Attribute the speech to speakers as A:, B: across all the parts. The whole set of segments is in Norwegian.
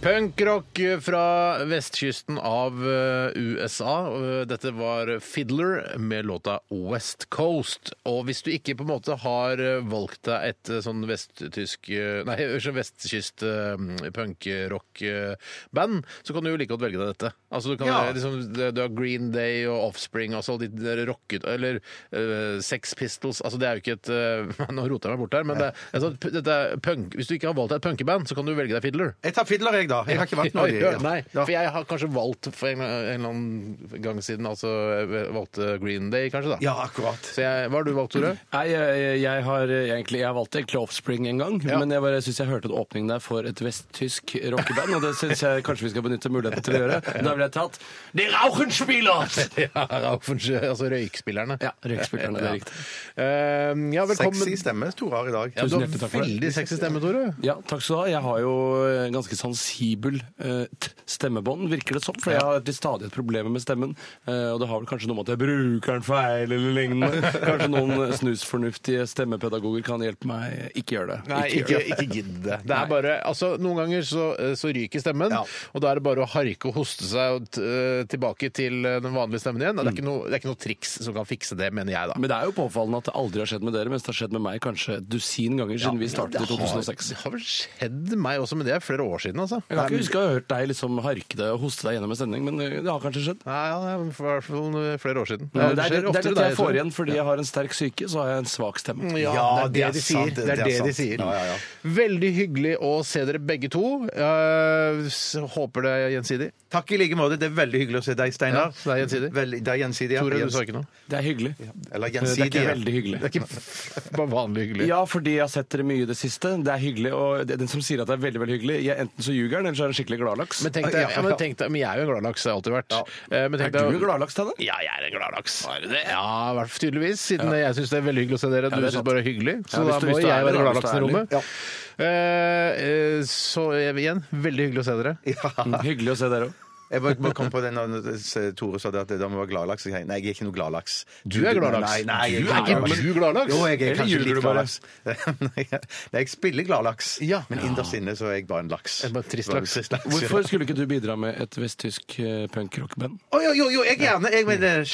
A: Punkrock fra vestkysten av eh, USA. Eh, Dette var Fiddler med låta West Coast. Og hvis du ikke på en måte har eh, valgt deg et eh, sånn vesttysk eh, Nei, unnskyld, vestkyst eh, punkrock-band, så kan du jo like godt velge deg dette. Altså, du, kan,
B: Ja.
A: liksom, du har Green Day og Offspring altså de der rocket Eller eh, Sex Pistols. Altså, det er jo ikke et eh, Nå roter jeg meg bort her, men det, er- altså, p- dette er punk, hvis du ikke har valgt deg et punkeband, så kan du velge deg Fiddler.
B: Jeg tar Fiddler, jeg, da. Jeg har ikke valgt noe. av de,
A: Ja,
B: ja.
A: Nei,
B: Ja.
A: for jeg har kanskje valgt for en, en eller annen gang siden altså, jeg valgte Green Day, kanskje. da.
B: Ja, akkurat.
A: Så jeg, hva har du valgt, Tore?
C: Nei, jeg, jeg- jeg har eh, egentlig jeg valgte egentlig Offspring en gang,
A: Ja.
C: men jeg, bare- jeg syns jeg hørte en åpning der for et vesttysk rockeband, og det syns jeg kanskje vi skal benytte muligheten til å gjøre. Da ville jeg tatt De Rauchenspieler!
A: Ja, Raufensjø, altså røykspillerne.
C: Ja, røykspillerne, det er riktig.
A: Eh, ja, velkommen.
B: Sexy stemme Tore har i dag.
A: Ja, du
C: Tusen
A: har
C: hjertelig takk for det.
A: veldig sexy stemme, Tore.
C: Ja, takk skal du ha. Jeg har jo en ganske sensibel eh, t- stemmebånd, virker det som, for jeg har til stadighet problemer med stemmen, eh, og det har vel kanskje noe med at jeg bruker den feil eller lignende. Kanskje noen snusfornuftige stemmepedagoger kan hjelpe meg. eh, Ikke gjør det.
A: Nei,
C: gjør
A: ikke,
C: det.
A: ikke gidd det. Det er bare, altså Noen ganger så, så ryker stemmen,
B: Ja.
A: og da er det bare å harke og hoste seg og t eh, tilbake til eh, den vanlige stemmen igjen. Og Det er, ikke noe, det er ikke noe triks som kan fikse det, mener jeg, da.
C: Men det er jo påfallende at det aldri har skjedd med dere, mens det har skjedd med meg kanskje et dusin ganger siden vi startet i 2006.
A: Det har vel skjedd meg også, men det er flere år siden, altså.
C: Jeg kan ikke huske å ha hørt deg liksom harke deg og hoste deg gjennom en sending, men eh, det har kanskje skjedd.
A: Nei, ja, det er i hvert fall flere år siden.
C: Det er, det, er,
A: skjer
C: det,
A: oftere
C: dette
A: deg,
C: jeg
A: tror
C: får igjen fordi jeg har en sterk psyke, så har jeg en svak stemme.
A: Ja, det er det de sier.
B: sant,
A: Det er det de
B: sant.
A: sier.
B: Ja, ja, ja.
A: Veldig hyggelig å se dere begge to. Eh, s- håper det er gjensidig.
B: Takk i like måte. Det er veldig hyggelig å se deg,
A: Ja,
B: Steinar.
A: så det er gjensidig.
B: Veldig- det er gjensidig, ja.
A: Tore, du sa ikke noe?
C: Det er hyggelig.
B: Eller
C: Det er
B: gjensidig.
C: ikke
B: ja.
C: veldig hyggelig.
A: Det er ikke bare vanlig hyggelig.
C: Ja, fordi jeg har sett dere mye i det siste. Det er hyggelig, og det- den som sier at det er veldig, veldig hyggelig, jeg, enten så ljuger han, eller så er han skikkelig gladlaks.
A: Men tenk deg, ja, men tenk deg, men jeg er jo en gladlaks, har jeg alltid vært. Eh, Men
C: er
A: tenk
C: du
A: deg,
C: en gladlaks, Tanne?
A: Ja, jeg er en gladlaks. Ja, i hvert fall tydeligvis, siden jeg syns det er veldig hyggelig å se dere. Du
C: det er
A: syns
C: sant.
A: bare det er hyggelig, så
C: Ja, hvis
A: da
C: du-
A: må
C: hvis du er
A: jeg være
C: ærlig, da, hvis
A: gladlaksen i
C: du er
A: rommet. Eh, eh, Så eh, igjen, veldig hyggelig å se dere.
C: Mm, Hyggelig å se dere òg.
B: Jeg må, må komme på den når s- Tore sa det at da må jeg være gladlaks. Jeg- Nei, jeg er ikke noe gladlaks.
A: Du er gladlaks.
B: Nei, nei, jeg
A: Du er ikke-
B: gladlaks.
A: du gladlaks?
B: Jo, jeg er
C: Eller
B: kanskje
C: ljuger
B: litt
C: du bare?
B: gladlaks. Nei, jeg spiller gladlaks,
A: Ja.
B: men innerst inne så er jeg bare en laks.
A: Jeg er bare trist
B: Bare
A: laks.
B: trist laks, ja.
C: Hvorfor skulle ikke du bidra med et vesttysk eh, punkrockband?
B: Å, jo, jo, jo, jeg gjerne. Jeg mener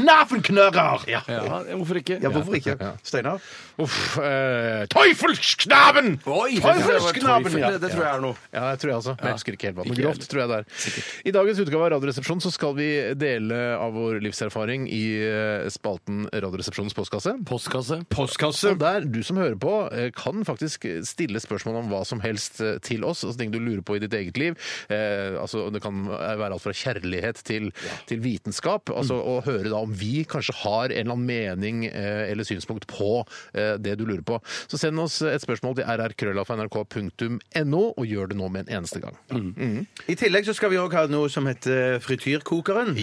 B: Knafenknørrer! Ja.
C: Ja, hvorfor ikke?
B: ja, hvorfor ikke? Steinar?
A: Uff. Eh, Teufelsknaben!
C: Oi! Det,
A: Teufelsknaben!
C: det,
A: Ja.
C: det tror jeg er noe.
A: Ja, jeg tror jeg altså. Men jeg husker ikke helt hva det
C: Ikke
A: grovt, tror jeg det er. I dagens utgave av Radioresepsjonen så skal vi dele av vår livserfaring i eh, spalten Radioresepsjonens postkasse.
C: Postkasse.
A: Postkasse. Og der, du som hører på, eh, kan faktisk stille spørsmål om hva som helst eh, til oss. Altså ting du lurer på i ditt eget liv. Eh, altså, det kan være alt fra kjærlighet til, til vitenskap.
B: Mm.
A: Altså, Å høre da om vi kanskje har en eller annen mening eh, eller synspunkt på eh, det du lurer på. Så send oss et spørsmål til rrkrøllalfa.nrk.no, og gjør det nå med en eneste gang.
B: Mm. I tillegg så skal vi òg ha noe som heter eh, frityrkokeren.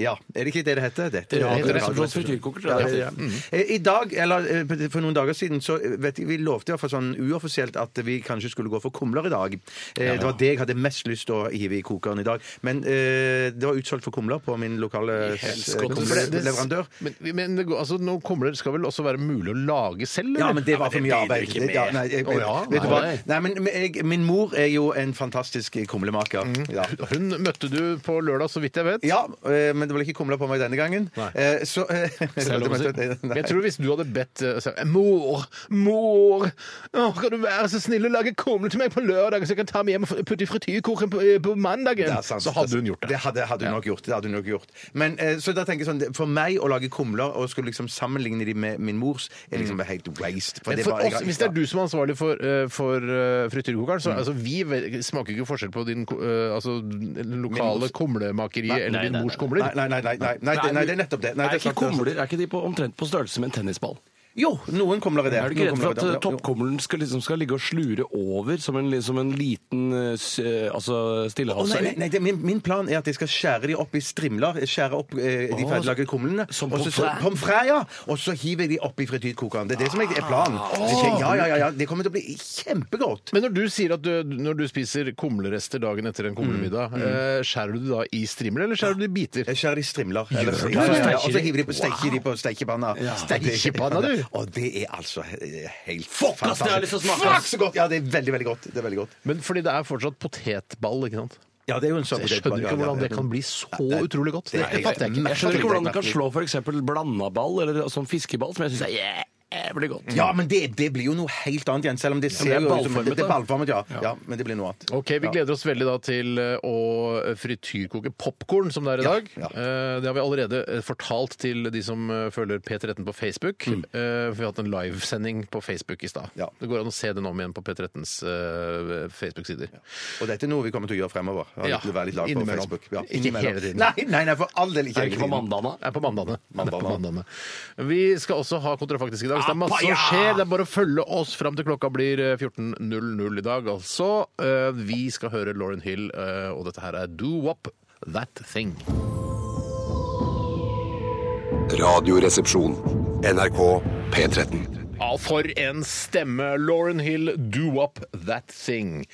A: Ja.
B: Er det ikke det det heter? Dette
C: Ja, det er
B: Radio-
C: Resepsjons frityrkoker, tror
B: Ja,
C: jeg.
B: det- ja. Eh, I dag, eller eh, for noen dager siden, så eh, vet jeg, vi lovte i hvert fall sånn uoffisielt at vi kanskje skulle gå for kumler i dag. Eh, Det var det jeg hadde mest lyst til å hive i kokeren i dag. Men eh, det var utsolgt for kumler på min lokale eh,
C: godt.
A: For det- det-
B: leverandør.
A: Men, men det går- altså, nå kommer det, skal vel også være mulig å lage selv? eller?
B: Ja, men det var for mye arbeid. Det- Ja, nei, jeg,
A: Å ja,
B: vet du hva?
A: nei.
B: Nei, men jeg, min mor er jo en fantastisk kumlemaker.
A: Mm.
B: Ja.
A: Hun møtte du på lørdag, så vidt jeg vet.
B: Ja, eh, men det ble ikke kumla på meg denne gangen.
A: Nei.
B: Eh, Så, eh,
C: lov å si.
A: Men
B: Nei.
A: Jeg tror hvis du hadde bedt eh, så, Mor, mor, å, kan du være så snill å lage kumler til meg på lørdag, så jeg kan ta dem hjem og f- putte i frityrkoken på, eh, på mandagen?
B: Det er sant.
A: så hadde hun gjort det.
B: Det hadde, hadde hun nok gjort. det hadde hun nok gjort. Men eh, så da tenker jeg sånn, det- For meg å lage kumler og skulle liksom sammenligne de med min mors, er liksom helt waste.
A: Mm. Men
B: det
A: for
B: var- jeg-
A: oss, hvis det er du som er ansvarlig for, eh, for eh, frityrkokeren,
B: Mm.
A: så altså, vi vel- smaker jo ikke forskjell på din ko- eh, altså, lokale
B: mors-
A: kumlemakeri
B: Nei,
A: eller din mors kumler.
B: Nei, nei, nei, nei, nei, nei, det- nei, det er nettopp det. Nei,
C: Er
B: det
C: ikke
B: sant, det er sant.
C: kumler er ikke de på, omtrent på størrelse med en tennisball?
B: Jo, noen kumler i det.
C: Er du ikke
B: Noen
C: redd
B: kumler i
C: for at eh,
B: det. Jo.
C: toppkommelen skal, liksom, skal ligge og slure over som en, som en liten eh, s- eh,
B: Å, nei,
C: altså,
B: nei,
C: stillehavsøy?
B: nei det, min, min plan er at jeg skal skjære de opp i strimler. Skjære opp eh, de ferdiglagde kumlene.
C: som
B: og så-
C: pommes frites?
B: Pommes frites, ja! Og så hiver jeg de oppi frityrkokeren. Det er det som er er planen.
C: Ah.
B: Det skjer- Ja, ja, ja, ja. Det kommer til å bli kjempegodt.
A: Men når du sier at du, når du spiser kumlerester dagen etter en
B: Mm.
A: kumlemiddag, eh, skjærer du det da i strimler, eller skjærer du det i biter?
B: Jeg skjærer i strimler. Eller,
A: du?
B: ja, ja, ja.
C: Steiker
B: Og så
C: de?
B: hiver de på, steker de på stekepanna.
A: Stekepanna, du?
B: Og det er altså eh, helt
C: ass, det har jeg lyst til å smake,
B: Fuck,
C: ass.
B: så godt! Ja, det er veldig, veldig godt. Det er veldig godt.
A: Men fordi det er fortsatt potetball, ikke sant?
B: Ja, det er jo en sånn
A: Jeg skjønner ikke hvordan det kan bli så utrolig godt. Det
B: Nei, jeg-
A: fatter jeg ikke.
C: Jeg skjønner ikke hvordan det kan slå f.eks. blandaball eller sånn fiskeball, som jeg syns er jævlig godt.
B: Ja, men det, det blir jo noe helt annet igjen, selv om det ser
C: det er
B: jo ut som
C: ballformet,
B: Det er
C: da.
B: ballformet, ja. ja. Men det blir noe annet.
A: Ok, Vi gleder oss veldig da til eh, å frityrkoke popkorn, som det er i dag.
B: ja.
A: Eh, Det har vi allerede eh, fortalt til de som eh, følger P13 på Facebook. Eh, for Vi har hatt en livesending på Facebook i stad.
B: Mm. Ja.
A: Det går an å se den om igjen på P13s eh, Facebook-sider.
B: Og dette er noe vi kommer til å gjøre fremover. Ha
A: Ja,
B: litt- Være litt lag på
A: innimellom.
B: Facebook. Ja,
A: Ikke
B: innimellom.
A: hele tiden.
B: Nei, nei, nei, for all del ikke
C: Er det
B: hele
C: ikke på
B: tiden.
C: mandagene?
A: Det er på mandagene.
B: Mandagene.
A: Det er på mandagene. Vi skal også ha kontrafaktisk i dag, så det er masse som skjer. Det er bare å følge oss fram til klokka blir eh, 14.00 i dag, altså. Eh, Vi skal høre Lauren Hill, eh, og dette her er Do Wop That Thing.
D: Radioresepsjon. NRK P13.
A: Ja, for en stemme! Lauren Hill, Do Wop That Thing.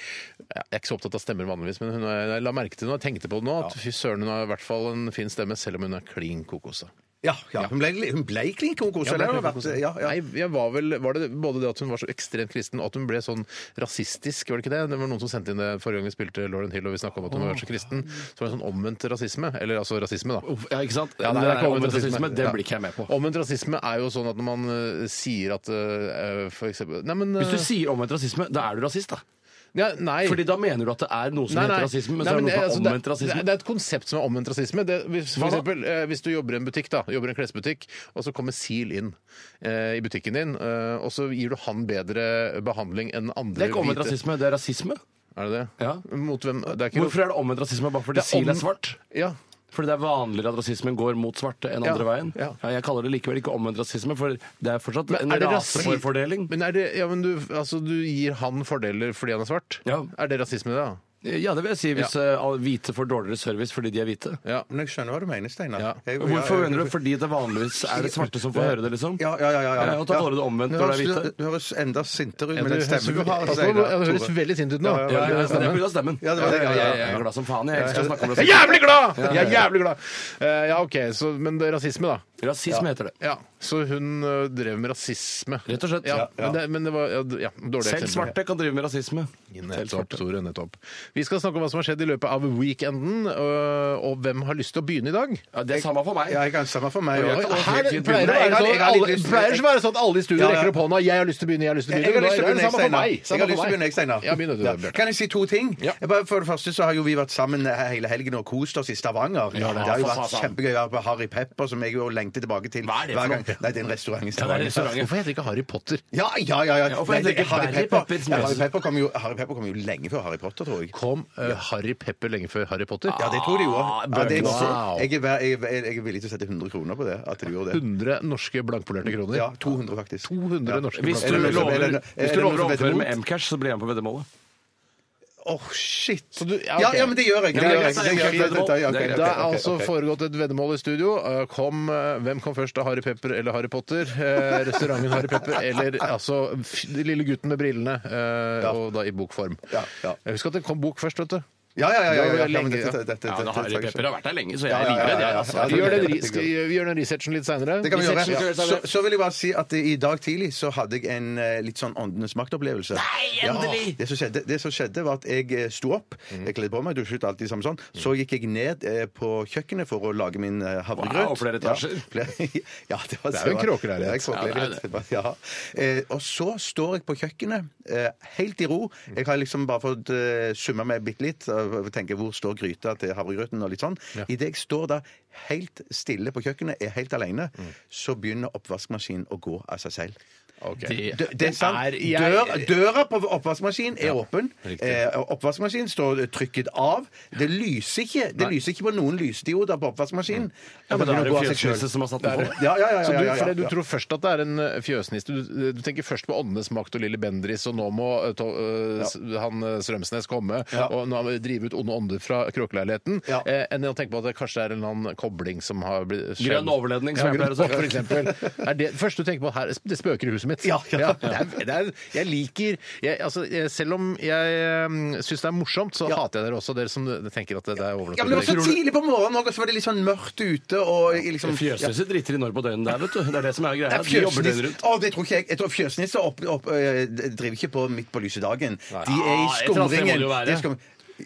A: Jeg er ikke så opptatt av stemmer vanligvis, men hun er, jeg la merke til når jeg tenkte på det nå, at fy søren, hun har i hvert fall en fin stemme, selv om hun er klin kokose.
B: Ja, ja. Hun ble, hun ble klin kokos.
A: Ja,
B: eller?
A: ble klin
B: Hun har vært-
A: kokos.
B: ja, ja.
A: Nei, jeg var vel Var det både det at hun var så ekstremt kristen, og at hun ble sånn rasistisk, var det ikke det? Det var noen som sendte inn det forrige gang vi spilte Lauren Hill, og vi snakka om at hun var så kristen. Så var det sånn omvendt rasisme. Eller altså rasisme, da.
C: Uff, Ja, ikke sant?
A: Ja, nei, det
C: det
A: er ikke
C: der omvendt
A: omvendt
C: rasisme,
A: rasisme.
C: det
A: Ja.
C: blir ikke jeg med på.
A: Omvendt rasisme er jo sånn at når man eh, sier at eh, for eksempel Nei, men eh,
C: Hvis du sier omvendt rasisme, da er du rasist, da.
A: ja, Nei.
C: Fordi da mener du at det er noe som
A: Nei, nei.
C: heter rasisme, men
A: Nei,
C: så er
A: men
C: det noe som
A: altså,
C: er omvendt rasisme.
A: Det, det er et konsept som er omvendt rasisme. Det, hvis, for
C: Hva da?
A: eksempel, eh, hvis du jobber i en butikk, da, jobber i en klesbutikk, og så kommer SIL inn eh, i butikken din, eh, og så gir du han bedre behandling enn andre
C: Det er ikke omvendt rasisme, det er rasisme.
A: Er det det?
C: Ja.
A: Mot hvem? Det er ikke
C: Hvorfor er det omvendt rasisme bare fordi
A: Det er
C: SIL
A: om-
C: er svart?
A: Ja.
C: Fordi det er vanligere at rasismen går mot svarte enn
A: Ja,
C: andre veien?
A: ja.
C: jeg kaller det likevel ikke omvendt rasisme, for det er fortsatt en
A: er det rasi-
C: raseforfordeling.
A: Men er det, ja, men du, altså, du gir han fordeler fordi han er svart?
C: Ja.
A: Er det rasisme, da?
C: Ja, det vil jeg si, hvis eh, alle hvite får dårligere service fordi de er hvite.
A: Ja.
B: Men jeg skjønner hva du mener, Steinar.
A: Ja.
B: Jeg- ja,
C: Hvorfor
B: jeg-
C: mener du fordi det vanligvis er det svarte som får høre det, liksom?
B: Ja, ja, ja. ja,
C: Ja, og da kaller du det omvendt
B: Du
C: når det er
B: høres-
C: hvite.
B: Du høres enda sintere ut
A: Ja,
B: med
A: du
B: den
A: høres-
B: stemmen du har.
A: Pass på,
B: Steinar,
A: ja, du høres
B: Tore.
A: veldig sint ut nå.
B: Ja,
C: Ja, ja, ja,
A: stemmen.
C: det er pga. stemmen.
B: Ja, det var det, ja, ja, ja.
C: Jeg er glad som faen, jeg. Jeg elsker å snakke om
A: Jeg er
C: rasisme.
A: jævlig glad! Jeg er jævlig glad! Eh, ja, OK, så, men det er rasisme, da.
C: Rasisme heter det.
A: Ja, Så hun ø, drev med rasisme.
C: Rett og slett.
A: Ja,
C: Ja,
B: ja.
A: Men, det, men det var ja, d- ja, dårlig
C: Selv svarte kan drive med rasisme. Selv
A: Nettopp,
C: svarte.
A: Tore, nettopp. Vi skal snakke om hva som har skjedd i løpet av weekenden, ø, og hvem har lyst til å begynne i dag?
C: Ja, det er samme for meg.
B: Ja, jeg kan stemme for meg.
A: Her
B: også.
A: pleier det å
B: Fint begynner. Nei,
A: være
B: jeg har-
A: sånn
B: jeg
A: at
B: har litt
A: alle-
B: lyst-
A: pleier det å være sånn at alle i studio
B: Ja, ja.
A: rekker opp hånda. 'Jeg har lyst til å begynne, jeg har lyst til å
B: Jeg
A: begynne'.
B: har lyst til å
A: Da er det
B: begynne,
A: samme for
B: Steinar.
A: meg.
B: Jeg
A: Samme
B: har lyst til å
A: for
B: begynne,
A: meg.
B: jeg, Steinar.
A: Ja, begynn du,
B: Ja.
A: Bjarte.
B: Kan jeg si to ting?
A: Ja.
B: Jeg Bare for det første så har jo vi vært sammen eh, hele helgen og kost oss i Stavanger. det, har jo
C: for
B: vært
C: faen.
B: kjempegøy å være på Harry Pepper, som jeg jo lengter tilbake til
C: Hva er det for
B: hver
C: noe?
B: gang. Nei, det er en restaurant i
C: det er
B: Stavanger.
C: restaurant.
A: Hvorfor heter det ikke Harry Potter?
B: Ja, ja, ja. ja.
C: Ja, hvorfor
B: Nei,
C: heter det ikke
B: Harry
C: Barry
B: Pepper,
C: Peppers
B: ja,
C: møs?
B: Harry, Pepper kom jo, Harry Pepper kom jo lenge før Harry Potter, tror jeg.
A: Kom ø, Harry Pepper lenge før Harry Potter? Ah,
B: Ja, det tror jeg jo.
C: Ah,
B: Ja, det er,
A: Wow.
B: jeg, er, vær- jeg, er- jeg er villig til å sette 100 kroner på det. At du gjorde det.
A: 100 norske blankpolerte kroner.
B: Ja, 200 faktisk.
A: 200 norske
C: Hvis
B: Er
C: du
B: det noe som- er det
C: lover
B: noe- er
C: hvis
B: det
C: du
B: noe
C: lover
B: som
C: å
B: heter
C: overføre med
B: mot?
C: Mcash, så blir jeg med på veddemålet.
B: Åh, shit!
A: du- ja,
B: ja,
A: ok.
B: ja, men det gjør jeg. Det
C: Ja, men
B: gjør
C: det
B: jeg.
C: er
B: Det gjør jeg.
C: greit, det er
B: Ja, ok,
C: greit.
B: ok,
A: Det
B: ok,
A: er altså
B: ok.
A: foregått et veddemål i studio. Eh, Kom, eh, hvem kom først, da? Harry Pepper eller Harry Potter? Eh, Restauranten Harry Pepper eller altså f- den lille gutten med brillene, eh, og da i bokform.
B: Ja, ja.
A: Jeg husker at det kom bok først, vet du.
B: Ja, ja, ja. ja, ja, ja,
A: lenge,
B: men
A: ja.
B: dette- dette- dette-
C: Ja,
B: dette-
C: men Harry
B: dette-
C: Pepper har vært der lenge, så jeg
B: Ja,
C: er
B: ja, ja,
C: livredd,
B: ja,
C: jeg.
B: ja.
C: altså.
B: Ja,
A: Vi
B: det-
A: gjør den,
B: det-
A: ris- vi gjør den researchen litt seinere.
B: Det kan vi gjøre.
C: Researchen.
B: Så, så vil jeg bare si at eh, i dag tidlig så hadde jeg en eh, litt sånn åndenes makt-opplevelse. Nei, endelig! Ja, det, som skjedde, det som skjedde, var at jeg eh, sto opp, jeg kledde på meg, dusjet alltid sammen sånn. Så gikk jeg ned eh, på kjøkkenet for å lage min eh, havregrøt.
C: Wow, flere
B: Ja,
C: etasjer.
B: flere- ja, det, var,
A: Det er jo en kråkeleilighet.
B: Det er en kråkeleilighet. Ja, Eh, Og så står jeg på kjøkkenet, eh, helt i ro. Jeg har liksom bare fått eh, summa meg bitte litt og tenke hvor står gryta til havregrøten og litt sånn. Idet jeg står da helt stille på kjøkkenet, er helt alene, så begynner oppvaskmaskinen å gå av seg selv.
A: Ok.
C: Det,
B: Dø- Det er sant.
C: er-
B: Dør,
C: jeg,
B: døra på oppvaskmaskinen er åpen.
C: riktig.
B: Eh, oppvaskmaskinen står trykket av. Det lyser ikke Det lyser ikke på noen lysdioder på oppvaskmaskinen.
C: ja,
B: Da
C: men det
B: må
C: er
B: du
C: en
B: gå av seg
C: fjøsnisse
B: selv.
C: som har satt den på.
B: Ja, ja, ja, ja,
A: Så du,
B: ja, ja,
A: for det, du
B: ja.
A: tror først at det er en eh, fjøsniste. Du, du tenker først på Åndenes makt og Lille Bendris, og nå må eh, to, eh, s- han eh, Strømsnes komme
B: Ja.
A: og nå drive ut onde ånder fra kråkeleiligheten,
B: Ja.
A: eh, enn å tenke på at det kanskje er en eller annen kobling som har blitt skjedd.
C: Grønn overledning, som
A: ja,
C: jeg pleier å si.
A: grønn- For eksempel. Er det første du tenker på her, det spøker i huset mitt.
B: Ja, ja.
A: det er, det er, jeg liker jeg, altså, jeg, Selv om jeg syns det er morsomt, så
B: Ja.
A: hater jeg dere også, dere som tenker at det, det er
B: Ja, men det
A: overnaturlig.
B: var så tidlig på morgenen òg, og så var det litt sånn mørkt ute. Og i liksom, ja.
C: Fjøsnisser driter i når på døgnet der, vet du. Det er det som er
B: Det
C: greia.
B: er
C: De jobber døgnet
B: fjøsnisser.
C: rundt.
B: Å, det tror ikke jeg. Jeg tror fjøsnisser opp, opp, øh, driver ikke på midt på lyse dagen. De er i
C: Ah, et eller annet sted må det
B: skumringen.
C: jo være.
B: De er skum-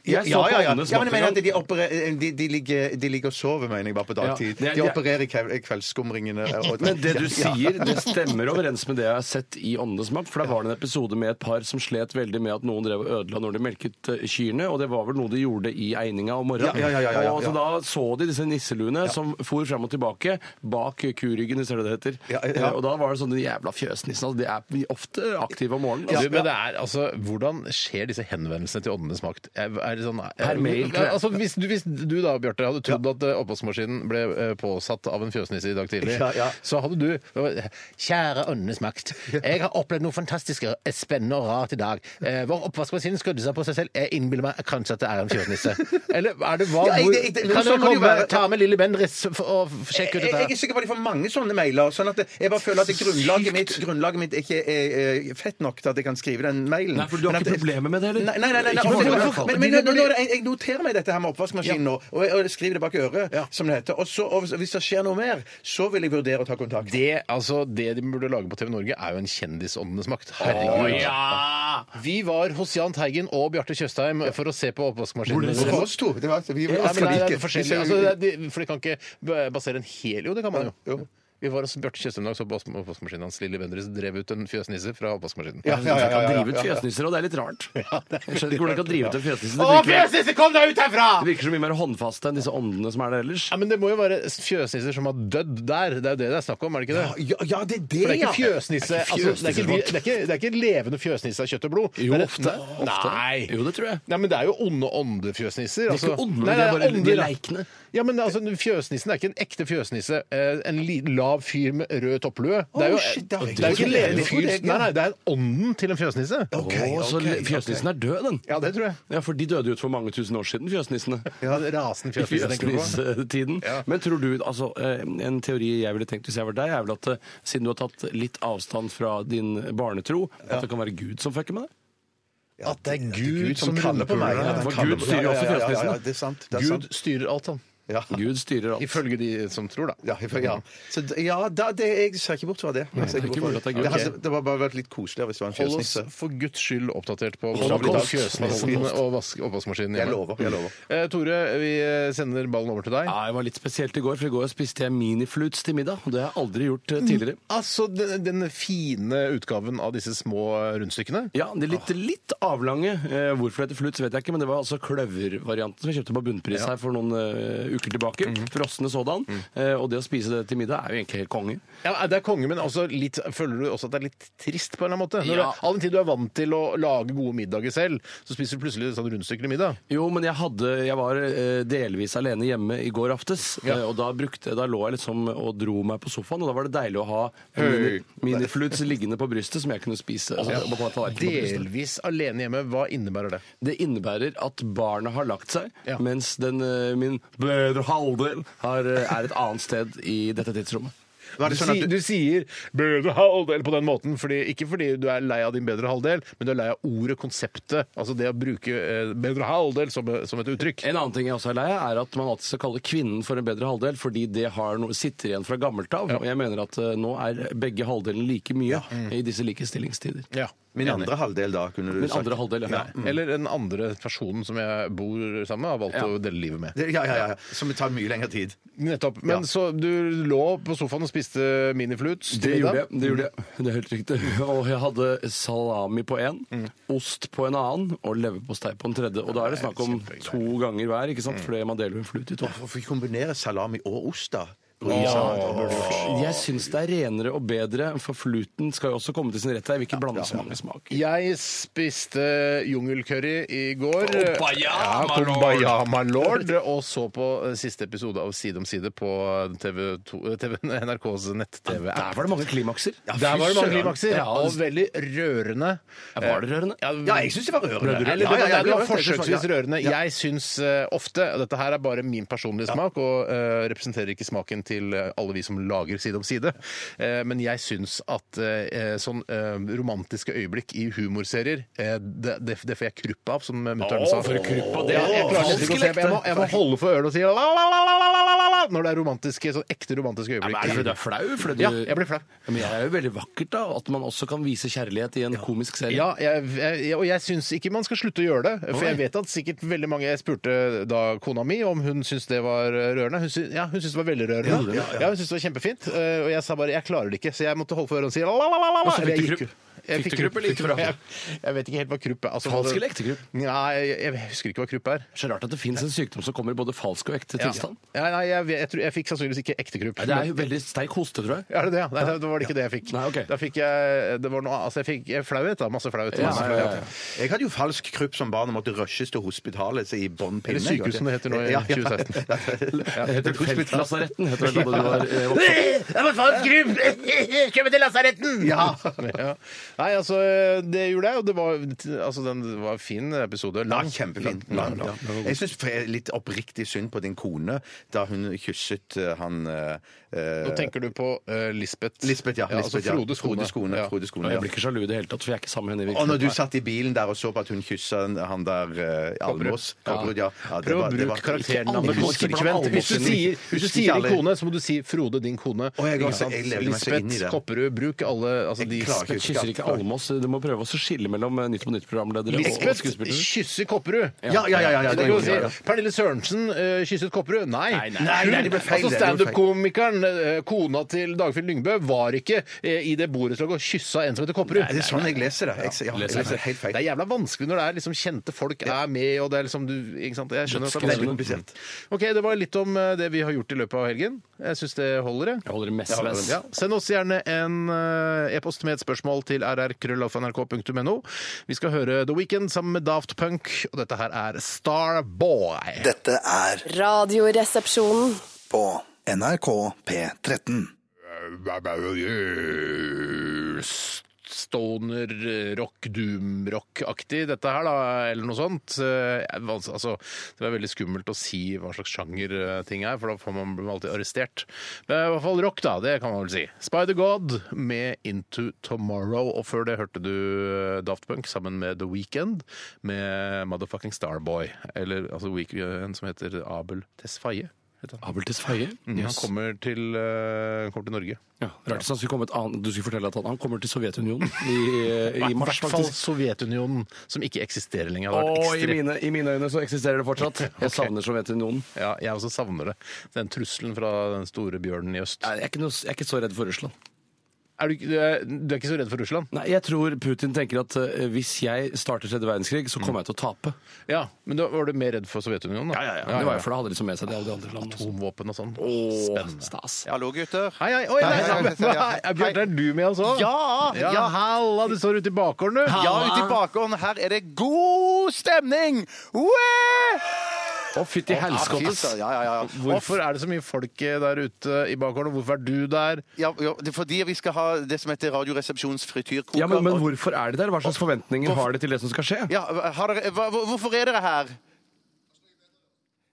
B: Ja,
C: Jeg så
B: ja,
C: på
B: ja, ja.
C: Åndenes
B: ja, men jeg mener
C: makt
B: at de, opererer, de, de, ligger, de ligger og sover, mener jeg, bare på dagtid.
C: det er-
B: De opererer i kve- kveldsskumringene. og-
C: Men det du
B: Ja, ja.
C: sier, det stemmer overens med det jeg har sett i Åndenes makt. For der var det en episode med et par som slet veldig med at noen drev og ødela når de melket eh, kyrne. Og det var vel noe de gjorde i eininga om
B: Ja,
C: morgenen.
B: ja, ja, ja, ja, ja.
C: Og så da så de disse nisseluene som for fram og tilbake bak kuryggen, hvis det er det det heter.
B: Ja, ja.
C: Eh, Og da var det sånn de jævla fjøsnissene. Altså, de er vi er ofte aktive om morgenen.
A: Ja,
C: Altså.
A: men det er, altså, Hvordan skjer disse henvendelsene til Åndenes makt? Er, er det sånn, er,
C: Per mail, tror jeg.
A: altså, hvis, du, hvis du da, Bjarte, hadde trodd at eh, oppvaskmaskinen ble eh, påsatt av en fjøsnisse i dag tidlig,
B: Ja, ja.
A: så hadde du det var, Kjære Åndenes makt. Jeg har opplevd noe fantastisk eh, spennende og rart i dag. Eh, vår oppvaskmaskin skrudde seg på seg selv. Jeg innbiller meg kanskje at det er en fjøsnisse. Eller er det hva?
B: Ja, jeg-
A: hvor-
B: jeg- det- men
A: kan
B: sånn
A: dere
B: må det jo
A: komme
B: være.
A: ta med Lille Bendriss for- og f- sjekke ut
B: Jeg, jeg er
A: dette?
B: sikker på at de får mange sånne mailer. sånn at jeg bare føler at det grunnlaget mitt, grunnlaget mitt ikke er, er fett nok til at jeg kan skrive den mailen.
C: Nei, for du har
B: Men
C: ikke
B: at-
C: problemer med det, eller?
B: Nei, nei, nei, nei,
C: Ikke
B: nei,
C: for-
B: men-
C: i hvert fall.
B: men, men, nå- nå- nå- jeg, jeg noterer meg dette her med oppvaskmaskinen nå, og, jeg, og jeg skriver det bak øret, som det heter. Og, så, og hvis det skjer noe mer, så vil jeg vurdere å ta kontakt.
A: Det, altså, det de burde lage på TV Norge, er jo en kjendisåndenes makt. Herregud. Vi var hos Jahn Teigen og Bjarte Tjøstheim for å se på oppvaskmaskinen.
B: Det var oss to. Det var, vi,
A: Ja, men nei, det er forskjellig. Altså, det
B: vi,
A: er, de- for de kan ikke b- basere en hel Jo, det kan man
B: Ja,
A: jo.
B: jo.
A: Vi var hos Bjarte Tjøstheim i dag, så på oppvask- oppvaskmaskinen hans. Lille Bendriss drev ut en fjøsnisse fra oppvaskmaskinen.
B: Ja, ja, ja,
C: Jeg
B: ja,
C: kan
B: ja,
C: drive ut
B: ja, ja.
C: fjøsnisser, og det er litt rart. Jeg skjønner ikke hvordan jeg kan drive ut en fjøsnisse.
A: Å,
C: Det virker-
A: fjøsnisse, kom deg ut herfra!
C: Det virker så mye mer håndfaste enn disse åndene som er der ellers.
A: Ja, men det må jo være fjøsnisser som har dødd der. Det er jo det det er snakk om, er det ikke det?
B: ja, ja, det er det,
A: For det er ikke
B: ja.
A: fjøsnisse altså, det, er ikke, de- det, er ikke, det er ikke levende fjøsnisse av kjøtt og blod.
C: Jo,
A: Det er-
C: ofte. Ofte.
A: Nei.
C: Jo, det tror jeg.
A: Nei, men det er jo onde åndefjøsnisser. altså.
C: er ikke onde,
A: Nei,
C: de er
A: det
C: bare- de er
A: ånder.
C: leikne.
A: Ja, men altså, Fjøsnissen er ikke en ekte fjøsnisse. Eh, En li- lav fyr med rød topplue. Det er jo,
B: Å, shit, det har jeg
A: det er jo
B: ikke
A: ikke en levende
B: tenkt på.
A: fyr. Nei, nei, det er ånden til en fjøsnisse.
C: Å, så le- fjøsnissen er død, den.
A: Ja, det tror jeg.
C: Ja, for de døde jo ut for mange tusen år siden, fjøsnissene.
A: Ja, Rasen fjøsnisse, tenker du på?
C: Fjøsnistiden. Men tror du, altså, eh, En teori jeg ville tenkt hvis jeg var deg, er vel at eh, siden du har tatt litt avstand fra din barnetro, at det kan være Gud som fucker med deg?
A: At det er Gud som
B: kaller
A: ruller på
B: på meg.
A: meg.
B: Ja,
A: Ja,
B: den
C: for
B: kaller
C: Gud
B: på meg.
C: styrer jo
B: Ja,
C: også
B: ja, ja,
C: fjøsnissene.
B: ja, Det er sant. Det er sant.
A: Gud styrer alt, han.
B: Ja.
C: Gud styrer alt.
A: Ifølge de som tror, da.
B: Ja, for- ja. Så, d- ja da, det, jeg ser ikke bort fra det. Jeg ser
C: det er ikke
B: bort fra
C: mulig at det er Gud.
B: det, hadde, det var bare vært litt koseligere hvis det var en
A: Hold oss
B: fjøsnisse.
A: for guds skyld oppdatert på hvordan det blir av
C: Holocaust.
A: fjøsnissen
C: Holocaust.
A: og vask- oppvaskmaskinen
B: Jeg
A: hjemme.
B: lover. jeg lover.
A: Eh, Tore, vi sender ballen over til deg.
C: Ja, det var litt spesielt i går, for i går spiste jeg miniflutes til middag. og Det har jeg aldri gjort eh, tidligere.
A: Altså, den, den fine utgaven av disse små rundstykkene.
C: Ja, de litt, litt avlange. Eh, hvorfor det heter flutes, vet jeg ikke, men det var altså kløvervarianten som jeg kjøpte på bunnpris her for noen eh, uker tilbake. Frosne sådan. Eh, og det å spise det til middag er jo egentlig helt konge.
A: Ja, Det er konge, men også litt, føler du også at det er litt trist? på en eller annen måte? Når
C: Ja.
A: du, all den tid du er vant til å lage gode middager selv, så spiser du plutselig sånn rundstykker til middag.
C: Jo, men jeg, hadde, jeg var eh, delvis alene hjemme i går aftes,
A: Ja.
C: eh, og da, brukte, da lå jeg liksom og dro meg på sofaen, og da var det deilig å ha mini- miniflutes liggende på brystet som jeg kunne spise. Altså, på- på tallerkenen på brystet.
A: Delvis alene hjemme, hva innebærer det?
C: Det innebærer at barnet har lagt seg,
A: Ja.
C: mens den, eh, min bedre halvdel har, eh, er et annet sted i dette tidsrommet.
B: Var
A: Du,
B: det sånn at
A: sier-
B: du,
A: du sier 'bedre halvdel' på den måten, fordi, ikke fordi du er lei av din bedre halvdel, men du er lei av ordet, konseptet, altså det å bruke eh, 'bedre halvdel' som, eh, som et uttrykk.
C: En annen ting jeg også er lei av, er at man alltid skal kalle kvinnen for en bedre halvdel, fordi det har noe, sitter igjen fra gammelt av. Og jeg mener at eh, nå er begge halvdelene like mye i disse likestillingstider.
A: Mm. Ja.
B: min andre halvdel, da? kunne du
C: Min
B: sagt.
C: andre halvdel, ja.
A: Eller den andre personen som jeg bor sammen med, har valgt
C: Mm. Ja.
A: å dele livet med.
B: Det- Ja, ja, ja, ja. Som tar mye lengre tid.
A: Nettopp. Men så du lå på sofaen og spiste miniflutes? til middag?
C: Det gjorde jeg. Det gjorde jeg. Mm. Det er helt riktig. Og jeg hadde salami på én,
A: Mm.
C: ost på en annen og leverpostei på en tredje. Og da
A: Mm.
C: er det snakk om to ganger hver, ikke sant? fordi man deler jo en flut i to.
B: Hvorfor ikke kombinere salami og ost, da?
C: Jeg syns det er renere og bedre, for fluten skal jo også komme til sin rett. Jeg vil ikke blande så mange smaker.
A: Jeg spiste jungelcurry i går.
C: Kumbaya,
A: ja,
C: my
A: kumbaya, my lord. Og så på eh, siste episode av Side om side på TV 2, eh, TV, NRKs nett-TV.
C: Der var det mange klimakser.
A: Der var det mange klimakser,
C: Ja,
A: og
C: og-
A: veldig rørende. Eh,
C: Ja, var det rørende?
A: Ja,
E: Ja, jeg syns det var rørende.
A: Eller,
E: Ja, ja, ja,
A: det var
E: rørende.
A: forsøksvis
E: Ja.
A: rørende. Jeg syns eh, ofte og Dette her er bare min personlige smak, og eh, representerer ikke smaken til eh, alle vi som lager Side om side. Eh, men jeg syns at eh, sånn eh, romantiske øyeblikk i humorserier, eh, det, det, det får jeg krupp av, som mutter'n sa.
C: kruppa
A: Ja, jeg, klarer nesten ikke å se på. jeg, må, jeg må holde for ørene og si la, la, la, la, la, la, la, la, når det er romantiske, sånn ekte romantiske
C: Ja, men er det
A: øyeblikk.
C: fordi du er flau? Fordi du...
A: Ja, jeg blir flau.
C: Ja, Men det er jo veldig vakkert da, at man også kan vise kjærlighet i en komisk serie.
A: Ja, jeg, jeg, og jeg syns ikke man skal slutte å gjøre det. For jeg vet at sikkert veldig mange Jeg spurte da kona mi om hun syntes det var rørende. Hun syntes, ja, hun syntes det var veldig rørende. Ja, hun syntes det var kjempefint. eh, Og jeg sa bare jeg klarer det ikke, så jeg måtte holde for ørene og si la, la, la, la, la.
C: så fikk
A: Jeg
C: du
A: gikk
C: krupp?
A: jo. Jeg
C: Fikk du krupp, eller gikk du fra?
A: Jeg, jeg vet ikke helt hva krupp er. Altså,
C: Falsk
A: hva det-
C: eller ekte krupp?
A: Nei, jeg, jeg husker ikke hva krupp er.
C: Så rart at det fins en sykdom som kommer i både falsk og ekte
A: Ja.
C: tilstand.
A: Ja, nei, jeg, vet- jeg, tror, jeg fikk sannsynligvis ikke ekte krupp.
C: Nei, det er jo veldig sterk hoste, tror jeg.
A: Er det det? ja? Nei, det var det ikke det jeg fikk.
C: Nei, ok.
A: Da fikk jeg det var noe, altså jeg fikk jeg flauhet, da. Masse flauhet.
C: Ja,
A: masse
C: ja,
A: flauhet.
C: ja, ja.
E: Jeg hadde jo falsk krypp som barn og måtte rushes til hospitalet i bånn pinne.
A: Eller sykehus, som det heter nå i 2016.
C: Det heter Feltlasaretten, heter det da du var eh, voksen.
A: Jeg må ta en skrubb! Kjøpe til lasaretten! Ja. Nei, altså, det gjorde jeg, og det var, altså, den var en fin episode.
E: Ja,
A: Lang.
E: kjempefint. Lang, lang. Jeg syns litt oppriktig synd på din kone da hun kysset eh, han eh,
A: Nå tenker du på eh, Lisbeth.
E: Lisbeth, ja.
A: altså
E: Lisbeth, ja.
A: Frodes kone.
E: Frodes kone.
A: Ja.
E: Frodes kone,
C: Og
E: ja.
C: Jeg blir ikke sjalu i det hele tatt, for jeg er ikke sammen med henne i
E: Og når du
C: virkeligheten.
E: satt i bilen der og så på at hun kyssa han der eh, Almås Kobberud, ja. ja det
A: Prøv å
E: var- det
A: bruke
E: var- Ikke
A: karakternavnet
E: alle husker det.
A: konsekvent. Hvis du sier, hvis du
E: Husker
A: sier
E: ikke alle.
A: din kone, så må du si Frode, din kone.
E: Å, jeg-
A: Ikke sant?
E: jeg levde meg så inn i
A: Lisbeth
E: det.
A: Kopperud. Bruk alle altså, de
E: Jeg klarer ikke.
C: Men kysser ikke Almås. Du må prøve også å skille mellom eh, Nytt på Nytt-programledere og og
A: Lisbeth
C: skuespillere.
A: kysser Kopperud.
E: Ja, ja, ja. ja, ja,
A: Det
E: det
A: kan du
E: ja, ja.
A: si. Pernille Sørensen eh, kysset Kopperud? Nei.
C: Nei, nei.
E: Nei, nei, det ble feil,
A: Altså
E: det ble
A: Standup-komikeren, eh, kona til Dagfinn Lyngbø, var ikke eh, i det borettslaget og kyssa en som heter Kopperud.
E: Det er sånn jeg leser det. Jeg, ja, jeg leser det helt
A: Det
E: feil.
A: er jævla vanskelig når det er liksom kjente folk er med, og det er liksom du Ikke sant? Jeg skjønner at det er
E: Veldig
A: vanskelig.
E: komplisert.
A: OK, det var litt om eh, det vi har gjort i løpet av helgen. Jeg syns det holder, jeg.
C: Jeg holder det mest mest.
A: Ja. Send oss gjerne en eh, e-post med et spørsmål til rrkrøllalfa.nrk.no. Vi skal høre The Weeknd sammen med Daft Punk, og dette her er Starboy.
F: Dette er
G: Radioresepsjonen.
F: på NRK P13.
A: Stoner, rock, doom-rock-aktig, dette her, da, eller noe sånt. Eh, vans- Altså, det er veldig skummelt å si hva slags sjanger eh, ting er, for da får man blir man alltid arrestert. Men i hvert fall rock, da. Det kan man vel si. Spider-God med Into Tomorrow. Og før det hørte du eh, Daft Punk sammen med The Weekend med Motherfucking Starboy. Eller altså Week- en som heter Abel Tesfaye. Heter han.
C: Abel Tesfaye.
A: Mm, Han
C: Ah, Yes.
A: kommer til, eh, kommer til Norge.
C: Ja, rart hvis han skulle komme et annet Du skulle fortelle at han, han kommer til Sovjetunionen i, i
A: I
C: mars,
A: hvert fall
C: faktisk.
A: Sovjetunionen, som ikke eksisterer lenger. Det hadde vært
C: Og i
A: ekstremt-
C: mine, i mine øyne så eksisterer det fortsatt. Jeg savner Sovjetunionen.
A: Ja, jeg også savner det. Den trusselen fra den store bjørnen i øst.
C: Jeg er, ikke noe, jeg er ikke så redd for Russland.
A: Er du, ikke- du er- du er ikke så redd for Russland?
C: Nei, Jeg tror Putin tenker at eh, hvis jeg starter tredje verdenskrig, så
A: Mm.
C: kommer jeg til å tape.
A: Ja, Men da var du mer redd for Sovjetunionen? da?
C: Det var jo for da hadde de liksom med seg de alle de andre landene. også.
A: Atomvåpen og sånn.
C: Åh,
A: Spennende.
C: stas.
B: Hallo, gutter.
A: Hei, hei, oi, nei, nei, nei, nei, Bjørn, er du med altså?
B: Ja,
A: ja,
B: ja.
A: Halla, du står ute i bakgården, du.
B: Ja, ute i bakgården. Her er det god stemning! Wee!
C: Å, fytti helskotte.
B: altså, Ja, ja, ja.
A: Hvorfor er det så mye folk eh, der ute i bakgården, og hvorfor er du der?
B: ja, ja det er fordi vi skal ha det som heter Radioresepsjonens frityrkoker.
C: Ja, men, men
B: Og-
C: hvorfor er de der? Hva slags forventninger har de til det som skal skje?
B: Ja, har dere, hva, hvor- hvorfor er dere her?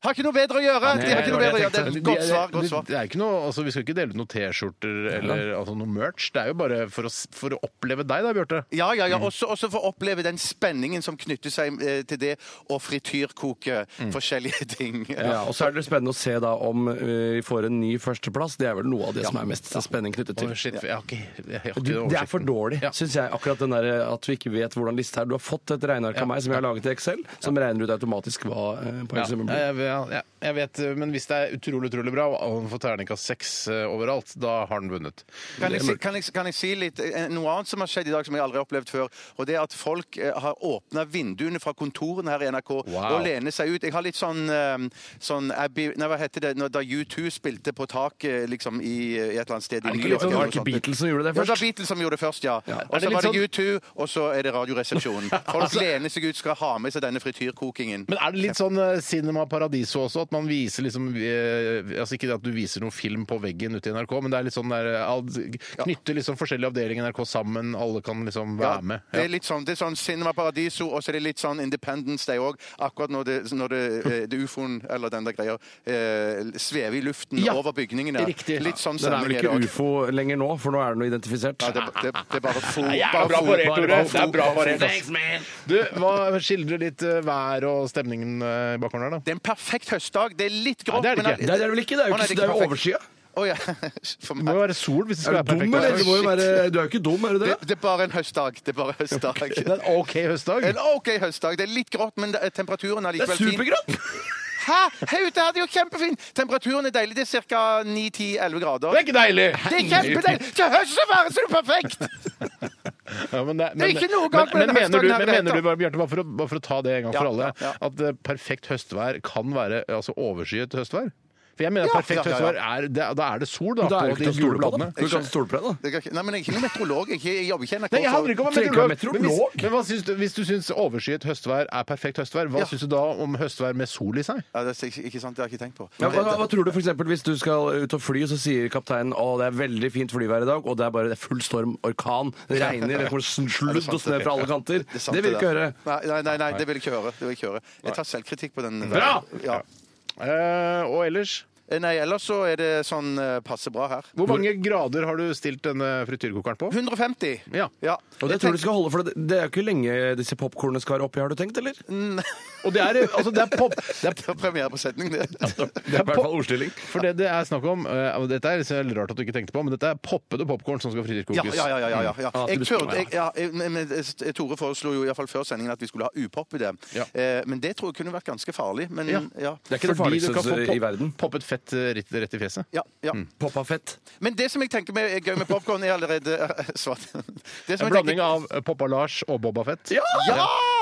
B: Har ikke noe bedre å gjøre! De har ikke noe bedre å gjøre. Det er et godt svar. godt svar.
A: Det er ikke noe, altså, vi skal ikke dele ut noen T-skjorter eller altså, noe merch. Det er jo bare for å, s- for å oppleve deg da, Bjarte.
B: Ja, ja, ja. Også, også for å oppleve den spenningen som knytter seg eh, til det å frityrkoke forskjellige ting.
C: Ja, og så er det spennende å se da om eh, vi får en ny førsteplass. Det er vel noe av det som er mest spenning knyttet til.
A: Å, shit, jeg har ikke, jeg har ikke
C: Du, det er for
A: oversikten.
C: dårlig,
A: Ja.
C: synes syns jeg. Akkurat den der, eh, at vi ikke vet hvordan liste er. Du har fått et regneark av meg som jeg har laget i Excel, som regner ut automatisk hva eh,
A: Ja.
C: poengsummen
A: Ja,
C: blir.
A: jeg, jeg, jeg, jeg vet, men hvis det er utrolig, utrolig bra, og han får terningkast seks eh, overalt, da har han vunnet.
B: Kan jeg, si, kan, jeg, kan jeg si litt eh, noe annet som har skjedd i dag som jeg aldri har opplevd før? Og det er at folk eh, har åpna vinduene fra kontorene her i NRK
A: Wow.
B: og lener seg ut. Jeg har litt sånn, eh, sånn Abbey, nei, hva heter det, når, da U2 spilte på taket liksom i, eh, i et eller annet sted i
C: Er det
B: New
C: ikke litt
B: York. eller
C: sånn, var
B: noe sånt.
C: det ikke Beatles som gjorde det
B: Ja, det var
C: først?
B: Beatles som gjorde det først, ja. Og
C: det
B: så
C: litt sånn- Altså-
B: var det U2, og så er det Radioresepsjonen. Folk lener seg ut, skal ha med seg denne frityrkokingen.
A: Men er det litt sånn eh, Cinema Paradiso også, at man viser liksom eh, Altså ikke det at du viser noen film på veggen ute i NRK, men det er litt sånn der eh, all- Knytte liksom forskjellige avdelinger i NRK sammen, alle kan liksom
B: Ja,
A: være med.
B: Det er litt sånn, det er sånn Cinema Paradiso, og så er det litt sånn Independence Day òg. Akkurat når det, når det, eh, det ufoen eller den der greia eh, svever i luften
A: Ja,
B: over bygningene.
A: riktig.
B: Litt sånn
C: Den er vel
B: stemning er det
C: ikke
B: òg.
C: ufo lenger nå, for nå er den jo identifisert.
B: Ja, det, det, det er bare fo.
A: Jævla
B: bare
A: bra
B: fo-
A: parert,
B: bare
A: Tore.
B: fo-
A: Det er bra parert, ass.
C: Thanks, man!
A: Du, hva skildrer litt eh, vær og stemningen eh, i bakhånden her, da?
B: Det er en perfekt høstdag. Det er litt grått.
A: Nei, det er det ikke.
B: men-
C: Det er det vel ikke? Det er
B: Å,
C: jo,
B: nei,
C: ikke, det er jo
B: perfekt.
C: overskya.
B: Å, ja. For
A: Det må
B: meg.
A: jo være sol hvis det skal
C: Er
A: være
C: du dum,
A: perfekt. altså.
C: eller? Du, må jo
B: Shit.
C: være, du er jo ikke dum, er du
B: Det,
C: det?
B: det er bare en høstdag. Det er bare en høstdag.
A: Det er en OK høstdag.
B: En OK høstdag. Det er litt grått, men det- temperaturen er
C: Det er
B: likevel fin.
C: supergrått!
B: Hæ? Her ute er det jo kjempefint! Temperaturen er deilig. Det er ca. 9-10-11 grader.
A: Det er ikke deilig!
B: Det er kjempedeilig! Til høst så væres det perfekt!
A: Ja, men det, men,
B: ikke noe galt med
A: men,
B: den
A: men mener du,
B: høstdagen
A: men
B: her, det
A: mener
B: heter.
A: du bare, Bjarte, bare, for å- bare for å ta det en gang
B: Ja,
A: for alle,
B: ja, ja.
A: at eh, perfekt høstvær kan være eh, altså, overskyet høstvær? For jeg mener at
B: Ja,
A: perfekt
B: ja, ja, ja.
A: høstvær er det, Da er det sol, da.
C: Da er det
A: på
C: ikke til å
A: de gule
C: stole på, da.
A: bladene.
C: Du kan ikke stole på det, da.
B: Det kan ikke- Nei, men Jeg er ikke noen meteorolog. Jeg, er ikke- jeg jobber ikke i NRK.
A: Nei, jeg
B: så-
A: handler ikke om
C: Trenger ikke være
A: meteorolog. Men, hvis,
C: meteorolog.
A: men hva syns du, hvis du syns overskyet høstvær er perfekt høstvær, hva
B: Ja.
A: syns du da om høstvær med sol i seg?
B: ja, det er ikke, ikke sant, det har jeg ikke tenkt på.
C: Ja, hva, hva- hva tror du for eksempel, hvis du skal ut og fly, så sier kapteinen å det er veldig fint flyvær i dag, og det er bare det er full storm, orkan, det regner, det kommer sludd og snø fra alle kanter.
B: er sant,
C: Det vil du ikke
B: der.
C: høre.
B: Nei, nei, nei, nei, det vil jeg ikke høre. Det vil jeg ikke høre. Jeg tar selvkritikk på den. der.
A: Bra!
B: Ja.
A: Eh, og ellers?
B: Nei, ellers så er det sånn eh, passe bra her.
A: Hvor mange grader har du stilt denne frityrkokeren på?
B: 150.
A: Ja.
B: ja.
C: Og det tror du skal holde, for det, det er jo ikke lenge disse popkornene skal være oppi, har du tenkt, eller?
A: Og det er, altså, det er pop... Det er
B: Det var premiere på setningen, det.
C: Det er i hvert fall ordstilling.
A: For det det er snakk om eh, og Dette er liksom veldig rart at du ikke tenkte på, men dette er poppede popkorn som skal
B: Ja,
A: frityrkokes. Mm.
B: ja, ja. ja, ja, ja.
A: Ah,
C: Ja,
B: Jeg
C: det
B: turde,
C: bestemmer
B: jeg, ja, jeg- men- men Tore foreslo jo i hvert fall før sendingen at vi skulle ha upopp i det.
A: Ja.
B: Eh, Men det tror jeg kunne vært ganske farlig. Men
A: Ja.
B: ja.
C: Det er ikke det
A: Fordi du kan få
C: farligste
A: pop-
C: i verden.
A: Poppet fett eh, rett, rett i fjeset.
B: Ja, ja.
C: Poppa fett.
B: Men det som jeg tenker med, er gøy med popkorn, er allerede eh, svart. Det som
A: En
B: jeg
A: blanding
B: tenker-
A: av eh, Poppa Lars og Boba Fett.
B: Ja!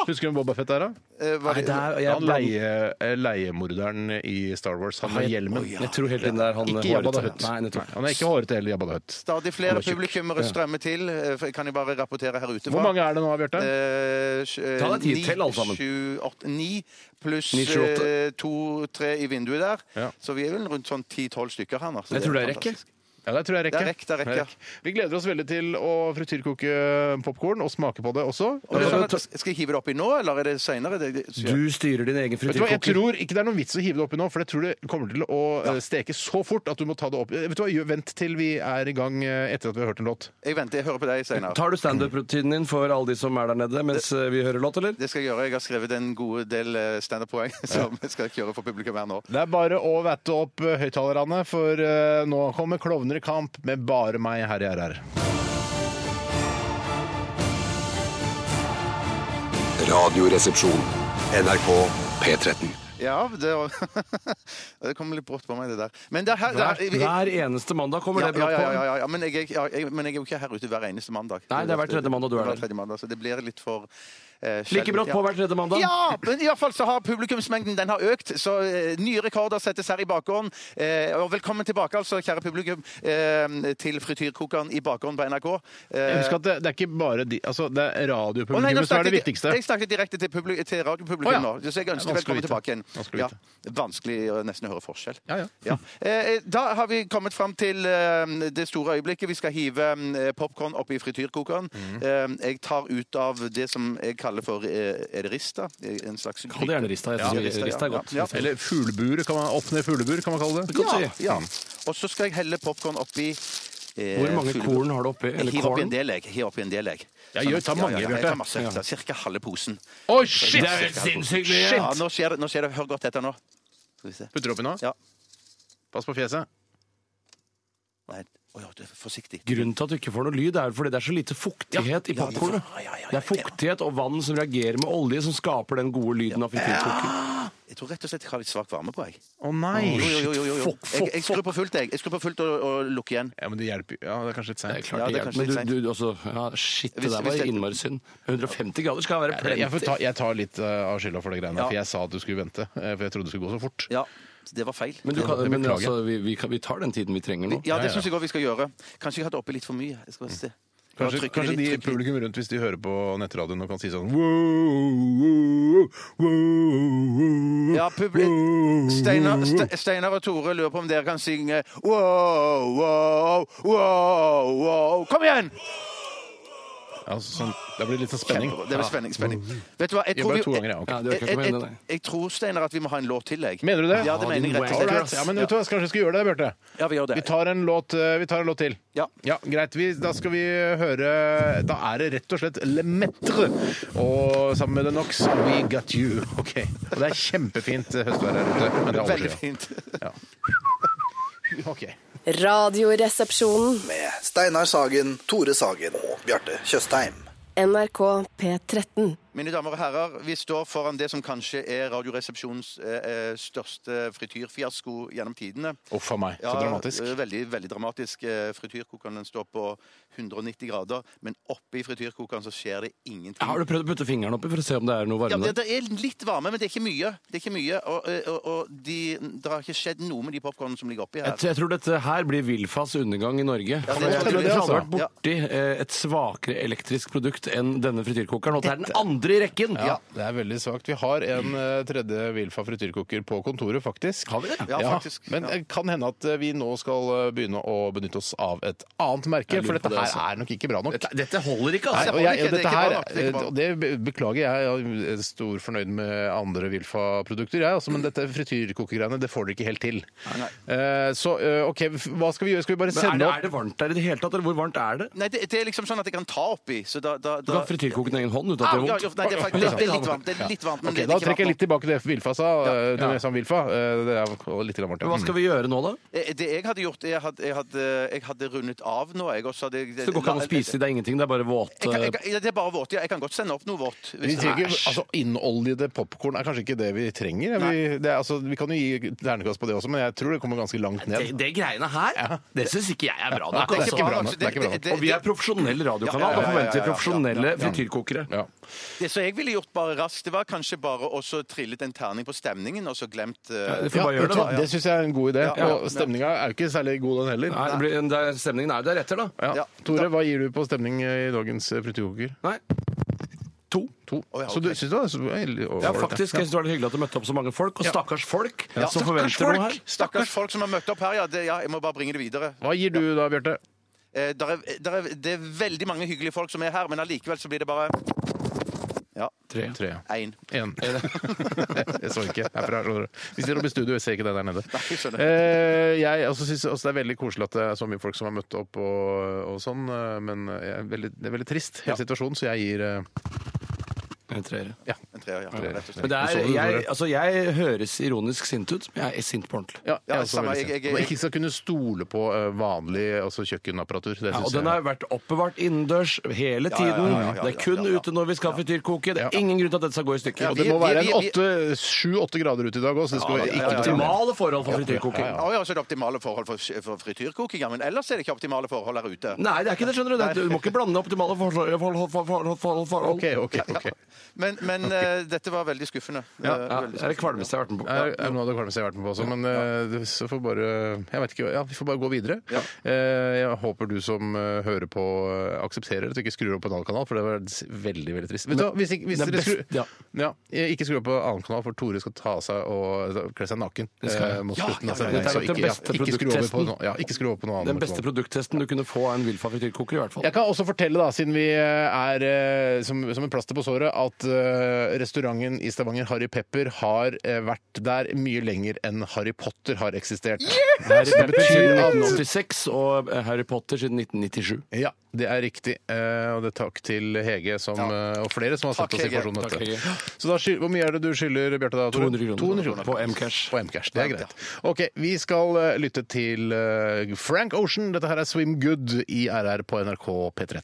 A: Husker du hvem Boba Fett er, da?
B: Eh, var
C: Nei,
B: det-
C: det er, jeg,
A: Han
C: bland-
A: leie, eh, leiemorderen i Star Wars. Han med hjelmen.
C: jeg tror helt inn der han
A: Ikke Jabba da
C: hårete.
A: Hutt.
C: Nei,
A: Nei,
C: nettopp.
A: Han er ikke hårete heller, Jabba da Hutt.
B: Stadig flere
C: tjukk.
B: publikummere strømmer til. Eh, for Jeg kan jo bare rapportere her Eh, ute.
A: Hvor mange er det nå, Bjarte?
B: Ta
C: Ta deg tid, tell alle sammen.
B: Sju, åtte, ni pluss
C: Ni, sju, åtte.
B: eh, to-tre i vinduet der.
A: Ja.
B: Så vi er vel rundt sånn ti-tolv stykker her. nå, så
C: Jeg tror det er rekke.
B: fantastisk.
A: Ja, det tror jeg rekker.
B: Det er rekk, det er rekk, ja.
A: Vi gleder oss veldig til å frityrkoke popkorn og smake på det også.
B: Og det er sånn at- Skal jeg hive det oppi nå, eller er det seinere?
C: Du styrer din egen
A: Vet du hva, Jeg
C: frityrkoker.
A: tror ikke det er noen vits å hive det oppi nå, for jeg tror det kommer til å eh, steke så fort at du må ta det opp. Eh, Vet du hva, gjør- Vent til vi er i gang eh, etter at vi har hørt en låt.
B: Jeg venter, jeg hører på deg seinere.
C: Tar du standup-rutinen din for alle de som er der nede mens eh, vi hører låt, eller?
B: Det skal jeg gjøre. Jeg har skrevet en god del eh, standup-poeng som jeg skal gjøre for publikum her nå.
A: Det er bare å vette opp eh, høyttalerne, for eh, nå kommer Klovner i kamp med bare meg her i RR.
D: Radioresepsjon. NRK P13.
B: Ja, det, det kom litt brått på meg, det der. Men det er her det er,
C: Hver, hver eneste mandag kommer
B: ja,
C: det
B: ja,
C: brått
B: ja, ja,
C: på.
B: ja, ja, men, jeg, er ikke- ja, jeg, men jeg er jo ikke her ute hver eneste mandag.
C: Nei, det er hver tredje mandag du er
B: Hver
C: der.
B: tredje mandag, så det blir litt for eh,
C: Like
B: sjeldent,
C: brått på
B: ja.
C: hver tredje mandag.
B: Ja, men i hvert fall så har publikumsmengden den har økt, så eh, nye rekorder settes her i bakgården. Eh, og velkommen tilbake, altså, kjære publikum, eh, til frityrkokeren i bakgården på NRK. Eh,
A: Husk at det, det er ikke bare de, altså det er
B: Å, nei,
A: radiopublikummet som
B: nå
A: er det
B: snakket jeg-
A: viktigste.
B: Jeg snakket direkte til, publi- til radiopublikum
A: Å, ja.
B: nå, så jeg
A: Det er
B: ønsker velkommen
A: vanskelig å
B: tilbake
A: vite.
B: igjen.
A: Vanskelig å
B: Ja,
A: vite.
B: vanskelig å nesten høre forskjell.
A: Ja, ja.
B: Eh, eh, Da har vi kommet fram til eh, det store øyeblikket. Vi skal hive eh, popkorn oppi frityrkokeren. Eh, Jeg tar ut av det som jeg kaller for eh, Er det rista? En slags
C: Kall det gjerne Rista. Jeg synes
B: Ja,
C: Rista er
B: ja,
C: godt.
B: ja.
A: Eller fuglebuer, kan man, opp ned fuglebur, kan man kalle det.
B: Ja,
C: si.
B: ja. Og så skal jeg helle popkorn oppi eh,
C: Hvor mange
B: fuglebur-
C: korn har du oppi?
B: Jeg
C: Eller
B: hiver oppi
C: korn?
B: en del, jeg. Hiver oppi en del, jeg. Sånn
A: Ja, gjør- ta mange,
B: ja, jeg
A: Bjarte.
B: tar masse. Jeg tar Cirka halve posen.
A: Oi, shit!
C: Det er helt sinnssykt mye!
B: Ja, nå skjer det. Nå skjer det. Hør godt etter nå. Skal vi se.
A: Putter oppi nå.
B: Ja.
A: Pass på fjeset.
B: Nei, Å ja, du er forsiktig.
C: Grunnen til at du ikke får noe lyd, er jo fordi det er så lite fuktighet i popkornet.
B: Ja, ja, ja, ja,
C: Det er fuktighet og vann som reagerer med olje, som skaper den gode lyden av frityrkoking.
B: Jeg tror rett og slett jeg har litt svak varme på, jeg.
E: Å nei!
B: Jo, jo, jo, jo, jo.
A: Fuck, fuck,
B: Jeg, jeg skrur på fullt, jeg. Jeg skrur på fullt og, og lukker igjen.
A: Ja, men det hjelper jo. Ja, det er kanskje litt seint.
B: Ja,
C: Klart
B: det
C: det
B: er kanskje
C: hjelper.
B: litt
C: Men du, du også Ja, shit, det
B: Hvis-
C: der
B: hvis
C: var
B: det-
C: innmari synd. 150 grader skal være
A: Jeg, får ta,
C: plenty.
A: jeg tar litt eh, av skylda for de greiene,
B: Ja.
A: for jeg sa at du skulle vente. eh, For jeg trodde det skulle gå så fort.
B: Ja, det var feil.
C: Men, du kan,
A: Det
C: men
A: beklager jeg.
C: altså, vi, vi, kan, vi tar den tiden vi trenger nå.
A: ja.
B: Ja,
A: Mm.
B: det syns jeg òg vi skal gjøre. Kanskje jeg hadde oppi litt for mye. Jeg skal bare se. Bare
A: Kanskje,
B: trykke
A: kanskje
B: litt,
A: de
B: trykke litt.
A: publikum rundt, hvis de hører på nettradioen og kan si sånn wow, wow, wow,
B: Ja,
A: Mm.
B: publi- Steinar, Ste- Steinar og Tore lurer på om dere kan synge wow, wow, wow, wow. Kom igjen!
A: Ja, sånn, det blir litt sånn spenning.
B: Kjempebra. Det blir spenning. spenning. Vet du hva, jeg
A: Jeg
B: tror,
A: bare
B: vi,
A: to ganger, ja. ok.
C: Ja, du
B: jeg,
C: orker ikke
B: jeg,
C: mer enn
B: jeg,
C: det.
B: jeg tror, Steinar, at vi må ha en låt til, jeg.
A: Mener du det?
B: Ja, det
C: Ja,
B: mener jeg
C: din
B: rett og
C: wack
B: slett.
A: Alright. Ja, men vet du hva, kanskje vi skal gjøre det, Bjarte?
B: Ja, vi gjør det.
A: Vi tar en låt, eh, vi tar en låt til.
B: Ja.
A: Greit. Vi, da skal vi høre Da er det rett og slett Le Metre. Og sammen med The Knox, We Got You. Ok. Og det er kjempefint høstvær her ute. Men det er
B: Veldig
A: overskya.
B: fint.
A: Ok.
G: Radioresepsjonen.
F: Med Steinar Sagen, Tore Sagen og Bjarte Tjøstheim.
G: NRK P13.
B: Mine damer og herrer, vi står foran det som kanskje er Radioresepsjonens eh, eh, største frityrfiasko gjennom tidene.
A: Uff a meg. Så dramatisk.
B: eh, Veldig, veldig dramatisk. Eh, Frityrkokeren den står på 190 grader, men oppi frityrkokeren så skjer det ingenting.
C: Har du prøvd å putte fingeren oppi for å se om det er noe
B: Ja,
C: varme
B: det,
C: der?
B: det er litt varme, men det er ikke mye. Det er ikke mye, Og, eh, og, og de, det har ikke skjedd noe med de popkornene som ligger oppi
C: Jeg,
B: her.
C: t- jeg tror dette her blir Vilfas undergang i Norge.
B: det
C: For
B: tror
C: det,
B: jeg
C: hadde
B: det,
C: vært
B: altså.
C: borti eh, et svakere elektrisk produkt enn denne frityrkokeren, og det er den andre i rekken!
A: Ja, det er veldig svakt. Vi har en eh, tredje Wilfa frityrkoker på kontoret, faktisk.
C: Har vi det?
B: Ja, faktisk.
A: Men
B: Ja.
A: det kan hende at eh, vi nå skal eh, begynne å benytte oss av et annet merke,
C: Jeg
A: for
C: lurer på
A: dette
C: det,
A: her
C: altså.
A: er nok ikke bra nok.
C: Dette, dette holder ikke,
A: Nei,
C: altså!
A: og
B: holder
A: jeg,
B: ikke,
A: og
B: det er
A: dette
B: ikke
A: her,
B: bra nok, det er ikke bra
A: eh, og det be- beklager jeg. Jeg er stor fornøyd med andre Wilfa-produkter, jeg, altså, men dette frityrkokegreiene det får dere ikke helt til. Eh, Så eh, OK, f- hva skal vi gjøre? Skal vi bare
C: Men er,
A: sende
C: det,
A: opp
C: er det varmt der i det hele tatt, eller hvor varmt er det?
B: Nei, det, det er liksom sånn at jeg kan ta oppi. Så da, da,
C: Du
B: da
C: kan frityrkoke den egen hånd uten
B: Ah, ja, jo, nei,
C: at det er
B: det, er
C: vondt.
B: faktisk, det er litt varmt, det er litt varmt men
A: Ok,
B: det er
A: Da
B: ikke
A: trekker jeg
B: varmt
A: litt tilbake til det Wilfa sa. eh, Det
C: Ja.
A: med Sam Wilfa. Eh, Det er litt varmt, ja.
C: Hva skal vi gjøre nå, da?
B: Eh, Det jeg hadde gjort, jeg hadde, jeg hadde, jeg hadde rundet av nå. Jeg også hadde,
C: Det går ikke an å spise, det er ingenting, det er bare våt
B: Jeg kan, jeg
C: eh,
B: kan, ja, det er bare våt. Ja, jeg kan godt sende opp noe vått.
A: Vi
B: hvis-
A: trenger,
C: Æsj.
A: altså Innoljede popkorn er kanskje ikke det vi trenger. Vi, det er, altså, vi kan jo gi ternekast på det også, men jeg tror det kommer ganske langt ned.
C: det, det greiene her, det syns ikke jeg er bra
A: Nei,
C: nok.
A: det er
C: Altså.
A: ikke bra
B: nok.
A: nok. Det er ikke bra nok.
B: Det-
C: Og vi er profesjonell radiokanal,
B: Ja, ja, ja, ja,
C: da
B: ja,
C: forventer
B: ja, ja.
C: vi profesjonelle frityrkokere.
A: Ja.
B: Det som jeg ville gjort bare raskt, det var kanskje bare å så trillet en terning på stemningen, og så glemt eh,
C: Vi får bare
A: vet
C: gjøre
A: du
C: det, da.
A: hva, det syns jeg er en god idé.
B: Ja, ja.
A: Og stemninga er jo ikke særlig god, den heller.
C: Nei, det blir, det er, stemningen er jo der etter, da.
A: Ja.
B: Ja.
A: Tore, hva gir du på stemning i dagens eh, frityrkoker?
C: Nei. To.
A: To.
B: Å, ja,
A: Så du
B: ok.
A: syns det var så- veldig
C: Ja,
A: overordnet.
C: faktisk. Jeg synes det var litt hyggelig at det møtte opp så mange folk. Og stakkars folk
B: Ja,
C: som
B: stakkars
C: forventer noe her.
B: Stakkars folk som har møtt opp her, ja, det, ja. Jeg må bare bringe det videre.
A: Hva gir du da, Bjarte?
B: Eh, der er, der er, det er veldig mange hyggelige folk som er her, men allikevel så blir det bare Ja,
C: Tre.
A: Tre.
B: én.
A: En. jeg så ikke herfra. skjønner du. Vi sitter oppe i studio, jeg ser ikke det der nede.
B: jeg skjønner.
A: Eh, jeg også synes også det er veldig koselig at det er så mye folk som har møtt opp og, og sånn, eh, men jeg er veldig, det er veldig trist, hele situasjonen, så jeg gir eh,
C: En treer.
A: ja.
B: En treer, ja. Rett og slett.
C: Men det er, jeg, altså, jeg høres ironisk sint ut, men jeg er sint på ordentlig.
A: Ja, jeg
B: Ja,
A: er også
B: samme,
A: veldig
B: jeg- jeg-
A: sint. Og ikke skal kunne stole på eh, vanlig altså kjøkkenapparatur. Det
C: Ja, og
A: synes
C: den
A: jeg.
C: har vært oppbevart innendørs hele
B: ja, ja,
C: tiden.
B: ja, ja, ja,
C: Det er
B: ja,
C: kun
B: ja.
C: ute når vi skal frityrkoke. Det
A: Ja.
C: er ingen grunn til at dette skal gå i stykker.
B: Ja,
A: Og
C: Og
A: det
B: vi-
A: må være
B: vi-
A: en åtte- sju-åtte grader ute i dag òg, så det skal
B: Ja,
A: ikke
B: ja, ja,
C: det
A: noe
B: ja, ja.
A: problem.
C: optimale forhold for frityrkoking.
B: Ja, ja, så er det optimale forhold for, for frityrkoking, ja, men ellers er det ikke optimale forhold her ute.
C: Nei, det er ikke det, skjønner du. Det er- Du må ikke blande optimale forhold forhold- forhold- forhold- forhold.
A: OK, OK. ok.
B: Men, men eh, dette var veldig skuffende. Eh,
C: Ja,
B: veldig
C: det er det kvalmeste jeg har vært med på.
A: Jeg, jeg, nå hadde Kvalmes jeg vært med på også, men eh, det- så får bare Jeg vet ikke, ja, vi får bare gå videre. Eh, jeg håper du som eh, hører på, eh, aksepterer at du ikke skrur opp på en annen kanal, for det var s- veldig veldig trist. Vet du hva, hvis, ikke- hvis
C: det er
A: dere
C: best-
A: skrur, ja.
C: ja.
A: jeg- Ikke skru opp på en annen kanal, for Tore skal ta av seg og altså, kle seg naken eh, mot slutten av sendingen.
C: Dette er
A: Så
C: nok den
A: ikke, ja, ikke
C: beste
A: skru over på
C: produkttesten.
A: noe- ja, ikke skru over på noe annet.
C: Den beste produkttesten du kunne få av en Wilfa frityrkoker, i hvert fall.
A: Jeg kan også fortelle, da, siden vi er eh, som, som en plaster på såret, at eh, restauranten i Stavanger Harry Pepper har eh, vært der mye lenger enn Harry Potter har eksistert.
C: Harry Pepper siden
A: betyr at-
C: 1986 og Harry Potter siden 1997.
A: Ja, det er riktig. Eh, og det er takk til Hege som, eh, og flere som har satt
B: Takk,
A: oss i
B: Hege.
A: situasjonen
C: Takk, Hege.
A: Så da, skyld- hvor mye er det du skylder, Bjarte? da, Tore?
C: 200 kroner.
A: 200 kroner.
C: På Mcash.
A: På Mcash, Det er greit. Ok, Vi skal eh, lytte til eh, Frank Ocean. Dette her er Swim Good i RR på NRK P13.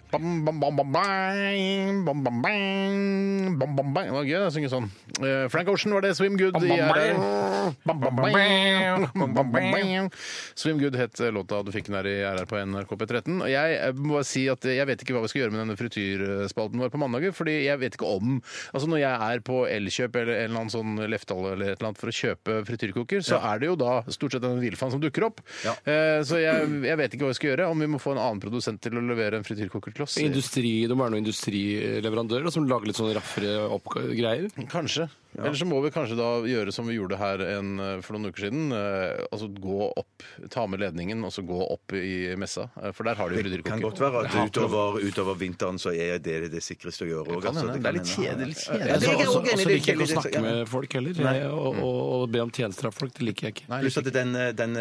A: Bam, bam, bam, bam, bang, bam, bam, bang, bam, bam, bang. Det var gøy å synge sånn. Eh, Frank Ocean var det. Swim Good i RR. Bam, bam, bang, bam, bam, bang. Swim Good het eh, låta du fikk den her i RR på NRK P13. Og jeg eh, må bare si at jeg vet ikke hva vi skal gjøre med denne frityrspalten vår på mandager, fordi jeg vet ikke om Altså når jeg er på Elkjøp eller en eller annen sånn Leftdal eller et eller annet for å kjøpe frityrkoker, så er det jo da stort sett en hvilefan som dukker opp. Eh, Så jeg, jeg vet ikke hva vi skal gjøre, om vi må få en annen produsent til å levere en frityrkoker til oss.
C: Industri, det må være noen industrileverandører da, som lager litt sånn raffere opp greier.
A: Kanskje. Eller så må vi kanskje da gjøre som vi gjorde her en, for noen uker siden. eh, altså gå opp, ta med ledningen og så gå opp i messa. eh, For der har de jo
E: Det kan
A: frityrkoker.
E: godt være at utover, utover vinteren så er det det sikreste å gjøre. også, altså. Det kan hende.
C: Jeg
E: det er
C: også- også
E: jeg også enig i, det er
C: altså, liker jeg ikke å
E: kjedelig, det-
C: snakke med folk heller. Jeg, og, og, og be om tjenester av folk, det liker jeg ikke.
A: Nei,
E: Pluss at den, eh, den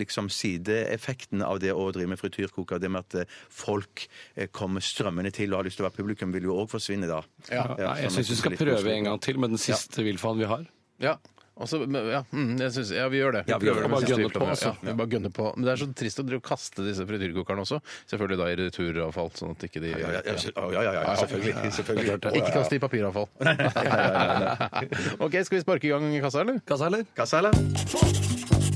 E: liksom sideeffekten av det å drive med frityrkoker, det med at eh, folk eh, kommer strømmende til og har lyst til å være publikum, vil jo òg forsvinne da.
C: Nei, jeg
E: sånn
C: syns vi
E: at
C: skal
E: det blir litt
C: prøve en gang til med den siste villfaen vi har.
A: Ja. Og så- men, ja, mm, jeg synes, ja, vi gjør det.
E: Ja, vi gjør det.
A: prøver med
C: Bare
A: siste
C: gønne
A: vi
C: på,
A: prøver.
C: altså.
A: Ja, vi bare gønner på. Men det er så trist å drive og kaste disse frityrkokerne også. Selvfølgelig da i returavfall, sånn at ikke de
E: Ja, ja, ja, ja, ja, ja, selvfølgelig. selvfølgelig.
A: Ikke kaste i papiravfall. OK, skal vi sparke i gang kassa, eller?
C: Kassa, eller?
E: Kassa, eller?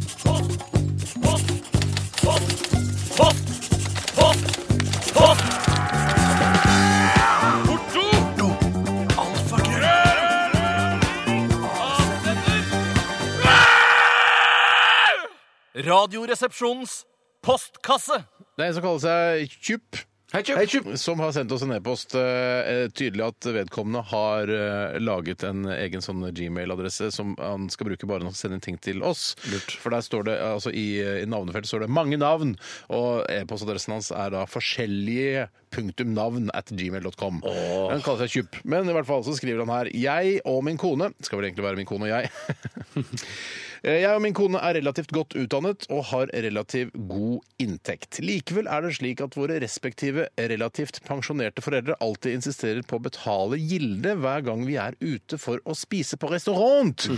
H: Radioresepsjonens postkasse.
A: Det er en som kaller seg Tjupp.
C: Hei, Tjup!
A: som har sendt oss en e-post. eh, Tydelig at vedkommende har eh, laget en egen sånn Gmail-adresse som han skal bruke bare når han sender ting til oss. For der står det, altså i, i navnefelt står det mange navn, og e-postadressen hans er da forskjellige punktum navn at gmail.com. Han kaller seg Tjupp. Men i hvert fall så skriver han her Jeg og min kone Skal vel egentlig være min kone og jeg. Eh, Jeg og min kone er relativt godt utdannet og har relativt god inntekt. Likevel er det slik at våre respektive relativt pensjonerte foreldre alltid insisterer på å betale gilde hver gang vi er ute for å spise på restaurant.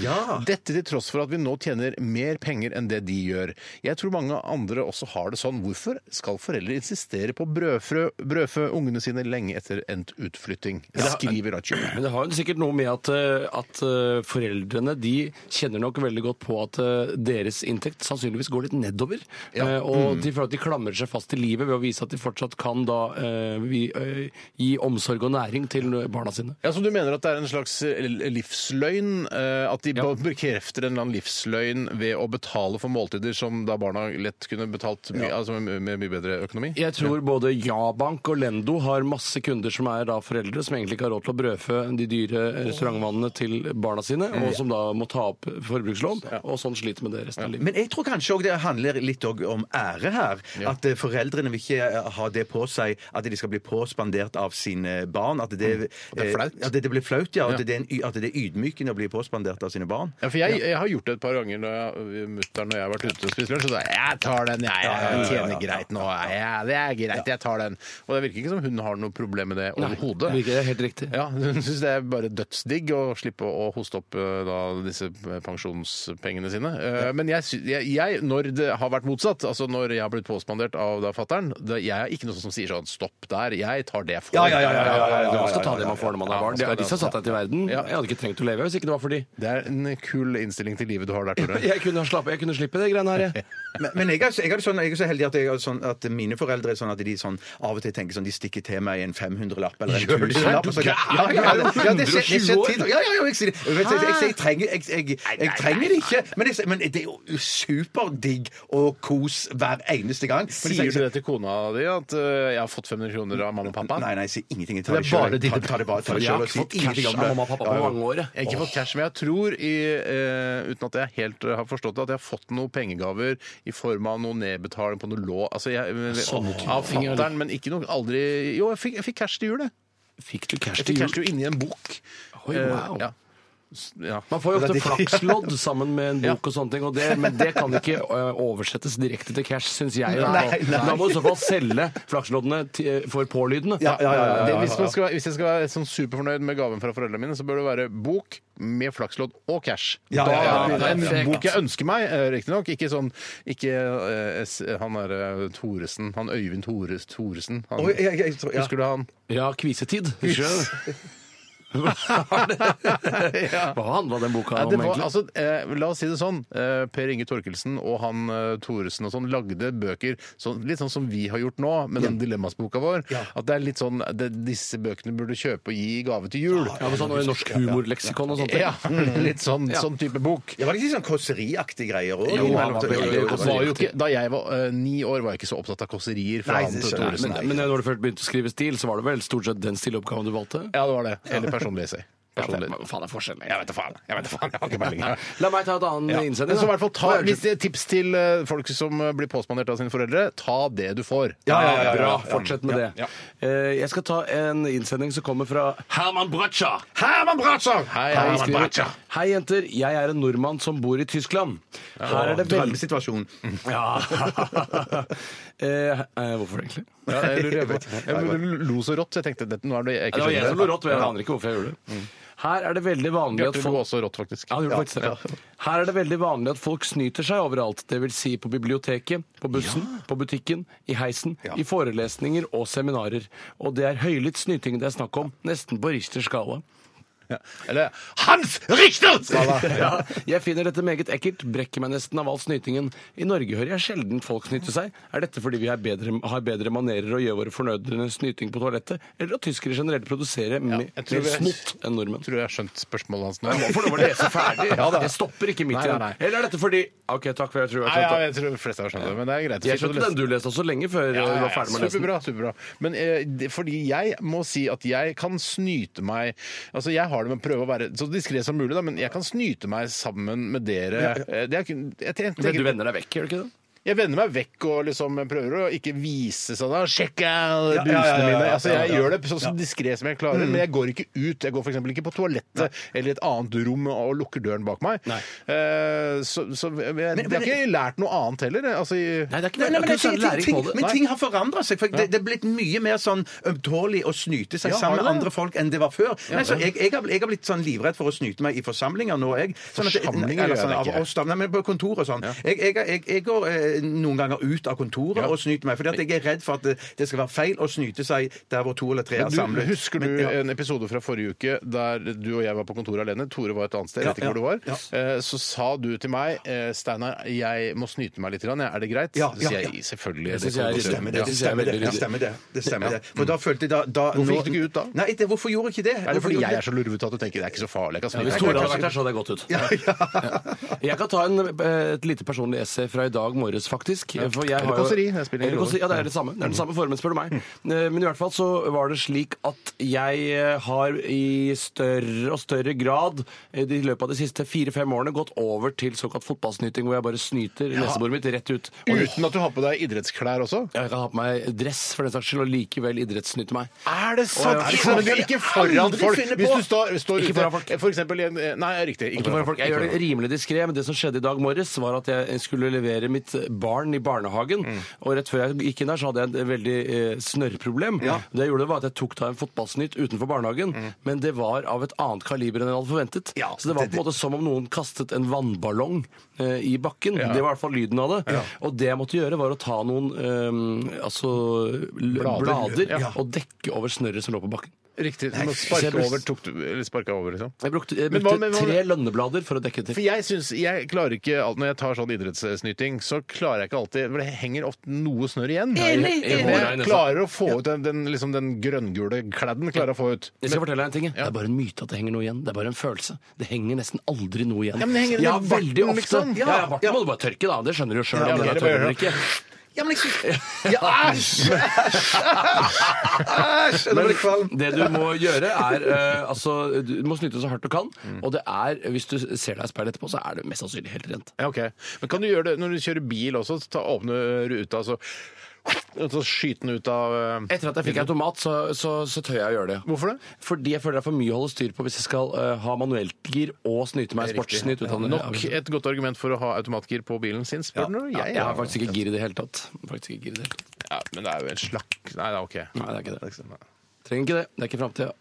A: Dette til tross for at vi nå tjener mer penger enn det de gjør. Jeg tror mange andre også har det sånn. Hvorfor skal foreldre insistere på å brødfrø, brødfø ungene sine lenge etter endt utflytting? Skriver Rachel.
C: Men det har jo sikkert noe med at, eh, at eh, foreldrene de kjenner nok veldig godt på at eh, deres inntekt sannsynligvis går litt nedover. Eh, Og de føler at de klamrer seg fast til livet ved å vise at de fortsatt kan da eh, vi, eh, gi omsorg og næring til barna sine.
A: Ja, Så du mener at det er en slags eh, livsløgn? eh, At de bare bekrefter en eller annen livsløgn ved å betale for måltider som da barna lett kunne betalt mye, altså med, med mye bedre økonomi?
C: Jeg tror både Ja-Bank og Lendo har masse kunder som er da foreldre som egentlig ikke har råd til å brødfø de dyre restaurantvannene til barna sine, og som da må ta opp forbrukslån, og sånn sliter med det resten av livet.
E: Men jeg tror kanskje også det handler litt også om ære her. At eh, foreldrene vil ikke eh, ha det på seg at de skal bli påspandert av sine barn. At det,
A: det er flaut.
E: eh, At det, det blir flaut, ja. At, Det, er en, y- at det er ydmykende å bli påspandert av sine barn.
A: Ja, for jeg, jeg har gjort det et par ganger når mutter'n og jeg har vært ute og spist lunsj. Og så sa jeg jeg tar den, jeg. Jeg tjener greit nå. Ja, det er greit, jeg tar den. Og det virker ikke som hun har noe problem med det overhodet.
C: Nei, det virker helt riktig.
A: Ja, hun syns det er bare dødsdigg å slippe å hoste opp eh, da, disse pensjonspengene sine. Eh, Men jeg, sy- jeg, jeg, når det har vært motsatt, altså når jeg har blitt påspandert av da fatter'n Jeg er ikke noe som sier sånn stopp der, jeg tar det jeg får.
E: Ja, ja, ja, ja, ja, ja, ja,
C: Man
E: ja,
C: skal ta
E: ja,
C: det man får når man
A: Ja,
C: er
A: man
C: barn. Det
A: skal
C: er de som har satt deg til verden. Jeg hadde ikke trengt å leve hvis ikke det var for de.
A: Det er en kul innstilling til livet du har der, Tore.
C: Jeg kunne, ha slappet, jeg kunne slippe det greiene her, jeg.
E: Men, men jeg, er, så- jeg, er sånn, jeg er så heldig at, jeg er sånn, at mine foreldre er sånn at de sånn, av og til tenker sånn De stikker til meg en 500-lapp eller en
A: Gjør de det?
E: 1000-lapp. og så- Ja, ja, ja, ja, ja, det skjer-
C: 120
E: det
C: år?
E: skjer tid- ja, ja, ja, jeg sier det. Jeg vet- jeg- jeg- jeg trenger- Jeg jeg- jeg trenger det ikke. Men, jeg, sier- men det er jo superdigg og kos hver eneste gang. Men jeg
A: Sier du
E: ikke-
A: det til kona di, at eh, jeg har fått 500 kroner av mamma og pappa?
E: Nei, nei, jeg sier ingenting. Jeg
A: Det
E: tar
A: er
E: det selv.
A: bare
E: Jeg tar-
A: dine-
E: tar det bare tar det
C: Jeg har
E: selv og
C: ikke
E: sier
C: fått
E: ingenting
C: cash
E: om
C: av mamma og pappa på mange år. jeg.
A: Jeg har ikke fått cash, men jeg tror, i, eh, uten at jeg helt eh, har forstått det, at jeg har fått noen pengegaver i form av noe nedbetaling på noe lån altså jeg, Av fatter'n, men ikke noe aldri Jo, jeg fikk, jeg fikk cash til jul, jeg.
C: Fikk du cash
A: Jeg fikk
C: til
A: cash til
C: jul?
A: jul inni en bok.
C: Oi,
A: Eh,
C: wow.
A: ja. ja.
C: Man får jo ofte flakslodd sammen med en bok og sånne ting, og det, men det kan ikke ø, oversettes direkte til cash, syns jeg. i hvert fall. Da må du i så fall selge flaksloddene til, for pålydene.
A: Det, hvis, man skal, være- hvis jeg skal være sånn superfornøyd med gaven fra foreldrene mine, så bør det være bok med flakslodd og cash.
E: Ja, ja, ja, ja,
A: Da-
E: ja, ja.
A: En bok jeg ønsker meg, eh, riktignok. Ikke sånn ikke, eh, s- han derre Thoresen, han Øyvind Thores, Thoresen. Han,
E: Oi, jeg- jeg tror- ja.
A: Husker du han?
C: Ja, kvisetid. Husker du det? Hva handla den boka
A: Nei,
C: om,
A: det var,
C: egentlig?
A: altså, eh, la oss si det sånn. Eh, per Inge Torkelsen og han eh, Thoresen og sånn lagde bøker sånn, litt sånn som vi har gjort nå, med den dilemmasboka vår. At det er litt sånn det, disse bøkene burde kjøpe og gi i gave til jul.
C: Ja, men sånn Norsk humorleksikon og sånt.
A: Ja, litt sånn, sånn type bok.
E: Det var ikke sånn kåseriaktige greier òg?
C: Jo, han var veldig
A: Det Var jo ikke, da jeg var eh, ni år, var jeg ikke så opptatt av kåserier fra
E: Nei,
A: han
E: det
A: til
E: skjønner jeg.
A: Thoresen.
C: Men, men når du først begynte å skrive stil, så var det vel stort sett den stiloppgaven du valgte?
A: Ja, det var det. Eller personlig essay.
C: Ja,
A: Personlig.
C: hva faen er forskjellen?
A: Jeg vet da faen. Jeg vet da faen, jeg har ikke peiling.
C: La meg ta et annet
A: Ja. Men så
C: innsender.
A: i hvert fall ta,
C: Hva er det?
A: hvis det er tips til eh, folk som eh, blir påspandert av sine foreldre, ta det du får.
C: Ja, ja,
E: ja, ja,
C: Bra.
E: ja.
C: Fortsett med det. Eh, Jeg skal ta en innsending som kommer fra Herman Bratsja.
A: Herman Bratzer! Hei,
C: Hei,
A: Herman
C: skriver-
A: Bratzer.
C: Hei, jenter. Jeg er en nordmann som bor i Tyskland. Her er det veldig
E: Drømmesituasjon.
C: Ja. Eh, eh, Hvorfor egentlig?
A: Ja, jeg lurer- jeg vet- jeg lo så rått, så jeg tenkte dette, nå er det jeg
C: Det
A: ikke
C: var jeg som lo
A: skjønner det.
C: rått, og jeg aner ikke hvorfor jeg gjorde det. Her er det veldig vanlig at
A: Bjarte lo
C: folk
A: også rått, faktisk.
C: Ja, han gjorde faktisk det. Her er det veldig vanlig at folk snyter seg overalt. Det vil si på biblioteket, på bussen, på butikken, i heisen, i forelesninger og seminarer. Og det er høylytt snyting det er snakk om, nesten på Richters skala.
A: Eller Hans Richter!
C: Ja, jeg finner dette meget ekkelt, brekker meg nesten av all snytingen. I Norge hører jeg sjelden folk snyte seg. Er dette fordi vi har bedre, har bedre manerer og gjør våre fornødne snyting på toalettet, eller at tyskere generelt produserer mer
A: jeg tror
C: mer
A: vi-
C: snott enn nordmenn?
A: Tror jeg har skjønt spørsmålet hans nå.
C: For nå var lese ferdig.
A: Ja, da.
C: jeg stopper ikke midt i
A: Nei, nei,
C: den.
A: nei.
C: Eller er dette fordi OK, takk for jeg tror jeg
A: Nei,
C: har
A: ja, jeg
C: skjønt det.
A: tror de fleste har skjønt det, men det er greit.
C: Jeg skjønte den du leste også lenge før
A: Ja,
C: du
A: ja,
C: var
A: ja,
C: ferdig med å lese den.
A: superbra, superbra. Men eh, det, fordi jeg må si at jeg kan snyte meg Altså, jeg har det med å prøve å være så diskré som mulig, da, men jeg kan snyte meg sammen med dere. Eh, Det er, kun- jeg, tenker-
C: Men du vender deg vekk, gjør du ikke det?
A: jeg vender meg vekk og liksom prøver å ikke vise sånn da, 'Sjekk eh,
E: ja,
A: busene
E: ja, ja, ja,
A: mine'. Altså, jeg
E: ja, Mm. ja.
A: gjør det så, så diskré som jeg klarer, men jeg går ikke ut. Jeg går f.eks. ikke på toalettet eller et annet rom og lukker døren bak meg. Eh, så så jeg, jeg, jeg har ikke lært noe annet heller. Altså, i-
C: Nei, det er ikke
E: Nei,
C: det. det er
E: nei, men,
C: ikke
E: ting,
C: noe særlig
E: ting,
C: læring på det.
E: men ting har forandra seg. For det, det er blitt mye mer sånn ømtålig å snyte seg
A: Ja,
E: sammen
A: har
E: med
A: det?
E: andre folk enn det var før. Nei, så jeg, jeg, har, jeg har blitt sånn livredd for å snyte meg i forsamlinger nå, jeg. Sånn at-
A: Forsamlinger
E: Nei,
A: gjør
E: eller
A: jeg
E: sånn, av
A: ikke.
E: oss da. Nei, men på kontor og sånn. Jeg, jeg, jeg, jeg går eh, noen ganger ut av kontoret og snyter meg, fordi at jeg er redd for at det, det skal være feil å snyte seg der hvor to eller tre
A: Men
E: er
A: du,
E: samlet.
A: Husker du
E: Men- ja.
A: en episode fra forrige uke der du og jeg var på kontoret alene? Tore var et annet sted, jeg
E: Ja,
A: vet ikke
E: ja,
A: hvor du var. Eh, Så sa du til meg eh, 'Steinar, jeg må snyte meg litt, grann, jeg. er det greit?'
E: Ja,
A: Så
E: ja,
A: sier
E: ja.
A: jeg selvfølgelig.
C: Jeg synes
A: kan
C: jeg er
A: godt gjøre.
C: ryddig
E: Stemmer det. det
C: synes jeg er
E: stemmer det,
C: veldig
E: det
C: ryddig.
E: stemmer det. det, stemmer det. For da følte jeg da, da
A: Mm. Hvorfor
E: nå-
A: gikk du ikke ut da?
E: Nei, det, hvorfor gjorde jeg ikke det?
A: Er det
E: Hvorfor
A: fordi
E: gjorde
A: jeg
E: jeg-
A: er så lurvete at du tenker 'det er ikke så farlig'? Jeg kan snyte
C: Hvis
A: meg.
C: Tore hadde vært her, så hadde jeg gått ut. Jeg kan ta en, eh, et lite personlig essay fra i dag morges, faktisk. For jeg
A: Eller
C: har jo-
A: kåseri, det spiller ingen
C: Eller
A: rolle.
C: kåseri,
A: Mm.
C: Ja, det er det samme. Det er den samme formen, spør du meg. Eh, Men i hvert fall så var det slik at jeg eh, har i større og større grad eh, i løpet av de siste fire-fem årene gått over til såkalt fotballsnyting, hvor jeg bare snyter nesebordet mitt rett ut. Og det-
A: Uten at du har på deg idrettsklær også?
C: Jeg kan ha på meg dress for den saks skyld, og likevel idrettsnyte meg.
A: Er det
C: sant?
A: Men du er ikke foran
E: Aldri
A: folk.
E: finne på.
A: Hvis du står, står
C: Ikke
A: ute
C: foran folk.
A: for eksempel i en Nei, riktig.
C: Ikke for folk. Jeg gjør det rimelig diskré, men det som skjedde i dag morges, var at jeg skulle levere mitt barn i barnehagen.
A: Mm.
C: Og rett før jeg gikk inn der, så hadde jeg et veldig eh, snørrproblem. Det jeg gjorde, var at jeg tok da en fotballsnytt utenfor barnehagen,
A: Mm.
C: men det var av et annet kaliber enn jeg hadde forventet. så det var på en måte som om noen kastet en vannballong eh, i bakken. Det var i hvert fall lyden av det. Og det jeg måtte gjøre, var å ta noen eh, altså, l-
A: Blader.
C: blader,
A: Ja.
C: og dekke over snørret som lå på bakken.
A: Riktig. Du må sparke
C: jeg ble-
A: over, tok du, eller sparka over, liksom.
C: Jeg brukte, jeg
A: Men hva-
C: brukte
A: men hva-
C: tre lønneblader for å dekke til.
A: For jeg synes, jeg klarer ikke alt Når jeg tar sånn idrettssnyting, så klarer jeg ikke alltid For det henger ofte noe snørr igjen.
C: Enig,
A: Men Jeg
C: enig.
A: klarer å få ut den, den, liksom den grønngule kladden. Klarer jeg å få ut.
C: Jeg skal fortelle deg en ting. jeg. Det er bare en myte at det henger noe igjen. Det er bare en følelse. Det henger nesten aldri noe igjen.
A: Ja, men det henger
C: ja,
A: ned barten,
C: veldig ofte.
A: liksom.
C: Ja, ja, barten må du bare tørke, da. Det skjønner du jo sjøl.
A: Ja,
C: om
A: men
C: jeg
A: det bare gjør
C: tørker ikke.
E: Ja, men jeg synes ja, Æsj! Æsj! Nå blir jeg kvalm.
C: Det du må gjøre, er eh, altså, Du må snyte så hardt du kan. Og det er, hvis du ser deg i speilet etterpå, så er det mest sannsynlig helt rent.
A: Ja, ok. Men kan du gjøre det når du kjører bil også? Så ta, åpne ruta, så Og så skyter den ut av eh,
C: Etter at jeg fikk automat, så, så, så tør jeg å gjøre det.
A: Hvorfor det?
C: Fordi jeg føler det er for mye å holde styr på hvis jeg skal eh, ha manueltgir og snyte meg sportsnytt. ut av det.
A: Nok et godt argument for å ha automatgir på bilen sin, spør du?
C: Ja,
A: Jeg
C: jeg har
A: ja.
C: faktisk ikke gir i det hele tatt. Faktisk ikke gir i det hele tatt.
A: ja, Men det er jo en slakk Nei, det er OK.
C: Nei, det er ikke det. Trenger ikke det. Det er ikke framtida.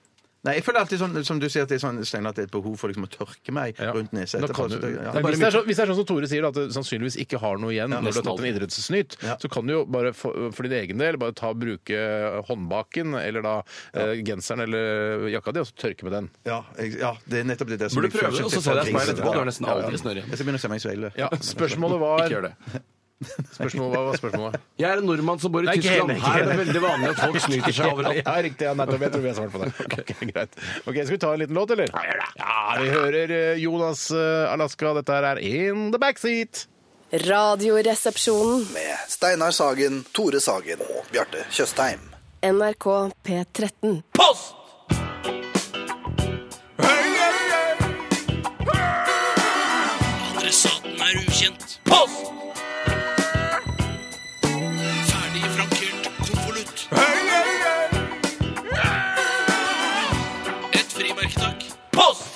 B: Nei, jeg føler alltid sånn, som du sier, at det er sånn, Steinar, at det er et behov for liksom å tørke meg
A: Ja.
B: rundt nesa
A: Da
B: etterpå.
A: kan du,
B: så det- ja.
A: Nei, hvis, det er så, hvis det er sånn som Tore sier, da, at det sannsynligvis ikke har noe igjen når du har
C: nesten
A: tatt en idrettssnytt, så kan du jo bare for, for din egen del bare ta og bruke håndbaken eller da eh, genseren eller jakka di, og så tørke med den.
B: Ja, jeg, ja, det er nettopp det der
C: Burde
B: jeg
C: prøve
B: føler
C: det, og
B: at
C: så se deg i speilet etterpå. Du har
B: Ja.
C: nesten aldri
A: sånn.
C: snørr igjen.
B: Jeg skal begynne å se meg i speilet.
A: Ja, spørsmålet var
C: Ikke gjør det.
A: Spørsmålet var, var spørsmålet.
C: Jeg er en nordmann som bor i
A: Nei, ikke
C: Tyskland.
A: enig, ikke
C: Her er det
A: enig.
C: veldig vanlig at folk snyter seg overalt.
A: Ja, riktig. Ja, nettopp. Jeg tror vi har svart på det. Ok, greit. Ok, Skal vi ta en liten låt, eller? Ja, vi hører eh, Jonas eh, Alaska. Dette her er In the Backseat.
G: Radioresepsjonen.
F: Med Steinar Sagen, Tore Sagen og Bjarte Tjøstheim.
G: NRK P13.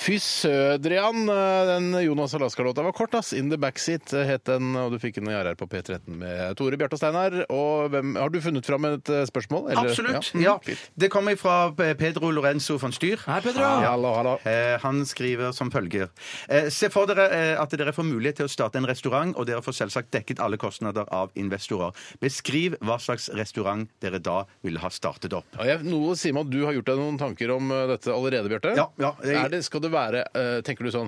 A: Fy sødrian! eh, Den Jonas Alaska-låta var kort, ass. In the Backseat eh, het den, og du fikk den i RR på P13 med Tore, Bjarte og Steinar. Og hvem, har du funnet fram et eh, spørsmål? eller?
B: Absolutt.
A: Ja.
B: Ja.
A: Mm, fint.
B: Det kommer fra eh, Pedro Lorenzo von Styr.
C: Hei, Pedro.
A: Ja, hallo, hallo.
B: Eh, Han skriver som følger. Eh, Se for dere eh, at dere får mulighet til å starte en restaurant, og dere får selvsagt dekket alle kostnader av investorer. Beskriv hva slags restaurant dere da ville ha startet opp.
A: Ja, jeg, noe sier meg at du har gjort deg noen tanker om eh, dette allerede, Bjarte.
B: Ja, ja, jeg-
A: Er det, skal det være, eh, tenker du sånn,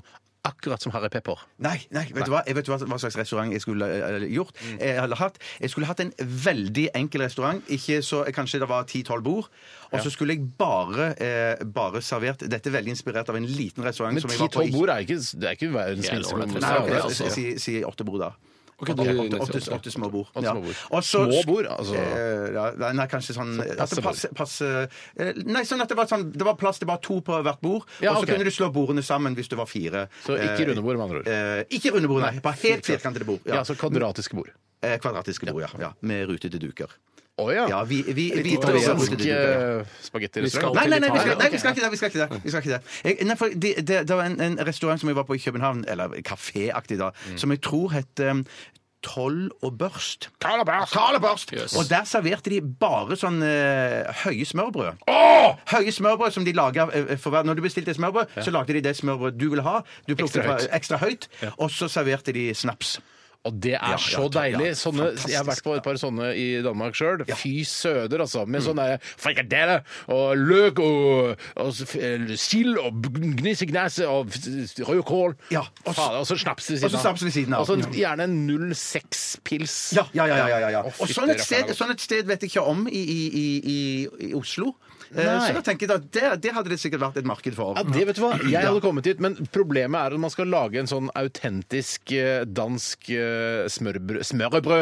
A: akkurat som Harry Pepper?
B: Nei, nei, vet du hva Jeg vet hva, hva slags restaurant jeg skulle eh, gjort. Eh, eller hatt. Jeg skulle hatt en veldig enkel restaurant. Ikke så, Kanskje det var 10-12 bord. Og så skulle jeg bare, eh, bare servert Dette er veldig inspirert av en liten restaurant.
A: Men
B: som jeg var på i-
A: 10-12 bord er ikke, det er ikke verdens
C: Det er
A: minste
C: ålreit,
A: bord.
B: Nei, ok,
C: Ja,
B: jeg
C: altså.
B: sier si, si åtte bord, da.
C: Ok, du-
B: åtte, åtte, åtte,
C: åtte-
B: åtte små bord.
A: Åtte
B: Ja.
A: små bord.
B: Og så-
A: Små bord, altså.
B: Eh, ja, nei, nei, kanskje sånn at
A: passe
B: det passe, passe, eh, Nei, sånn at det var, sånn, det var plass til bare to på hvert bord,
A: Ja,
B: og så
A: ok.
B: kunne du slå bordene sammen hvis du var fire.
A: Så ikke runde bord, med andre ord.
B: Eh, ikke runde bord, nei. Bare helt firkantede bord.
A: Ja, altså kvadratiske bord.
B: Eh, kvadratiske bord, ja. ja. Med rutete duker.
A: Å ja.
B: Ja, vi, vi, vi, vi
A: Italiensk eh, spagettirestaurant.
B: Nei, nei, nei, vi skal, nei, vi skal ikke det. Vi skal ikke det. Vi skal ikke det. Jeg, nei, for det, det, det var en, en restaurant som jeg var på i København, eller kaféaktig da,
A: Mm.
B: som jeg tror het um, Toll og børst.
A: Karl og Bærs.
C: Yes.
B: Og der serverte de bare sånn eh, høye smørbrød. Høye smørbrød som de lager eh, for hver Når du bestilte smørbrød, så lagde de det smørbrødet du ville ha. Du plukket
A: Ekstra
B: fra-
A: høyt.
B: ekstra høyt. Og så serverte de snaps.
A: Og det er
B: Ja,
A: så
B: ja, takk, ja.
A: deilig. Sånne,
B: Fantastisk. Mm.
A: jeg har vært på et par sånne i Danmark sjøl. Fy søder, altså. Med sånne frikadelle og løk og, og s- eh, sild og gnissegnæse og f- rødkål.
B: Ja, og s-
A: Faen, og så snaps ved
B: og så snaps ved siden av. Mm.
A: Og så gjerne en 06-pils.
B: Ja, ja, ja. ja, ja, ja.
A: Å,
B: Og
A: fytti
B: sånn et,
A: rakkeren,
B: sted,
A: det er godt.
B: sånn et sted vet jeg ikke om i, i, i, i- i Oslo. Eh,
A: Nei.
B: Så da tenker jeg at det, det hadde det sikkert vært et marked for.
A: Ja, det vet du hva. Jeg hadde kommet dit, men problemet er at man skal lage en sånn autentisk eh, dansk eh, smørbrød,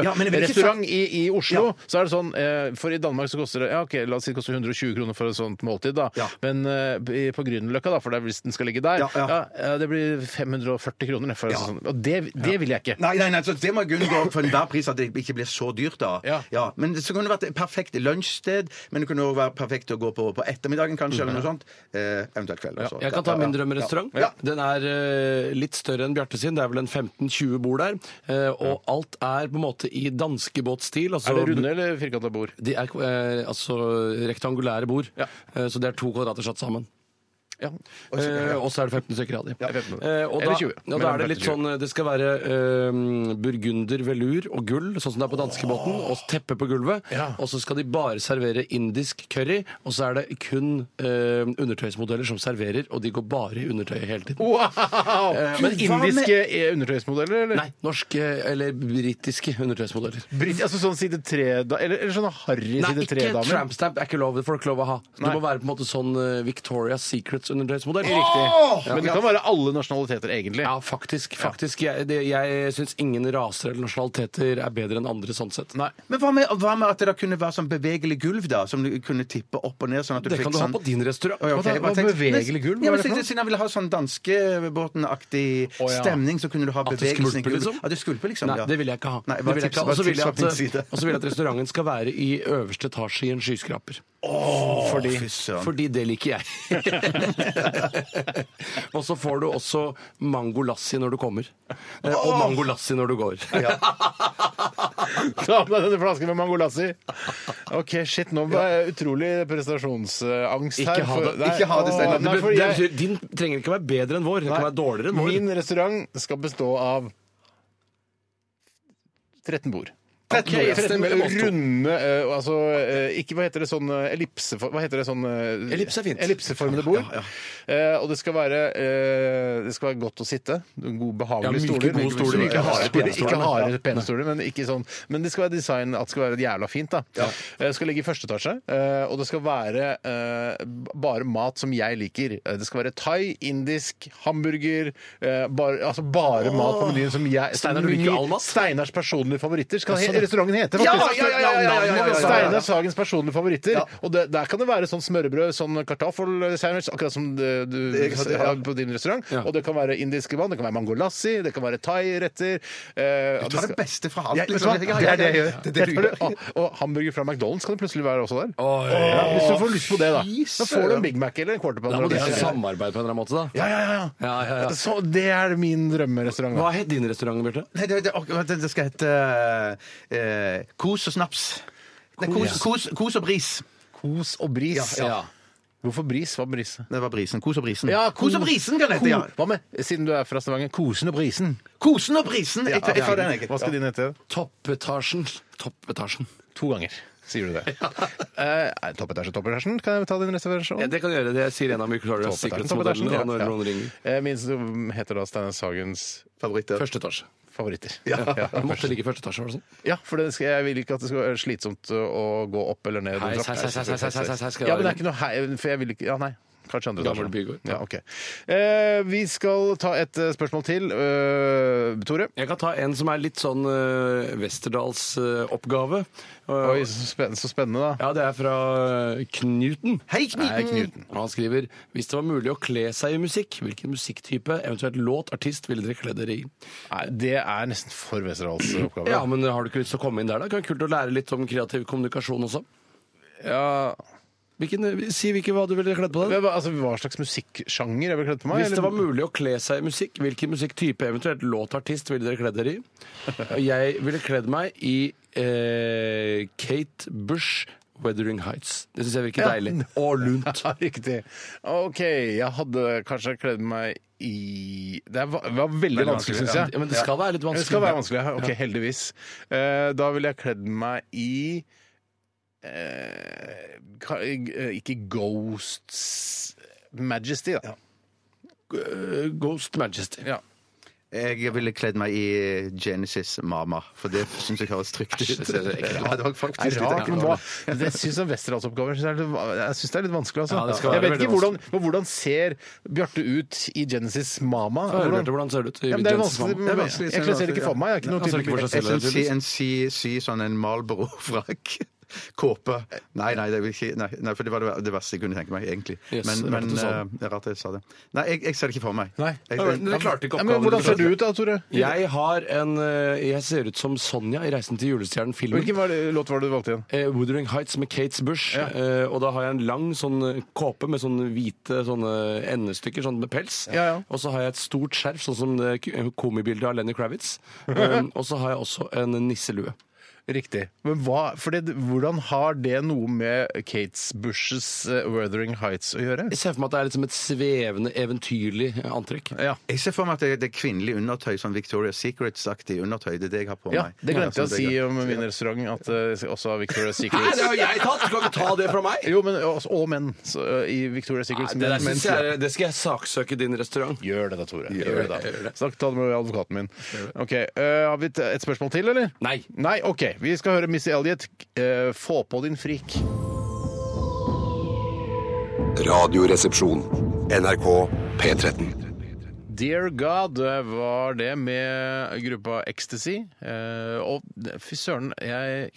B: Ja, men jeg vil ikke
A: smørbrødrestaurant
B: sagt-
A: i, i Oslo. Så er det sånn, eh, for i Danmark så koster det ja, ok, la oss si det koster 120 kroner for et sånt måltid, da.
B: Ja.
A: Men eh, i- på Grünerløkka, da, for det er hvis den skal ligge der,
B: Ja,
A: ja,
B: ja.
A: eh, det blir 540 kroner. For, sånn. Og det, det vil jeg ikke.
B: Nei, nei, nei, så det må jeg unngå for enhver pris at det ikke blir så dyrt, da.
A: Ja.
B: Men så kunne det vært et perfekt lunsjsted, men det kunne også være perfekt å gå på på ettermiddagen, kanskje, eller noe sånt. Eh, eventuelt kveld. også.
C: Mhm. Jeg kan ta
B: Ja, ja,
C: min
B: ja.
C: drømmerestaurant.
B: Ja.
C: Den er eh, litt større enn Bjarte sin. Det er vel en 15-20 bord der. Eh, og alt er på en måte i danskebåtstil. Altså,
A: Er det runde eller firkanta bord?
C: De er eh, altså rektangulære bord.
A: Ja.
C: Eh, så det er to kvadrater satt sammen.
A: Ja.
C: Eh, og så er det 15 stykker av de.
A: Jeg vet ikke.
C: Eh, og da,
A: Eller 20.
C: ja, da er det litt sånn eh, Det skal være eh, burgunder, velur og gull, sånn som det er på danskebåten, og teppe på gulvet.
A: Ja.
C: Og så skal de bare servere indisk curry, og så er det kun eh, undertøysmodeller som serverer, og de går bare i undertøyet hele tiden.
A: Wow! Men
B: hva med-
A: indiske eh, undertøysmodeller, eller?
C: Nei, norske eh, eller britiske undertøysmodeller.
A: Britt, altså sånn side tre da, eller, eller sånne harry
C: Nei,
A: side
C: ikke
A: tre-damer.
C: tramp stamp er ikke lov, det får du ikke lov å ha. Det
A: Nei.
C: må være på en måte sånn eh, Victoria's Secret idrettsundertøysmodell.
A: Ja, Men det kan være alle nasjonaliteter, egentlig.
C: Ja, faktisk. faktisk. Jeg, det- jeg syns ingen raser eller nasjonaliteter er bedre enn andre sånn sett.
A: Nei.
E: Men hva med, hva med at det da kunne være sånn bevegelig gulv, da? Som du kunne tippe opp og ned? Sånn at du
C: Det
E: fikk
C: kan du ha
E: sånn...
C: på din restaurant.
E: Å, ja, ok,
A: Hva da-
E: jeg bare
A: hva
E: tenkte-
A: bevegelig gulv? Hva
E: Ja,
A: er
E: men
A: det for noe?
E: siden- Siden jeg ville ha sånn danskebåten-aktig
C: Å, ja.
E: stemning, så kunne du ha
C: At det
E: bevegelse i
C: skvulper,
E: gulvet.
C: liksom?
E: At det skvulper, liksom?
C: Nei,
E: ja.
C: det vil jeg ikke ha.
E: Nei,
C: Det
E: bare
C: vil jeg
E: tips-
C: ikke ha.
E: bare
C: Og så vil
E: tips
C: jeg
E: fra min side.
C: at- eh, og så vil jeg at restauranten skal være i øverste etasje i en skyskraper. fordi,
E: fy søren.
C: fordi det liker jeg. og så får du også mangolassi når du kommer. Eh, Og mangolassi når du går.
A: Ta med denne flasken med mangolassi. OK, shit, nå var jeg utrolig prestasjonsangst her.
C: Ikke ha det.
A: Nei,
E: Ikke ha det, Steinar.
A: å, nei,
C: Det
A: for jeg-
C: betyr, din trenger ikke være bedre enn vår. Den kan være dårligere enn vår.
A: Min restaurant skal bestå av 13 bord.
E: Ok,
A: Ok, 13
E: stemmer.
A: runde eh, altså, eh, Ikke hva heter det sånn eh, ellipse... Hva heter det sånn eh,
C: Ellipse er fint.
A: Ellipseformede bord. Eh, og det skal være eh, Det skal være godt å sitte. God, behagelige
C: Ja, myke,
A: stoler.
C: gode stoler.
A: Ikke harde,
C: Pene
A: pene
C: stoler.
E: Sånn
A: ikke harde, pene stoler, men ikke sånn Men det skal være design at det skal være jævla fint, da. Eh, Det skal ligge i første etasje, eh, og det skal være eh, b- bare mat som jeg liker. Eh, Det skal være thai, indisk, hamburger eh, bare, Altså bare mat på menyen som jeg som
C: Steinar, du liker
A: min-
C: all mat?
A: Steinars personlige favoritter skal he restauranten hete.
E: sånn. Ja,
A: faktisk.
E: ja, ja, ja, ja, ja, ja, ja.
A: Steinar Sagens personlige favoritter. Og det, der kan det være sånn smørbrød, sånn kartaffelsandwich, akkurat som det du har på din restaurant. Og det kan være indiske vann, det kan være mangolassi, det kan være thai-retter. eh, og
E: Ta
A: skal-
E: det beste fra alt.
A: Ja, vet du
E: liksom.
A: hva?
E: Ja, ja, ja,
A: Det er det jeg gjør.
E: Det er det du
A: Jeg
E: gjør.
A: tar det. Og- Og hamburger fra McDonald's kan det plutselig være også der. Ja, hvis du får lyst på det, da. Da får du en Big Mac eller en quarter
C: Da
A: pounder.
C: må
A: og
C: dere ha
A: det-
C: samarbeid på en eller annen måte, da.
A: Ja, ja, ja.
C: Ja, ja, ja.
A: Så det er min drømmerestaurant. da.
C: Hva het din restaurant, Bjarte?
E: Nei, det, det, ok, det, det skal hete eh, Kos og snaps. Nei, kos, kos, kos og bris.
A: Kos og bris.
C: Ja.
A: Hvorfor bris? Hva er bris?
E: Det var brisen. Kos og brisen.
A: Ja,
E: kos, og brisen kan det hete, ja.
A: Hva med, siden du er fra Stavanger, Kosen og brisen?
E: Kosen og brisen. Jeg, jeg, tar den, jeg.
A: Hva skal din hete?
C: Toppetasjen. Toppetasjen.
A: To ganger, sier du det. Eh, nei, toppetasje, toppetasjen. Kan jeg ta din reservasjon?
C: Ja, det kan du gjøre. Det sier en av Mykkelhøyre. Sikkerhetsmodellen.
A: ja,
C: og når
A: ja.
C: noen ringer.
A: Eh, Min som heter da Steinar Sagens
E: Favoritter.
C: Første etasje.
A: favoritter.
E: Ja.
C: Det måtte ligge i første etasje, var det sånn?
A: Ja, for det skal, jeg vil ikke at det skal være slitsomt å gå opp eller ned. en
C: Heis,
A: trapp.
C: heis, heis, heis, heis, heis, heis, heis, skal det
A: Ja, men det
C: være.
A: er ikke noe hei, for jeg vil ikke, ja nei. Kanskje andre
C: Gammel
A: etasje.
C: bygård.
A: Ja, ok. Eh, vi skal ta et eh, spørsmål til. Eh, Tore?
C: Jeg kan ta en som er litt sånn uh, Westerdals-oppgave. Eh,
A: Oi, så spennende, så spennende da.
C: ja, det er fra eh, Knuten.
E: Hei,
A: Nei,
E: Knuten!
A: Knuten.
C: Og han skriver hvis det var mulig å kle seg i musikk, hvilken musikktype, eventuelt låt, artist, ville dere kle dere i?
A: Nei, det er nesten for Westerdals oppgave.
C: Ja, men har du ikke lyst til å komme inn der, da? Kan kult å lære litt om kreativ kommunikasjon også.
A: Ja,
C: Hvilken, eh, si hvilke hva du ville kledd på
A: men
C: den.
A: hva- altså, hva slags musikksjanger er vel kledd på meg?
C: Hvis det
A: eller?
C: var mulig å kle seg i musikk, hvilken musikktype, eventuelt låt, artist, ville dere kledd dere i? Og Jeg ville kledd meg i eh, Kate Bush. Weathering Heights. Det syns jeg virker deilig. Og lunt.
A: Ja, riktig. OK, jeg hadde kanskje kledd meg i Det er va- var veldig vanskelig, syns jeg.
C: Ja, men det skal være litt vanskelig.
A: Det skal være vanskelig, ja. ok, heldigvis. Eh, da ville jeg kledd meg i eh, ka- eh, Ikke Ghosts Majesty, da.
C: Eh, Ghost Majesty.
A: Ja.
E: Jeg ville kledd meg i Genesis Mama, for det syns jeg høres trygt ut.
C: det ser ekkelt ut.
E: Ja, det var faktisk
A: Det er
E: litt
A: rart, men
E: ekkelt.
A: hva? Det syns jeg Westerdalsoppgaver Jeg syns det er litt vanskelig, altså.
C: Ja, det skal
A: jeg
C: være
A: vet ikke
C: veldig
A: hvordan, men hvordan ser Bjarte ut i Genesis Mama?
C: Hva er det, Bjarte? Hvordan ser det ut? i
A: Ja, men det er
C: Genesis
A: vanskelig.
C: Mama?
E: Det er
A: men- Mm. Jeg
E: vanskelig, det er
A: klasserer ikke
E: vanskelig,
A: for meg. Jeg er ikke
C: Nei,
A: noen
C: han ser ikke for
A: type
C: seg selv.
E: Jeg syns sy, en sy, sy sånn en Marlboro-frakk. Kåpe. Nei, nei, det vil ikke, nei, nei, for det var det, det verste jeg kunne tenke meg, egentlig.
C: Yes,
E: men
C: det er rart
E: men
C: du sa
E: eh, det er rart jeg sa det. Nei, jeg, jeg ser det ikke for meg.
A: Nei.
E: Jeg,
C: Ja, men
E: jeg,
C: Dere klarte ikke
A: Ja,
C: oppgaven.
A: men hvordan
C: dere
A: ser
C: klarte.
A: du ut da, Tore?
C: Jeg har en eh, Jeg ser ut som Sonja i 'Reisen til julestjernen'-filmen.
A: Hvilken var det, låt var det du valgte igjen?
C: Eh, Wuthering Heights med Kates Bush.
A: Ja.
C: Eh, og da har jeg en lang sånn eh, kåpe med sånne hvite sånne endestykker sånn med pels.
A: Ja, ja.
C: Og så har jeg et stort skjerf, sånn som det k- komibildet av Lenny Kravitz. Um, og så har jeg også en nisselue. altså-
A: Riktig. Men hva, for det, hvordan har det noe med Kates Bushes eh, Wuthering Heights å gjøre?
C: Jeg ser for meg at det er liksom et svevende, eventyrlig eh, antrekk.
A: Ja.
E: jeg ser for meg at det, det er kvinnelig undertøy, sånn Victoria's Secrets-aktig undertøy. Det er det jeg har på
A: ja,
E: meg.
A: det glemte jeg å
E: sånn
A: si
E: det
A: om min restaurant, at eh, også har Victoria's
C: Hæ,
A: Secret
C: det har jeg tatt! Skal du ta det fra meg?
A: Jo, men også, og menn så, eh, i Victoria's Secret.
C: Nei, det, der
A: menn-
C: synes jeg, er- det skal jeg saksøke din restaurant.
A: Gjør det da, Tore. Gjør, det
C: det,
A: da.
C: gjør det.
A: Snakk ta det med advokaten min. Ok, eh, Har vi et- et spørsmål til, eller?
C: Nei.
A: Nei, OK. Vi skal høre Missy Elliot. eh, få på din frik.
D: Radioresepsjon. NRK P13.
A: Dear God eh, var det med gruppa Ecstasy. Eh, og det- fy søren, jeg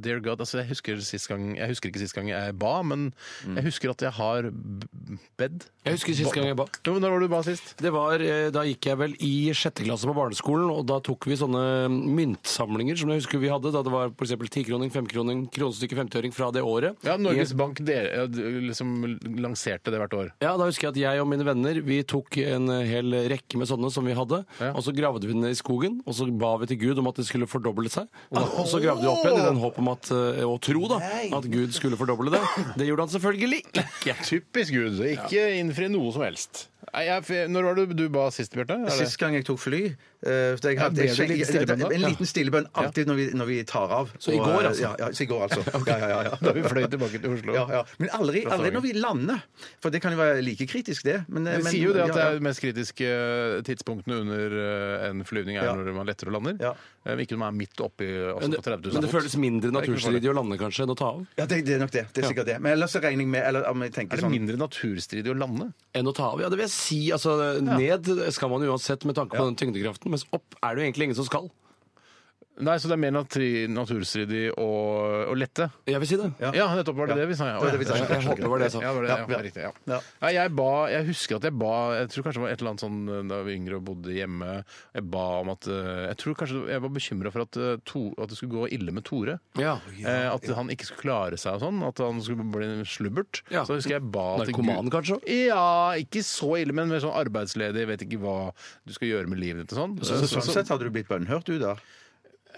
A: Dear God, altså jeg husker, sist gang, jeg husker ikke sist gang jeg ba, men jeg husker at jeg har b- bedd.
C: Mm. Jeg husker sist gang jeg ba.
A: Jo, men Når var det du ba sist?
C: Det var, eh, Da gikk jeg vel i sjette klasse på barneskolen, og da tok vi sånne myntsamlinger som jeg husker vi hadde. da Det var f.eks. tikroning, femkroning, kronestykke, femtiøring fra det året.
A: Ja, Norges
C: Jeg-
A: Bank dere, ja, du liksom lanserte det hvert år.
C: ja, Da husker jeg at jeg og mine venner vi tok en hel rekke med sånne som vi hadde.
A: Ja.
C: Og så gravde vi den ned i skogen, og så ba vi til Gud om at det skulle fordoble seg. Og, og så gravde vi opp igjen i den håp om at, eh, og tro da, at Gud skulle fordoble det. Det gjorde han selvfølgelig ikke.
A: Typisk Gud. Ikke innfri noe som helst. Nei, jeg, når var det du ba sist, Bjarte? Er det-
E: Sist gang jeg tok fly eh, for jeg hadde,
A: ble det en
E: jeg,
A: liten stillebønn da?
E: En liten stillebønn alltid når vi, når vi tar av.
C: Så i
E: Og,
C: går,
E: eh,
C: altså?
E: Ja, ja, så i går, altså. Ja, ja, ja, ja.
A: Da vi fløy tilbake til Oslo.
E: Ja, ja. Men aldri, aldri når vi lander. For det kan jo være like kritisk, det. Men, eh,
A: De
E: men-
A: sier jo det at
E: ja,
A: det
E: ja.
A: er de mest kritiske tidspunktene under eh, en flyvning er
E: Ja.
A: når man letter og lander.
E: Ja.
A: Eh, Ikke når man er midt oppi altså
C: Men det,
A: på 30 000
C: men det
A: fot.
C: føles mindre
A: er ikke noe farlig.
C: naturstridig å lande kanskje enn å ta av.
E: Ja, det, det er nok det. Det er sikkert det. Men ellers så regner jeg med eller om jeg tenker
A: Er det
E: sånn
A: mindre naturstridig å lande?
C: enn å ta av. Ja, det vil jeg si. Altså, Ned skal man uansett med tanke på den tyngdekraften, mens opp er det jo egentlig ingen som skal.
A: Nei, så det er mer natri- naturstridig å, å lette?
C: Jeg vil si det.
A: Ja, nettopp var det det vi sa. Ja.
E: var det vi sa.
A: Ja,
C: Jeg håper det var det jeg sa.
A: Ja, det var det, ja,
E: sånn. Ja.
A: riktig, ja.
E: Ja.
A: Nei, jeg, ba, jeg husker at jeg ba Jeg tror kanskje det var et eller annet sånn eh, da vi var yngre og bodde hjemme. Jeg ba om at eh, Jeg tror kanskje jeg var bekymra for at, eh, to, at det skulle gå ille med Tore.
C: Ja.
A: Eh, at han ikke skulle klare seg og sånn. At han skulle bli en slubbert.
C: Ja.
A: Så husker jeg ba til
C: Narkoman,
A: Gud-
C: kanskje?
A: Ja, ikke så ille, men mer sånn arbeidsledig, vet ikke hva du skal gjøre med livet ditt og sånn.
E: så,
A: Så-
E: Sånn
A: så-
E: sett hadde du blitt bønnhørt, du, da.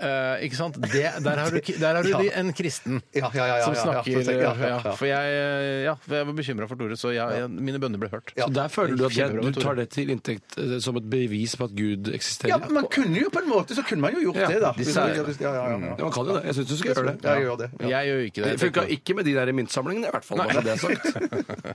A: eh, ikke sant? Det, der har du, der har du
E: Ja.
A: en kristen.
E: Ja, ja, ja, ja,
A: som
E: ja, ja,
A: snakker
E: sånn sett, ja, ja, ja.
A: For jeg, eh, ja, for jeg var bekymra for Tore, så jeg, jeg, mine bønner ble hørt.
E: Ja.
C: Så der føler du at jeg,
A: Kjempebra,
C: du
A: Tore.
C: tar det til inntekt eh, som et bevis på at Gud eksisterer?
E: Ja, men man kunne jo på en måte så kunne man jo gjort
C: Ja,
E: det, da.
C: de
E: Hvis-
C: sa-
E: ja, hvis- ja, ja, ja.
C: Ja, man kan jo det. Jeg syns du skal gjøre det.
E: Ja, jeg gjør det. Ja.
A: Jeg gjør jo ikke det.
C: Det funka ikke med de der myntsamlingene, i hvert fall. Bare så det er sagt.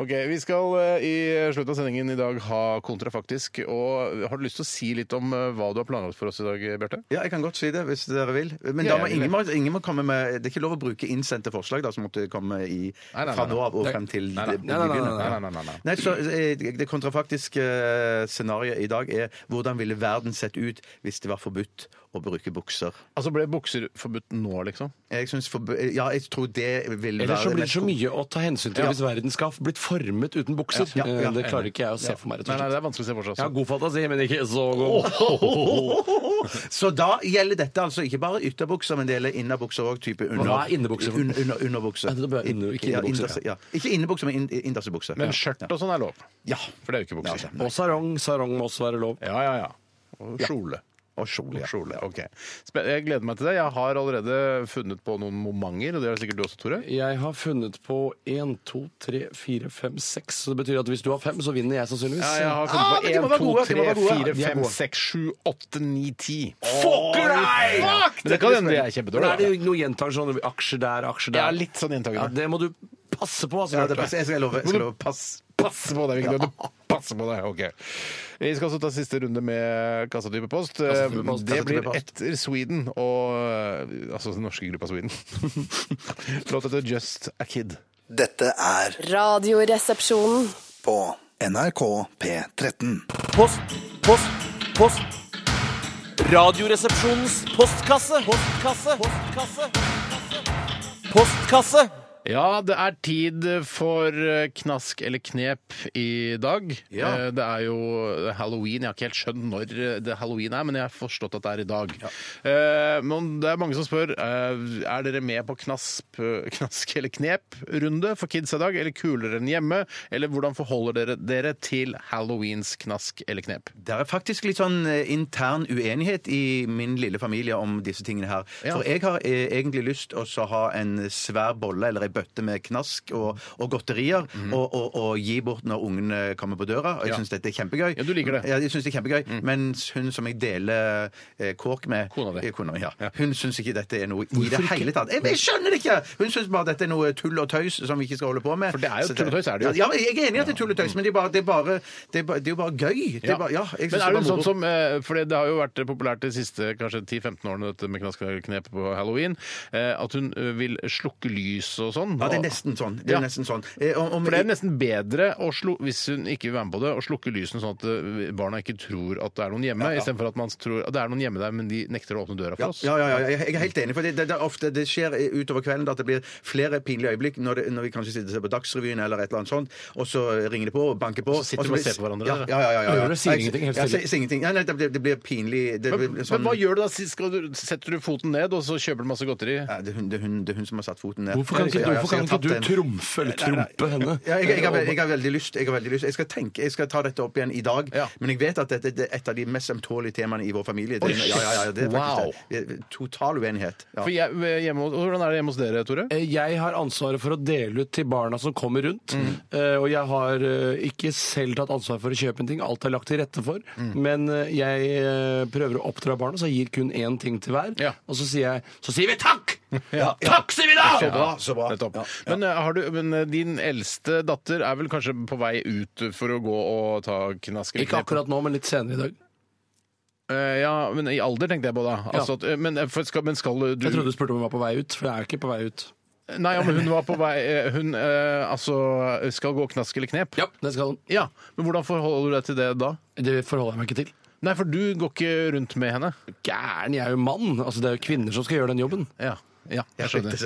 A: Ok, Vi skal eh, i slutten av sendingen i dag ha kontrafaktisk. Og har du lyst til å si litt om eh, hva du har planlagt for oss i dag, Bjarte?
E: Ja, jeg kan godt si det, hvis dere vil. Men
A: Ja, jeg vil
E: da må
A: det.
E: ingen, må, ingen må komme med Det er ikke lov å bruke innsendte forslag da, som måtte komme i,
A: Nei, nei,
E: fra
A: nei,
E: nå av og
C: nei.
E: frem til
A: Nei, nei,
E: det-
C: nei, nei,
E: vi begynner.
C: nei,
A: nei, nei, nei.
E: Nei, så eh, Det kontrafaktiske eh, scenarioet i dag er hvordan ville verden sett ut hvis det var forbudt å bruke bukser?
A: Altså, Ble bukser forbudt nå, liksom?
E: Jeg synes forbu eh, ja, jeg tror det vil være
C: Ellers så
E: det
C: blir det
E: mest
C: så mye å ta hensyn til
E: Ja.
C: hvis verden skal ha blitt formet uten bukser.
E: Ja, ja, ja.
C: Eh, Det klarer ikke jeg å se for meg, rett
A: Nei,
C: og
A: nei,
C: slett.
A: Det er vanskelig å se for seg.
C: Jeg har
A: Altså.
C: god fantasi, men ikke så god.
E: Så da gjelder dette altså ikke bare ytterbukser, men det gjelder innerbukser òg. Type under,
C: Hva er innebukser for-
E: Un, under, underbukse.
C: Nei, det bør- inne- ikke
E: Ja,
C: innebukser,
E: innerse- ja. Ikke innebukser, men in, innersebukse.
A: Men skjørt og sånn er lov.
E: Ja.
A: For det er jo ikke bukser.
C: Og sarong. Sarong må også være lov.
A: Ja, ja, ja. Og kjole.
E: Og kjole. Ja.
A: Kjole, ok. Spen- Jeg gleder meg til det. Jeg har allerede funnet på noen momenter, og det har sikkert du også, Tore.
C: Jeg har funnet på 1, 2, 3, 4, 5, 6. Så det betyr at hvis du har 5, så vinner jeg sannsynligvis.
A: Ja, jeg har funnet
E: Ah, men de må være
A: på
E: gode,
A: 1,
E: de må
A: 2, 3,
E: være gode.
A: 4,
E: De er
A: 5,
E: gode.
A: 6, 7, 8, 9, 10.
C: Fucker deg!
A: Men det kan hende jeg er
C: Men er det
A: kjempedårlig.
C: jo noe gjentak sånn aksjer der,
A: Jeg
C: aksjer der?
A: er litt sånn
C: Ja,
A: gjentagende.
C: det må du passe på. Altså,
E: Ja, det passer. Jeg skal love, jeg skal love pass.
A: Pass på deg, Vigdor. Du passer på deg. Ok. Vi skal også ta siste runde med kassatypepost.
C: Kassatypepost,
A: Det blir
C: kassatypepost.
A: etter Sweden og Altså den norske gruppa Sweden. Låt etter Just a Kid.
F: Dette er
G: Radioresepsjonen.
F: på NRK P13.
I: Post, post, post. Radioresepsjonens postkasse. Postkasse. Postkasse. Postkasse.
A: Ja, det er tid for eh, knask eller knep i dag. Eh, Det er jo halloween. Jeg har ikke helt skjønt når eh, det halloween er, men jeg har forstått at det er i dag. Eh, Men det er mange som spør eh, er dere med på knasp, eh, knask eller knep-runde for kids i dag, eller kulere enn hjemme? Eller hvordan forholder dere dere til halloweens knask eller knep?
E: Det er faktisk litt sånn eh, intern uenighet i min lille familie om disse tingene her.
A: Ja.
E: For jeg har eh, egentlig lyst til å ha en svær bolle eller ei bøtte med knask og, og godterier og, og, og gi bort når ungene kommer på døra. Og jeg
A: Mhm. Ja.
E: syns dette er kjempegøy.
A: Ja, du liker det. Mhm.
E: Ja, jeg synes det er kjempegøy. Mens hun som jeg deler eh, kåk med
A: Kona di.
E: eh, Kona mi, ja. Hun syns ikke dette er noe i det hele tatt. Jeg, jeg skjønner det ikke! Hun syns bare dette er noe tull og tøys som vi ikke skal holde på med.
A: For det er jo
E: Så
A: tull og tøys, er det jo. Mm.
E: Ja, men jeg er enig i at det er tull og tøys, men det er bare, det er bare, det er bare, det er jo bare gøy. Det er bare, ja, jeg
A: Men
E: synes
A: er
E: det
A: du en
E: bare
A: sånn
E: moro.
A: som, eh, for det har jo vært populært de siste kanskje 10-15 årene dette med knask og knep på halloween, eh, at hun eh, vil slukke lys og sånn, sånn.
E: Ja, det er nesten sånn. Det er
A: Ja.
E: nesten sånn. Eh, om- om-
A: For det er nesten bedre, å slu, hvis hun ikke vil være med på det, å slukke lysene sånn at eh, barna ikke tror at det er noen hjemme, istedenfor at man tror at det er noen hjemme der, men de nekter å åpne døra for oss.
E: Ja, ja, ja, ja, jeg er helt enig. for Det, det, det, er ofte, det skjer utover kvelden at det blir flere pinlige øyeblikk når, det, når vi kanskje sitter og ser på Dagsrevyen eller et eller annet sånt, og så ringer det på og banker på.
A: Så sitter vi og
E: blir-
A: ser på hverandre,
E: Ja,
A: dere.
E: ja, ja. ja, ja.
C: Gjør det, sier ingenting, helt
E: Ja,
C: stille.
E: sier- sier ingenting. Nei, nei, det blir, det blir pinlig. Det
A: Men,
E: blir sånn,
A: men hva gjør du da? Skal du, setter du foten ned, og så kjøper du masse godteri?
E: Ja, det, er hun, det, er hun, det er hun som har satt foten ned.
C: Hvorfor kan ikke,
E: Ja, ja, ja,
C: hvorfor
E: så
C: kan
E: jeg
C: ikke
E: har
C: du
E: tatt en-
C: trumfe eller trumpe henne?
E: Ja, jeg, jeg, har, ve- jeg har veldig lyst. Jeg har veldig lyst. Jeg skal tenke, jeg skal ta dette opp igjen i dag.
A: Ja.
E: Men jeg vet at dette det er et av de mest ømtålige temaene i vår familie. Det,
A: Oi,
E: ja, ja, ja, det er
A: wow.
E: faktisk det. Total uenighet. Ja.
A: For jeg, eh, hjemme, hos- hvordan er det hjemme hos dere, Tore?
C: Eh, Jeg har ansvaret for å dele ut til barna som kommer rundt. eh, Og jeg har eh, ikke selv tatt ansvar for å kjøpe en ting. Alt er lagt til rette for. Men eh, jeg eh, prøver å oppdra barna, så jeg gir kun én ting til hver.
A: Ja.
C: Og så sier jeg Så sier vi takk! Takk, sier vi da!
E: Så bra, så bra.
A: Nettopp. Men, eh, har du, men eh, din eldste datter er vel kanskje på vei ut for å gå og ta knask? eller
C: Ikke
A: knep?
C: akkurat nå, men litt senere i dag.
A: Eh, ja, men i alder tenkte jeg på da. Altså, at, eh, men, eh, for skal, men skal du
C: Jeg trodde du spurte om jeg var på vei ut, for jeg er ikke på vei ut.
A: Nei, ja, men hun var på vei eh, Hun eh, altså skal gå knask eller knep?
C: Ja, det skal den.
A: Ja, Men hvordan forholder du deg til det da?
C: Det forholder jeg meg ikke til.
A: Nei, for du går ikke rundt med henne.
C: Gæren, jeg er jo mann. Altså, det er jo kvinner som skal gjøre den jobben.
A: Ja, ja jeg skjønner.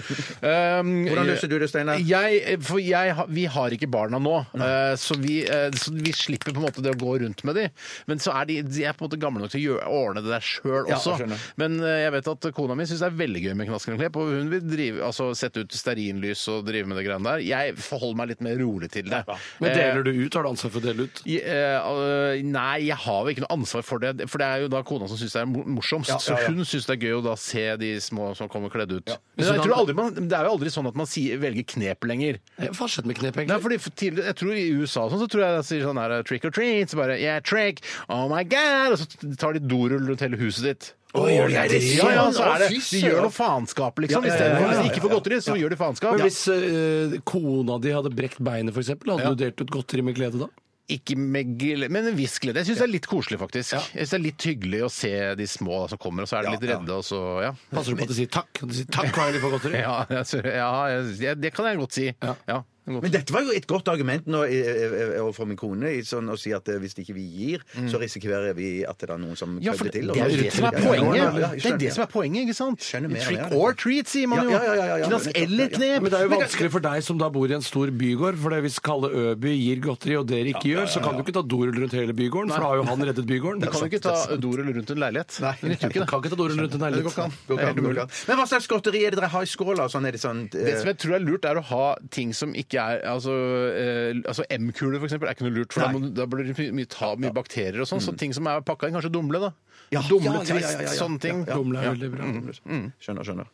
A: Ehm,
E: Hvordan løser du det, Steinar?
A: Jeg, for jeg, har- vi har ikke barna nå, eh, så, vi, eh, så vi slipper på en måte det å gå rundt med de. Men så er de, de er på en måte gamle nok til å gjøre, ordne det der sjøl
E: Ja,
A: også.
E: jeg skjønner.
A: Men eh, jeg vet at kona mi syns det er veldig gøy med Knasken og Klepp, og hun vil drive, altså, sette ut stearinlys og drive med det greiene der. Jeg forholder meg litt mer rolig til det.
C: Men deler du ut? Har du ansvar for å dele ut?
A: Jeg- eh, eh, nei, jeg har jo ikke noe ansvar for det. For det er jo da kona som syns det er mo- morsomst.
E: ja, ja.
A: Så hun syns det er gøy å da se de små som kommer kledd ut. Men
C: Så
A: jeg
C: da-
A: tror aldri man, det er jo aldri sånn at man sier, velger knep lenger.
C: Jeg har skjedd Eh, med knep, egentlig.
A: Nei, fordi for tidlig, jeg tror I USA og sånn, så tror jeg de sier sånn her trick or treat. Så bare yeah, trick, oh my god! Og så tar de dorull rundt hele huset ditt.
C: Å, gjør de det?
A: Ja, ja, så
C: Å,
A: er det,
C: fy
A: De gjør noe faenskap, liksom.
E: Ja, ja, ja, ja, ja,
A: Istedenfor
E: ja,
A: hvis
E: ja,
A: de ikke får godteri, så gjør de faenskap.
C: Men hvis eh, kona di hadde brekt beinet, f.eks., hadde
A: Ja.
C: du delt ut godteri med glede da?
A: Ikke med gel, men en viss glede. Jeg syns det er litt koselig, faktisk. Jeg synes Det er litt hyggelig å se de små som kommer, og så er de litt redde, og så ja.
C: Passer du på at du sier takk? At du sier takk hva er det for godteri?
A: Ja, jeg synes- ja jeg, det kan jeg godt si. Ja. godt.
E: Men dette var jo et godt argument nå eh, eh, overfor min kone, i sånn, å si at eh, hvis ikke vi gir, så risikerer vi at det er noen som
A: Ja, for
E: kløpper
A: det,
E: til.
A: det er jo det som er poenget. Det er det som er poenget, ikke sant?
E: Skjønner mer, ja,
A: Trick
E: det er
A: or
E: det.
A: treat, sier man jo.
E: Ja, ja, ja, ja, ja.
A: Knask eller knep.
C: Men det er jo vanskelig for deg som da bor i en stor bygård. For det hvis Kalle Øby gir godteri, og dere ikke gjør, så kan du ikke ta dorull rundt hele bygården, for da har jo han reddet bygården.
A: Du kan jo ikke ta dorull rundt en leilighet.
E: Nei.
A: Det nytter jo ikke, det.
C: Kan ikke ta dorull rundt en
A: Det går
C: leilighet.
A: ikke an.
E: Går ikke an, går ikke an. Men hva slags godteri er det dere har i skåla? Sånn, er det sånn,
A: Det
E: eh,
A: som jeg tror er lurt, er å ha ting som ikke er Altså, eh, altså M-kuler, for eksempel, er ikke noe lurt. For da, må, du- da blir det mye- mye tap, mye bakterier og sånn. Så ting som er pakka inn, kanskje dumle, da.
E: Mm. Ja,
A: dumle,
E: ja, ja, ja, ja, ja.
A: twist, sånne ting.
E: Ja, ja.
C: Dumle er veldig
A: Mm.
C: bra.
E: Skjønner, skjønner.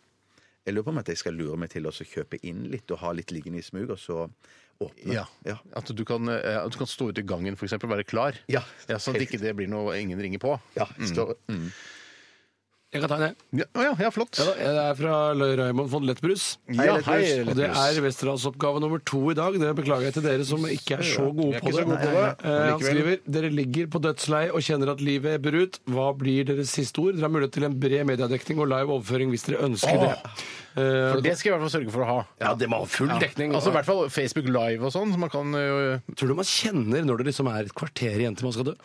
E: Jeg lurer på om at jeg skal lure meg til å så kjøpe inn litt og ha litt liggende i smug, og så åpne.
A: Ja.
E: Ja.
A: At du kan, eh, at du kan stå ute i gangen, for eksempel, være klar.
E: Ja.
A: så at ikke det blir noe ingen ringer på.
E: Ja, står, mm.
C: Jeg kan ta en, jeg.
A: Ja, å ja, ja flott.
C: Ja da, Jeg er fra Raymond von Lettbrus.
A: Ja, hei,
C: Og det er Westerdalsoppgave nummer to i dag. Det beklager jeg til dere som ikke er så
A: Vi
C: gode
A: er
C: på
A: ikke så
C: det.
A: gode på det.
C: Eh, Han skriver dere ligger på dødsleiet og kjenner at livet ebber ut. Hva blir deres siste ord? Dere har mulighet til en bred mediedekning og live overføring hvis dere ønsker det. Eh,
A: For det skal jeg i hvert fall sørge for å ha.
C: ja, det må ha full dekning.
A: Altså i hvert fall Facebook Live og sånn, så man kan jo
C: Tror du man kjenner når det liksom er et kvarter igjen til man skal dø?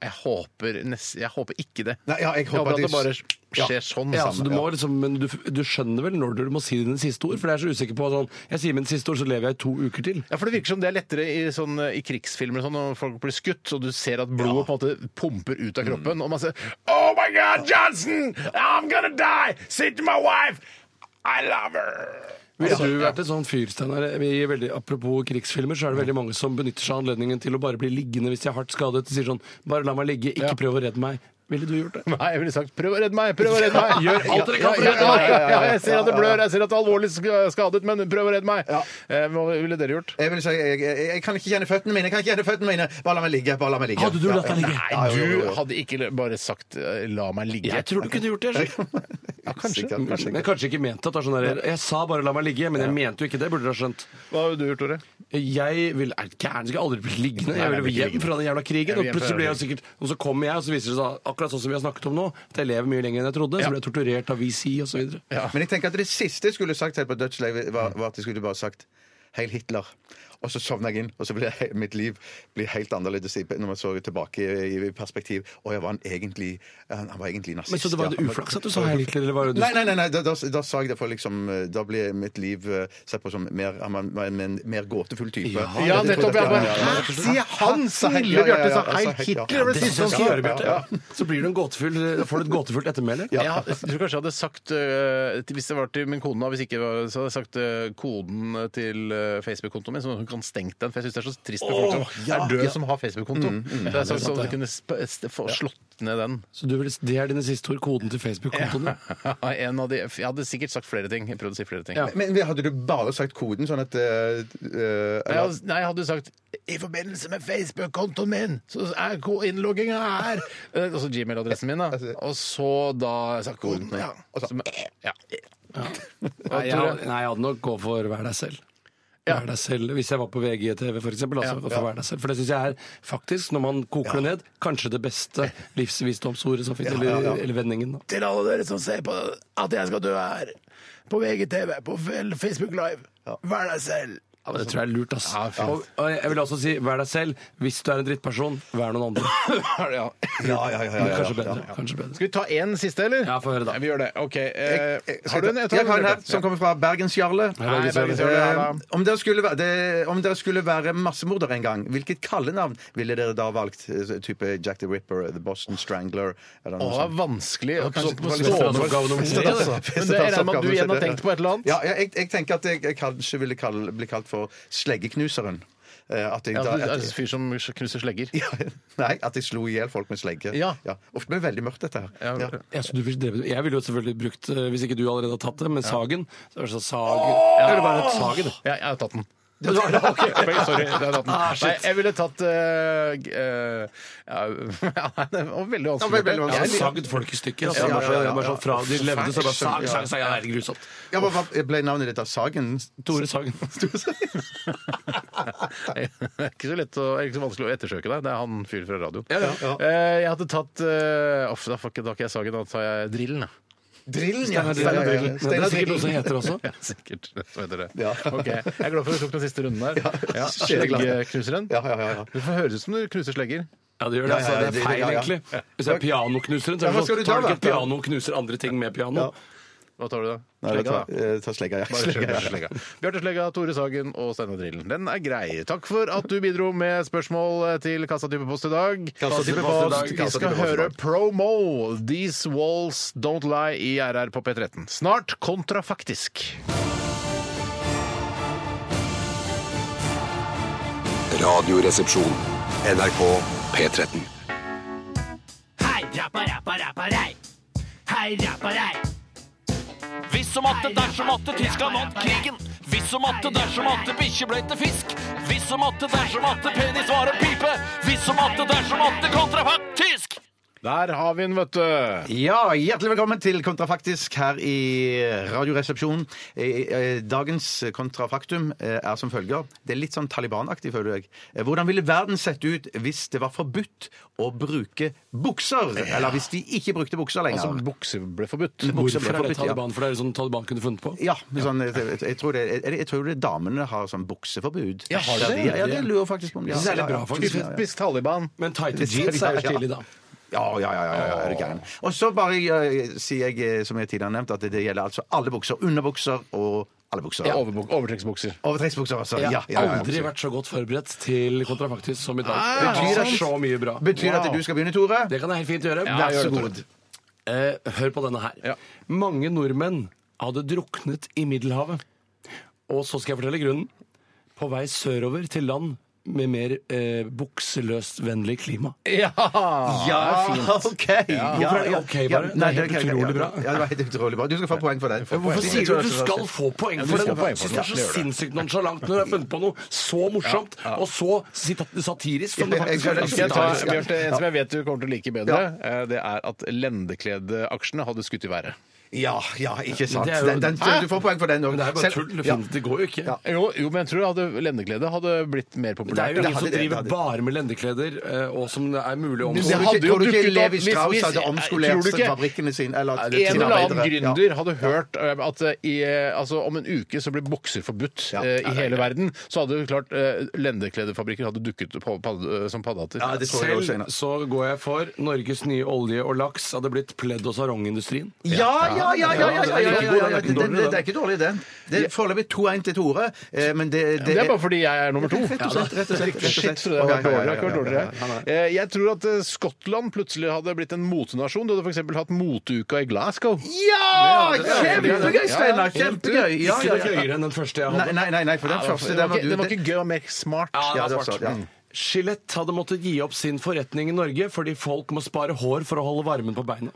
A: Jeg håper, nest, jeg håper ikke det.
E: Nei, ja, jeg
A: at
E: håper at
A: det
E: de-
A: bare skjer sånn.
C: Ja,
A: sammen.
C: så du, må liksom, men du, du skjønner vel når du må si dine siste ord? For jeg er så usikker på sånn, Jeg sier mine siste ord, så lever jeg i to uker til.
A: Ja, for Det virker som det er lettere i, sånn, i krigsfilmer og sånn, når folk blir skutt, og du ser at blodet på en måte pumper ut av kroppen, og man sier Oh my God, Johnson! I'm gonna die! Say to my wife I love her!
C: Ville du vært en sånn fyr, Steinar? Vi er veldig- Apropos krigsfilmer, så er det veldig mange som benytter seg av anledningen til å bare bli liggende hvis de er hardt skadet. og sier sånn Bare la meg ligge, ikke prøv å redde meg. Ville du gjort det?
A: Nei, jeg ville sagt prøv å redde meg! Prøv å redde meg!
C: Gjør alt dere kan for å
A: Ja,
C: redde meg!
A: ja, ja, ja, Jeg ser at det blør, jeg ser at det er alvorlig sk- skadet, men prøv å redde meg! Eh, Hva ville dere gjort?
E: Jeg vil si, jeg, jeg, jeg kan ikke kjenne føttene mine, jeg kan ikke kjenne føttene mine! Bare la meg ligge, bare la meg ligge.
C: Hadde du latt deg ligge?
E: Ja, ja,
A: Nei,
E: jo, jo,
A: du
E: jo.
A: hadde ikke bare sagt eh, 'la meg ligge'.
C: Jeg tror du kunne gjort det. Sjøl.
A: Ja, kanskje.
E: Sikkert,
A: kanskje.
C: Men kanskje ikke ment at det er sånn der, Jeg sa bare la meg ligge, men jeg mente jo ikke det, burde du ha skjønt.
A: Hva har du gjort, Tore?
C: Jeg vil, er det gæren, skal jeg aldri bli liggende. Jeg
A: Nei,
C: vil
A: nei,
C: jo
A: bli
C: hjem fra den jævla krigen.
A: Jeg vil
C: Og
A: hjem fra
C: plutselig blir jeg sikkert Og så kommer jeg, og så viser det seg, akkurat sånn som vi har snakket om nå, at jeg lever mye lenger enn jeg trodde.
A: Ja.
C: Så blir jeg torturert av VC og så videre.
E: Men jeg tenker at det siste jeg skulle sagt her på dødsleiet, var, var at jeg skulle bare sagt Heil Hitler. Og så sovna jeg inn, og så ble he- mitt liv blir helt annerledes i- når man så tilbake i i perspektiv. Og jeg var en egentlig, han han var egentlig nazist.
C: Men Så det var
E: ja.
C: jo uflaks at du sa Heil Hitler? Eller var det du
E: Nei, nei, nei, nei da, da, da sa jeg det for liksom eh, Da ble mitt liv eh, sett på som mer, han var- var en en mer gåtefull type.
A: Ja, nettopp. Jeg bare,
E: Ja, ja, ja.
A: Hæ, sier han
E: Sa
A: sa
E: Heil-
A: Hille
E: ja, ja,
A: Bjarte
E: ja,
A: sa
E: ja,
A: Heil
E: sa Heil-
A: Hitler? var Det
C: Det
A: siste
C: synes
A: han
C: jeg skal
A: sa.
C: gjøre, Bjarte. Så blir du en gåtefull, får du et gåtefull ettermæle.
A: Ja. Jeg tror kanskje jeg hadde sagt øh, til- Hvis det var til min kone, da, hvis ikke var- så hadde jeg sagt øh, koden til øh, Facebook-kontoen min, sånn at hun kan stengt den. For jeg syns det er så trist med folk som er døde som har Facebook-konto. Så jeg sa sånn at jeg kunne sp st få slått ned den.
C: Så du vil, det er dine siste ord, koden til Facebook-kontoen din?
A: en av de, jeg hadde sikkert sagt flere ting. Jeg prøvde å si flere ting.
C: Ja.
E: Men hadde du bare sagt koden sånn at eh, eh,
A: Jeg hadde, nei, jeg hadde sagt i forbindelse med Facebook-kontoen min, så er ko- innlogginga her. Eh, Altså Gmail-adressen min, da. Og så da sagt koden. Ja.
E: Og så-
A: Som- ja.
C: Nei, jeg, hadde- nei, jeg hadde nok gått for vær deg selv.
A: Ja.
C: Vær deg selv, Hvis jeg var på VGTV, for eksempel. Altså, for, vær deg selv. for det syns jeg er faktisk, når man koker det ned, kanskje det beste livsvisdomsordet som finnes. Eller, eller vendingen. Da.
A: Til alle dere som ser på at jeg skal dø her. På VGTV, på Facebook Live. Vær deg selv.
C: Ja, men det tror jeg er lurt, ass.
A: Ja, fint.
C: og, og jeg vil også si vær deg selv. Hvis du er en drittperson, vær noen andre.
A: ja.
E: Ja, ja, ja. ja, ja,
C: Kanskje
E: ja.
C: bedre. Kanskje bedre.
A: Skal vi ta én siste, eller?
C: Ja, få høre, da.
A: Vi gjør det. OK. Eh,
E: Skal
A: har du en?
E: Jeg
A: tar
E: jeg har en
A: Bjarte.
E: her som kommer fra Bergensjarle.
C: Hei, Bergens Jarle.
A: Bergens Jarle, ja, da.
E: Eh, Om dere skulle være, det, om dere skulle være massemordere en gang, hvilket kallenavn ville dere da valgt? Eh, Type Jack the Ripper, The Boston Strangler eller
A: Å,
E: noe
A: det er
E: sånt?
A: vanskelig å
E: kanskje-
A: på
E: kanskje
A: stående
C: Vesterås-oppgave nummer
A: fot,
C: tre,
A: altså.
E: altså.
A: Men det regner jeg med at du
E: Vesterås-oppgave
A: igjen
E: nummer
A: har
E: tre.
A: tenkt på et eller annet?
E: Ja, ja, jeg, jeg tenker at jeg, jeg kanskje ville kalle, bli kalt for sleggeknuseren. Eh, At jeg,
A: Ja,
E: da,
A: du er
E: at,
A: en fyr som knuser slegger.
E: ja, nei, at jeg slo i hjel folk med slegge.
A: Ja.
E: Ofte ble det veldig mørkt, dette her.
A: Ja.
C: Ja, så du vil drepe, jeg ville jo selvfølgelig brukt, eh, hvis ikke du allerede har tatt det, men sagen. Så er det sånn sag... Eller bare et sagen. da.
A: Ja, jeg har tatt den. Ok, sorry, jeg har tatt den.
C: Ah, shit.
A: Nei, jeg ville tatt eh, g- eh, ja, nei, Det var veldig
E: Ja,
A: vanskelig.
E: veldig vanskelig.
C: Jeg har sagd folk i stykker. Altså.
E: Ja, ja, ja, ja, ja.
C: Bare sånn fra de levde, så bare sag, sag, sag. Ja, det er grusomt.
E: Ja, hva- hva ble navnet ditt av Sagen?
C: Tore Sagen.
A: Det er ikke så lett å, det er ikke så vanskelig å ettersøke deg. Det er han fyren fra radioen.
E: ja.
A: Eh, jeg hadde tatt eh, off, da, fuck, it, da har ikke jeg sagen, da tar jeg drillen. da.
E: Drillen, ja.
C: Steinar
E: Steinar
C: Drillen.
E: Drillen.
C: Det er sikkert noe som heter også.
A: Ja, sikkert. Så heter det.
E: Ja.
A: Ok, Jeg er glad for at du tok den siste runden der. Ja,
E: kjempeglad.
A: Sleggeknuseren.
E: Ja, ja, ja, ja.
A: Det høres ut som du knuser slegger.
C: Ja, det gjør det. Altså.
E: Ja, ja, ja,
C: Det er
E: det-
C: feil,
E: ja, ja.
C: egentlig. Hvis jeg er pianoknuseren, så
E: Ja,
C: er
E: hva
C: det
E: skal du
C: sånn
E: ta,
C: Tar du
E: da?
C: ikke et piano og knuser andre ting med piano?
A: Hva tar du da?
E: Nei, det
A: Slegga,
E: tar-
A: da.
E: eh, Ta slegga, ja.
A: Bare
E: Slegga, ja.
A: Bjarte Slegga. Bjarte Slegga, Tore Sagen og Steinar Drillen. Den er grei. Takk for at du bidro med spørsmål eh, til Kassa type post i dag.
E: Kassa Type Post i dag.
A: Vi
E: Kassa
A: skal
E: Type Post i
A: høre
E: dag.
A: Promo, These Walls Don't Lie i RR på P13. Snart kontrafaktisk.
D: Radioresepsjon. NRK P13.
I: Hei, rappa, rappa, rappa, rei. Hei, rappa, rei. Hvis som atte, dersom atte, Tyskland vant krigen. Hvis som atte, dersom atte, bikkje ble til fisk. Hvis som atte, dersom atte, penis var en pipe. Hvis som atte, dersom atte, kontrafaktisk.
A: Der har vi den, vet du.
E: Ja, hjertelig velkommen til Kontrafaktisk her i Radioresepsjonen. Eh, eh, Dagens kontrafaktum eh, er som følger. Det er litt sånn Taliban-aktig, føler jeg. Eh, Hvordan ville verden sett ut hvis det var forbudt å bruke bukser? Eller hvis de ikke brukte bukser lenger?
A: Altså, bukser ble forbudt.
E: Bukser ble
C: Hvorfor er det
E: forbudt, ja.
C: Taliban? For det er jo sånn Taliban kunne funnet på.
E: Ja, men sånn, jeg, jeg- jeg, tror det, jeg, jeg tror det damene har sånn bukseforbud.
A: Ja, har de det?
E: Ja, det lurer jeg faktisk på om de har.
C: Det er litt bra, faktisk.
E: Ja, ja.
A: Typisk Taliban.
C: Men tighte
E: Det ser
C: jeans er
E: jeg, ja.
C: stilig, da.
E: Ja, ja, ja, ja, ja, er du gæren. Og så bare eh, sier jeg, eh, som jeg tidligere har nevnt, at det, det gjelder altså alle bukser. Underbukser og alle bukser.
A: Ja, overbuk- Overtrekksbukser.
E: Overtrekksbukser, altså. Ja,
C: Jeg
E: ja,
C: har
E: ja, ja.
C: aldri vært så godt forberedt til kontrafaktisk som i dag.
A: Ah,
C: Det betyr
E: sant.
C: så mye bra.
E: Betyr det at du skal begynne, Tore?
C: Det kan jeg helt fint gjøre.
A: Ja,
C: Vær
A: gjør
C: så
A: det, Tore.
C: god. Eh, hør på denne her.
A: Ja.
C: Mange nordmenn hadde druknet i Middelhavet. Og så skal jeg fortelle grunnen. På vei sørover til land med mer eh, bukseløst vennlig klima.
A: Ja!
E: OK! Ja,
C: Hvorfor er det ok, bare?
E: Nei,
C: Det er helt
E: ok, ok,
C: utrolig
E: ja.
C: bra.
E: Ja, det var helt utrolig bra. Du skal få poeng for den.
C: Hvorfor sier du at du skal få poeng for
A: du
C: det?
A: skal få poeng
C: Jeg
A: for det.
C: synes det er så
A: Det gjør det.
C: sinnssykt nonsjalant når du har funnet på noe så morsomt og så sita- satirisk som det
E: Ja, jeg
C: faktisk
E: skjønner.
C: er.
A: Skal jeg ta
E: Ja.
A: Bjarte, en som jeg vet du kommer til å like bedre? eh, Det er at lendekledaksjene hadde skutt i været.
E: Ja, ja, ikke sant.
C: Det er jo-
E: Den, den, du får poeng for den òg.
C: Men det er bare tull. Det, finnes, det går jo ikke.
A: Jo, jo, men jeg tror hadde lendeklede hadde blitt mer
C: Det er
A: populært.
C: jo
E: Det
C: ingen
E: hadde
C: som
E: det, det
C: driver
E: hadde det.
C: bare med lendekleder, eh, og som det er mulig å
E: Du
C: omstå.
E: tror
A: hadde
E: ikke,
A: jo
E: tror du ikke
A: dukket opp
E: Levi
A: hvis-
E: Strauss
A: hvis-
E: hadde
A: Tror
E: omskolert
A: du ikke?
E: fabrikkene sine? Eller, eller
A: en
E: sine
A: eller annen
E: arbeidere? Ja.
A: gründer hadde hørt eh, at eh, i, eh, altså, om en uke så blir bukser forbudt
E: Ja.
A: eh, i hele verden, så hadde jo klart eh, lendekledefabrikker hadde dukket på, padde- eh, som paddehatter.
E: Ja, det tror jeg også,
C: Selv så går jeg for Norges nye olje og laks hadde blitt pledd- og sarongindustrien.
E: Ja, ja, ja! ja, ja, ja, ja, ja, ja, ja, ja.
C: Den-
E: Den, den, det er ikke dårlig, den. Det er foreløpig 2-1 til Tore, eh, men det,
A: Det er bare fordi jeg er nummer to.
E: Rett og slett. rett og slett, rett og
A: Shit,
E: slett.
A: tror jeg det hadde vært
E: Ja, ja, ja,
A: dårligere. Det hadde ikke vært
E: ja, ja, ja.
A: dårligere. Eh, Jeg tror at eh, Skottland plutselig hadde blitt en motenasjon. Du hadde f.eks. hatt moteuka i Glasgow.
E: Ja! Kjempegøy,
A: Ja,
E: Steinar! Kjempegøy! Ja, ja,
C: Ikke noe
E: ja.
C: gøyere enn den første jeg
E: Nei,
C: hadde.
E: nei, nei, nei, for den første, den var
A: ikke-
E: du
A: den var ikke gøy, den var mer smart.
E: Ja,
C: Ja,
E: det
C: det var
E: var svart. Ja.
C: Skjelett hadde måttet gi opp sin forretning i Norge fordi folk må spare hår for å holde varmen på beina.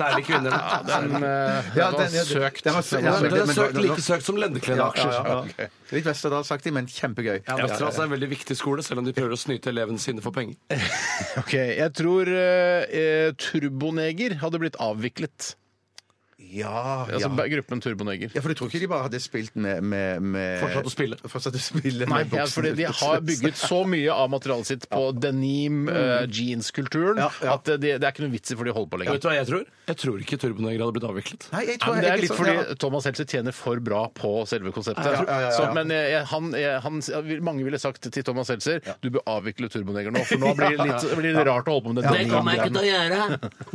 C: Særlig kvinner.
A: Ja, den, eh,
E: Ja,
A: den var
E: den- ja,
A: søkt.
E: den var søkt.
A: Den
C: Ja,
A: var
C: men
A: søkt.
C: det er søkt, like søkt som
E: Ja, ja,
C: lendekledeaksjer.
E: ja. Litt Westerdalsaktig, men kjempegøy.
C: Ja, Vesterålen er en veldig viktig skole, selv om de prøver å snyte elevene sine for penger.
A: Ok, Jeg tror eh, eh, Turboneger hadde blitt avviklet.
E: Ja,
A: Altså
E: ja.
A: gruppen Turboneger.
E: Ja, for du tror ikke de bare hadde spilt med, med, med
C: Fortsatt å spille.
E: Fortsatt å spille
A: Nei,
E: med
A: ja,
E: buksene
A: fordi de
E: rett og
A: har
E: slett.
A: bygget så mye av materialet sitt på denim, eh, jeanskulturen,
E: Ja, ja.
A: at eh, det, det er ikke noe vits i for de holder på lenger.
C: Vet du hva jeg tror? Jeg tror ikke Turboneger hadde blitt avviklet.
E: Nei, jeg
A: Ja,
E: tror
A: men det
E: jeg
A: er
E: ikke
A: litt
E: sånn-
A: fordi
E: ja.
A: Thomas Seltzer tjener for bra på selve konseptet.
E: ja, ja, ja, ja.
A: Så, men eh, han, eh, han, mange ville sagt til Thomas Seltzer du bør avvikle Turboneger nå, for nå blir det, litt, blir det rart å holde på med den denim.
C: til å gjøre.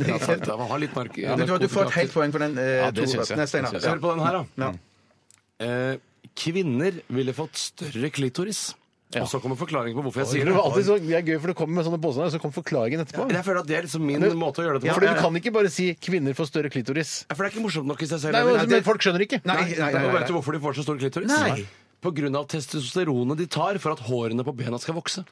C: Ja, sant, jeg har litt nark
E: Vet du hva, du får et helt poeng for den. Eh,
A: Ja, det synes jeg.
E: Nei, Steinar.
A: Det synes
C: Hør på den her, da.
E: Ja.
C: Eh, kvinner ville fått større klitoris. Og så kommer forklaringen på hvorfor jeg
A: Det
C: sier
A: er
C: det.
A: jo alltid så, det er gøy, for det kommer med sånne påstander, og så kommer forklaringen etterpå.
C: Jeg føler at det er liksom min
A: Men-
C: måte å gjøre det på.
A: Fordi du kan ikke bare si 'kvinner får større klitoris'.
C: For det er ikke morsomt nok i seg selv.
A: Nei,
C: heller.
A: men, men folk skjønner ikke.
E: Nei, nei, nei,
C: Og
E: nei,
C: Vet du hvorfor de får så stor klitoris?
E: Nei.
C: På grunn av testosteronet de tar for at hårene på bena skal vokse.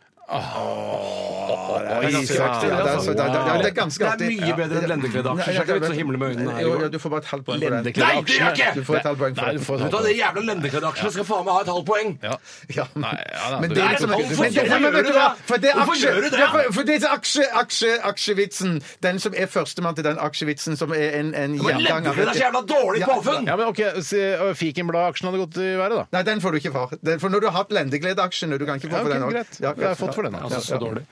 A: Oi,
E: ganske
A: sann.
E: aktig, det, altså. Det er- det er- det er ganske
C: Det er
E: artig.
C: mye bedre enn
E: Ja.
C: lendekledeaksjer, så jeg kan ikke så himle med øynene her i
E: Jo,
C: går.
E: ja, Du får bare et halvt poeng for den.
A: Lendekledde
C: Nei, det gjør jeg ikke!
E: Du får et halvt poeng for
A: Nei, du
E: den.
A: får
C: Vet du hva, Det jævla lendekledeaksjene skal faen meg ha et halvt poeng!
A: Ja.
E: Ja.
A: Nei, ja, nei,
E: Men
A: du-
E: det er
C: Nei,
E: liksom
C: men hvorfor
E: men det-
C: gjør
E: men vet
C: du
E: du hva?
C: det?
E: For det er
C: Hvorfor
E: aksje,
C: gjør du det?
E: Ja, for- for det er aksje, aksje, aksjevitsen. Den som er førstemann til den aksjevitsen som er en, en
C: Men
E: gjenganger.
C: lendekledet er så jævla dårlig
E: Ja.
C: påfunn!
A: Ja, men ok, se, ø, Fikenblad-aksjen hadde gått i været, da.
E: Nei, den får du ikke for. Den, for når du har hatt lendekledeaksjene, du kan ikke få
A: Ja,
E: for
A: ok,
E: den også.
A: greit.
E: Ja,
A: Det har jeg fått for den,
C: Altså, så dårlig.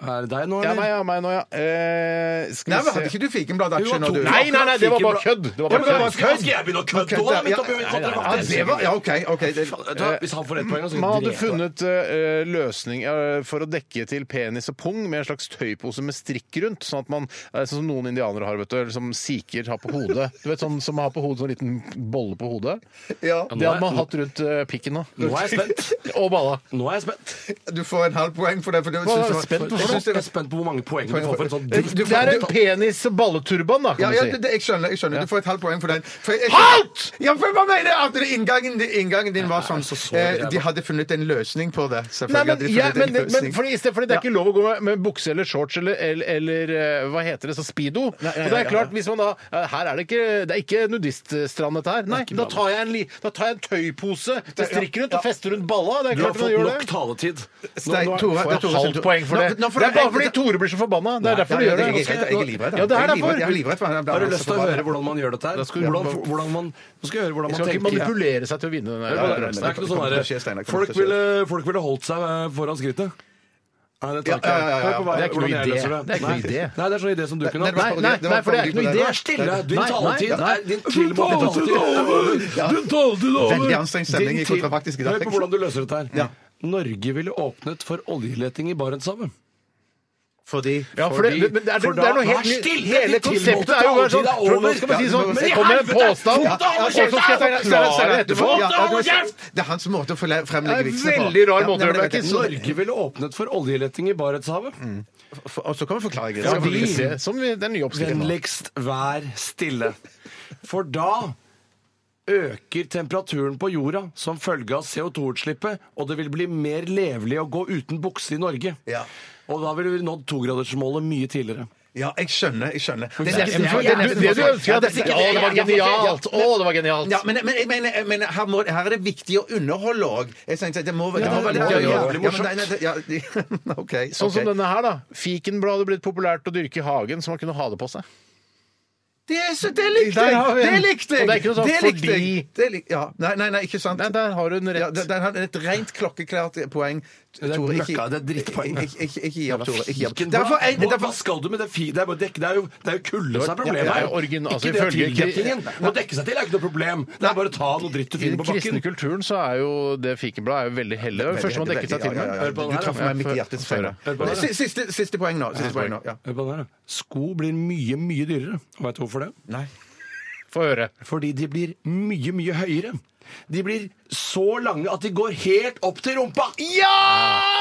C: Er det deg nå,
A: Ja,
C: eller?
A: meg, ja, meg nå, ja. Eh, skal
E: Nei,
A: vi
E: men
A: se.
E: hadde ikke du fikenbladaksjer
C: Du har
E: når
C: to-
E: du
A: Nei, nei, nei, det var bare kødd! Det var
E: Ja, men det
A: bare
E: var
A: kødd.
C: Skal
E: kødd.
C: jeg begynne å kødde
E: Kødde,
C: nå? da?
E: ja.
C: Midt oppi- midt oppi-
E: Ja, det var, ja, OK. ok. Det,
C: Vet du hva, Hvis han får ett poeng, så skal
A: Man
C: jeg
A: hadde
C: drepe deg.
A: funnet eh, løsning eh, for å dekke til penis og pung med en slags tøypose med strikk rundt, sånn at man, eh, sånn som noen indianere har, vet du, eller som sikher har på hodet. Du vet sånn som har på hodet, sånn liten bolle på hodet?
E: ja.
A: Det hadde man hatt rundt eh, pikken nå.
C: Nå er jeg spent.
A: Og balla.
C: Nå er jeg spent.
E: Du får en halv poeng for det. For du synes det var-
A: spent på
E: jeg
C: Jeg
E: synes det
C: er
E: var-
C: spent på hvor mange poeng du får for en sånn
A: Det
C: dritt.
E: du-
A: er en
E: du-
A: penis- og balleturban, da,
E: Ja,
A: kan
E: ja
A: du
E: det,
A: si.
E: det, jeg skjønner. jeg skjønner Du får et halvt poeng for den. For jeg,
A: Halt!
E: Ja, for hva mener jeg? At det- inngangen, din- inngangen din var sånn eh, De hadde funnet en løsning på
A: Nei,
E: det. Selvfølgelig
A: men,
E: hadde de
A: ja,
E: funnet
A: men,
E: en
A: det- men
E: løsning.
A: fordi, i stedet, fordi det er ikke lov å gå med, med bukse eller shorts eller, eller, eller eh, hva heter det, så speedo. og det er klart, hvis man da eh, Her er det ikke Det er ikke nudiststrand, dette her. Nei, da tar, jeg en li, da tar jeg en tøypose med strikk rundt og fester rundt balla. Det er
C: Du har
A: klart man
C: fått
A: gjør
C: nok
A: det.
C: taletid.
E: Nei,
A: Nå
E: Tore-
A: får jeg
E: Tore-
A: halvt poeng for
E: Nå-
A: det.
E: nå
A: det
E: får du-
A: er bare fordi Tore blir så forbanna. Det er
E: Ja,
A: derfor du
E: ja,
A: gjør det.
E: jeg er livredd, jeg er livredd,
A: Ja, det er
E: jeg livredd, Jeg er
A: derfor.
E: livredd for han.
C: Har du lyst til å høre hvordan man gjør dette her?
A: Da skal du-
C: Hvordan, hvordan man, nå skal jeg høre hvordan
A: Man skal
C: man
A: ikke
C: tenker.
A: manipulere seg til å vinne den
C: Det
A: der.
C: er ikke noe sånn
E: Kommer til å skje,
C: derre
E: Steinar, kommer
C: folk,
E: til å skje.
C: ville- folk ville holdt seg eh, foran skrittet. Nei, det tar
E: Ja, ja, ja, ja.
C: Hør på hva-
A: Det er ikke noe
C: hvordan jeg
A: idé.
C: løser
A: Det er ikke noe
C: Nei.
A: idé.
C: Nei, det er sånn idé som du kunne
E: det var-
A: Nei,
C: hatt.
A: nei, nei, for det er ikke noe idé.
C: Vær stille! Din
A: Nei, nei,
C: taletid
A: nei.
C: er din tilmålte taletid. Din taletid er over!
E: Veldig anstrengt stemning
C: Din
E: i
C: tid-
E: kontrafaktisk i dag.
C: Hør på hvordan du løser dette her.
E: Ja.
C: Norge ville åpnet for oljeleting i Barentshavet.
E: Fordi,
A: Ja, for det,
E: fordi-
A: men det er,
C: for
A: det
C: da-
A: er noe helt
C: vær
A: nytt.
C: stille,
A: Hele
C: de
A: konseptet
C: tilmålte
A: er jo bare sånn
C: taletid er over.
A: Nå skal man si sånn
E: Ja,
A: Så
E: men i
A: kommer det en
C: helvete!
A: påstand,
C: Fort, da,
A: og så skal jeg forklare etterpå.
E: Ja, ja, du-
C: Hold
E: Det er hans måte å forle- fremlegge
A: Det er
E: vitsene på.
A: veldig rar måte å
E: men
A: gjøre
E: vet
A: det
E: du,
A: på.
E: Norge-
C: Norge ville åpnet for oljeleting i Barentshavet.
E: for- Og så kommer forklaringen.
A: Ja,
E: Så kommer
A: vi,
E: vi-
A: som vi, den nye oppskriften.
C: Vennligst vær stille. For da øker temperaturen på jorda som følge av CO2-utslippet, og det vil bli mer levelig å gå uten bukse i Norge.
E: Ja.
C: Og da ville vi nådd togradersmålet mye tidligere.
E: Ja, jeg skjønner. jeg skjønner. Det,
A: Det,
E: nesten-
A: det, det
E: nesten-
A: du ønsker
E: Ja,
A: at
E: det-
A: Å, det var genialt! Å, det var genialt!
E: Ja, men, men, jeg mener- jeg mener, her, må, her er det viktig å underholde òg. Det må
C: Ja,
E: være
C: det må være
E: det-
C: lov,
E: ja,
C: det må
E: ja,
C: være
E: ja, men nei, nei, det- ja, de- OK.
A: Sånn som
E: ok.
A: denne her, da. Fikenblad hadde blitt populært å dyrke i hagen, så man kunne ha det på seg.
E: Det, er så, det likte
A: Der
E: jeg!
A: har vi en.
E: Det likte jeg!
A: Og det er ikke noe sånn
E: Det likte jeg.
A: fordi-
E: Det lik- ja. Nei, nei, nei, ikke sant.
A: Nei, der har hun
E: Ja,
A: rett.
E: det, det er et rent klokkeklart poeng.
C: er
E: Tore, ikke-
C: møkka, det er drittpoeng.
E: Ikke- Ikke ikke gi opp, Tore. Ikke gi opp.
C: Hvilken
E: Derfor,
C: bra-
E: en,
C: hva,
E: derfor,
C: hva skal du med det fi... Det er, bare dekk, det er jo, det er jo kulde som er problemet.
A: Ja, det er
C: her.
A: jo origin- altså,
C: ikke det
A: ifølge-
C: tildekkingen. Å dekke seg til er jo ikke noe problem. Det er bare å ta noe dritt
A: I
C: du
A: den
C: finner på
A: kristne
C: bakken.
A: kulturen så er jo det fikenbladet er jo veldig hellig. Det var det første man dekket seg til
E: Ja, ja, ja.
A: med.
C: på den
E: Du
C: her,
E: traff
A: da.
E: meg midt i
A: Før-
E: hjertet.
A: før, ja.
E: Steinar.
C: Hør på den her.
E: Si- Siste, siste poeng nå. Siste poeng nå. Ja.
C: Hør på den her, da. Sko blir mye, mye dyrere. Veit du hvorfor det?
A: Få høre.
C: Fordi de blir mye, mye høyere. De blir så lange at de går helt opp til rumpa!
E: Ja!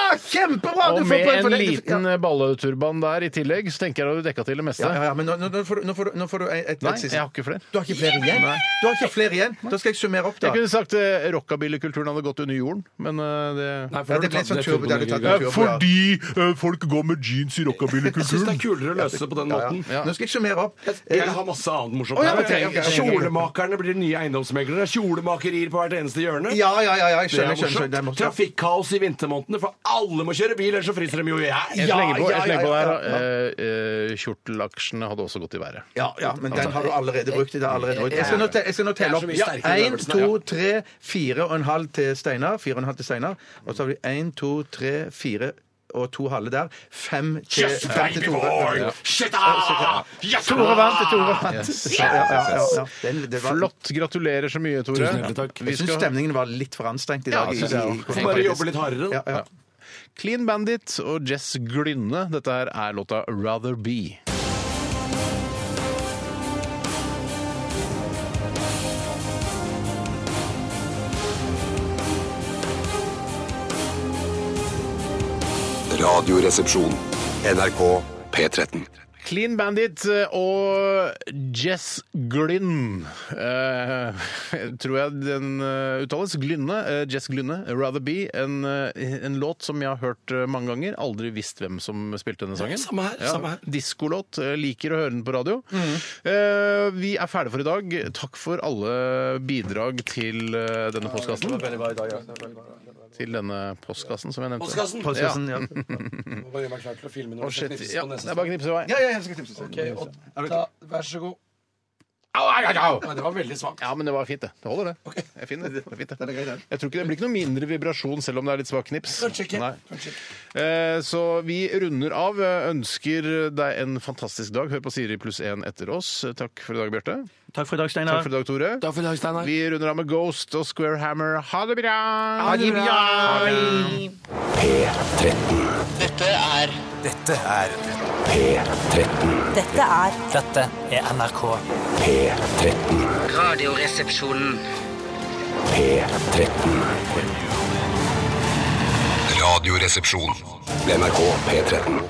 E: Ah, Kjempebra!
A: Og
E: Du får
A: med
E: poeng for
A: en
E: det. Du-
A: liten eh,
E: ja.
A: balleturban der i tillegg, så tenker jeg at du dekka til det meste.
E: ja, ja, ja, men nå, nå, nå, får, du- nå, får, du- nå får du et, et,
A: Nei,
E: et
A: jeg har ikke flere.
E: Du har ikke flere igjen? Du har ikke flere igjen? Da skal jeg summere opp, da.
A: Jeg kunne sagt eh, rockabillykulturen hadde gått under jorden, men eh, det eh,
C: Nei,
E: Ja,
C: da har du
E: det ble
C: tatt
E: sånn turbo-
C: turbo-
E: der du tatt
C: Jeg
E: det turbo- ja.
A: folk går med jeans i
C: syns det
A: rockabillykulturen.
C: er kulere å løse det på den måten.
E: Ja. Nå skal jeg summere opp. Eh,
C: Jeg har masse annet morsomt.
E: Å, ja,
C: her.
E: ok, ok, ok.
C: Kjolemakerne blir nye eiendomsmeglere. Kjolemakerier på hvert eneste hjørne.
E: Ja, ja, ja, ja jeg
C: Det er
E: skjønner. skjønner,
C: morsomt.
E: skjønner. Det er morsomt.
C: Trafikkaos i vintermånedene, for alle må kjøre bil, ellers så fryser de jo i hjel.
A: Jeg slenger på,
E: Ja,
A: jeg
E: ja,
A: slenger på
E: ja,
A: der.
E: ja,
A: da. Eh, eh, Kjortelaksjene hadde også gått i været.
E: Ja, ja, men den har du allerede brukt. Det er allerede brukt. Jeg skal nå, te jeg skal nå
C: så
E: telle opp.
C: mye
E: Ja,
C: sterkere
E: Én,
C: øvelsen,
E: to, tre, fire og en halv til Steinar. Fire og en halv til Steinar. Og så har vi én, to, tre, fire og to halve der. Fem til, fem til Tore. Ja.
C: Shit,
E: Ja,
C: ah!
E: Tore vant! Tore vant. Ja, ja, ja, ja. Den, det var,
A: Flott. Gratulerer så mye, Tore.
C: Tusen hjertelig takk.
A: Vi
E: Jeg syns
A: skal
E: stemningen var litt for anstrengt i
A: Ja,
E: dag.
A: jeg synes
E: i-
A: det
E: i-
C: Får bare jobbe litt hardere.
E: Ja,
C: da.
E: ja.
A: Clean Bandit og Jess Glynne. Dette her er låta Rather Be.
D: Radioresepsjon. NRK P13.
A: Clean Bandit eh, og Jess Glynn eh, Tror jeg den eh, uttales. Glynne. eh, Jess Glynne, Rather Be. En, eh, en låt som jeg har hørt eh, mange ganger. Aldri visst hvem som spilte denne sangen.
C: Samme her, samme her. Mm.
A: Diskolåt. eh, Liker å høre den på radio. Eh, vi er ferdige for i dag. Takk for alle bidrag til eh, denne postkassen. Til denne postkassen, som jeg nevnte.
C: Postkassen.
E: Postkassen, ja.
C: Må bare gjøre meg klar til å filme
A: Å,
C: når det
A: shit.
C: skal knipses
A: Ja,
C: på
A: det
C: nesen.
A: er bare å knipse i vei.
E: Ja, ja, jeg skal knipse.
C: Ok, og ta, vær så god.
A: Au, au, au, au!
C: Nei, det var veldig svakt.
A: Ja, men det var fint, det. Det holder, det. Det er fint, det. Det er fint, det. Jeg tror ikke det blir ikke noe mindre vibrasjon selv om det er litt svak knips.
C: Kanskje ikke.
A: Nei.
C: Kanskje ikke.
A: Eh, Så vi runder av. Ønsker deg en fantastisk dag. Hør på Siri pluss 1 etter oss. Takk for i dag, Bjarte.
E: Takk for i dag,
A: Takk
E: Steinar.
A: for i dag, Tore.
C: Takk for i dag, Steinar.
A: Vi runder av med Ghost og Square Hammer. Ha det bra!
E: Ha det bra!
D: P13.
H: Dette er
J: Dette er
D: P13.
K: Dette er
J: Dette er NRK.
D: P13.
K: Radioresepsjonen.
D: P13. Radioresepsjon. NRK P13.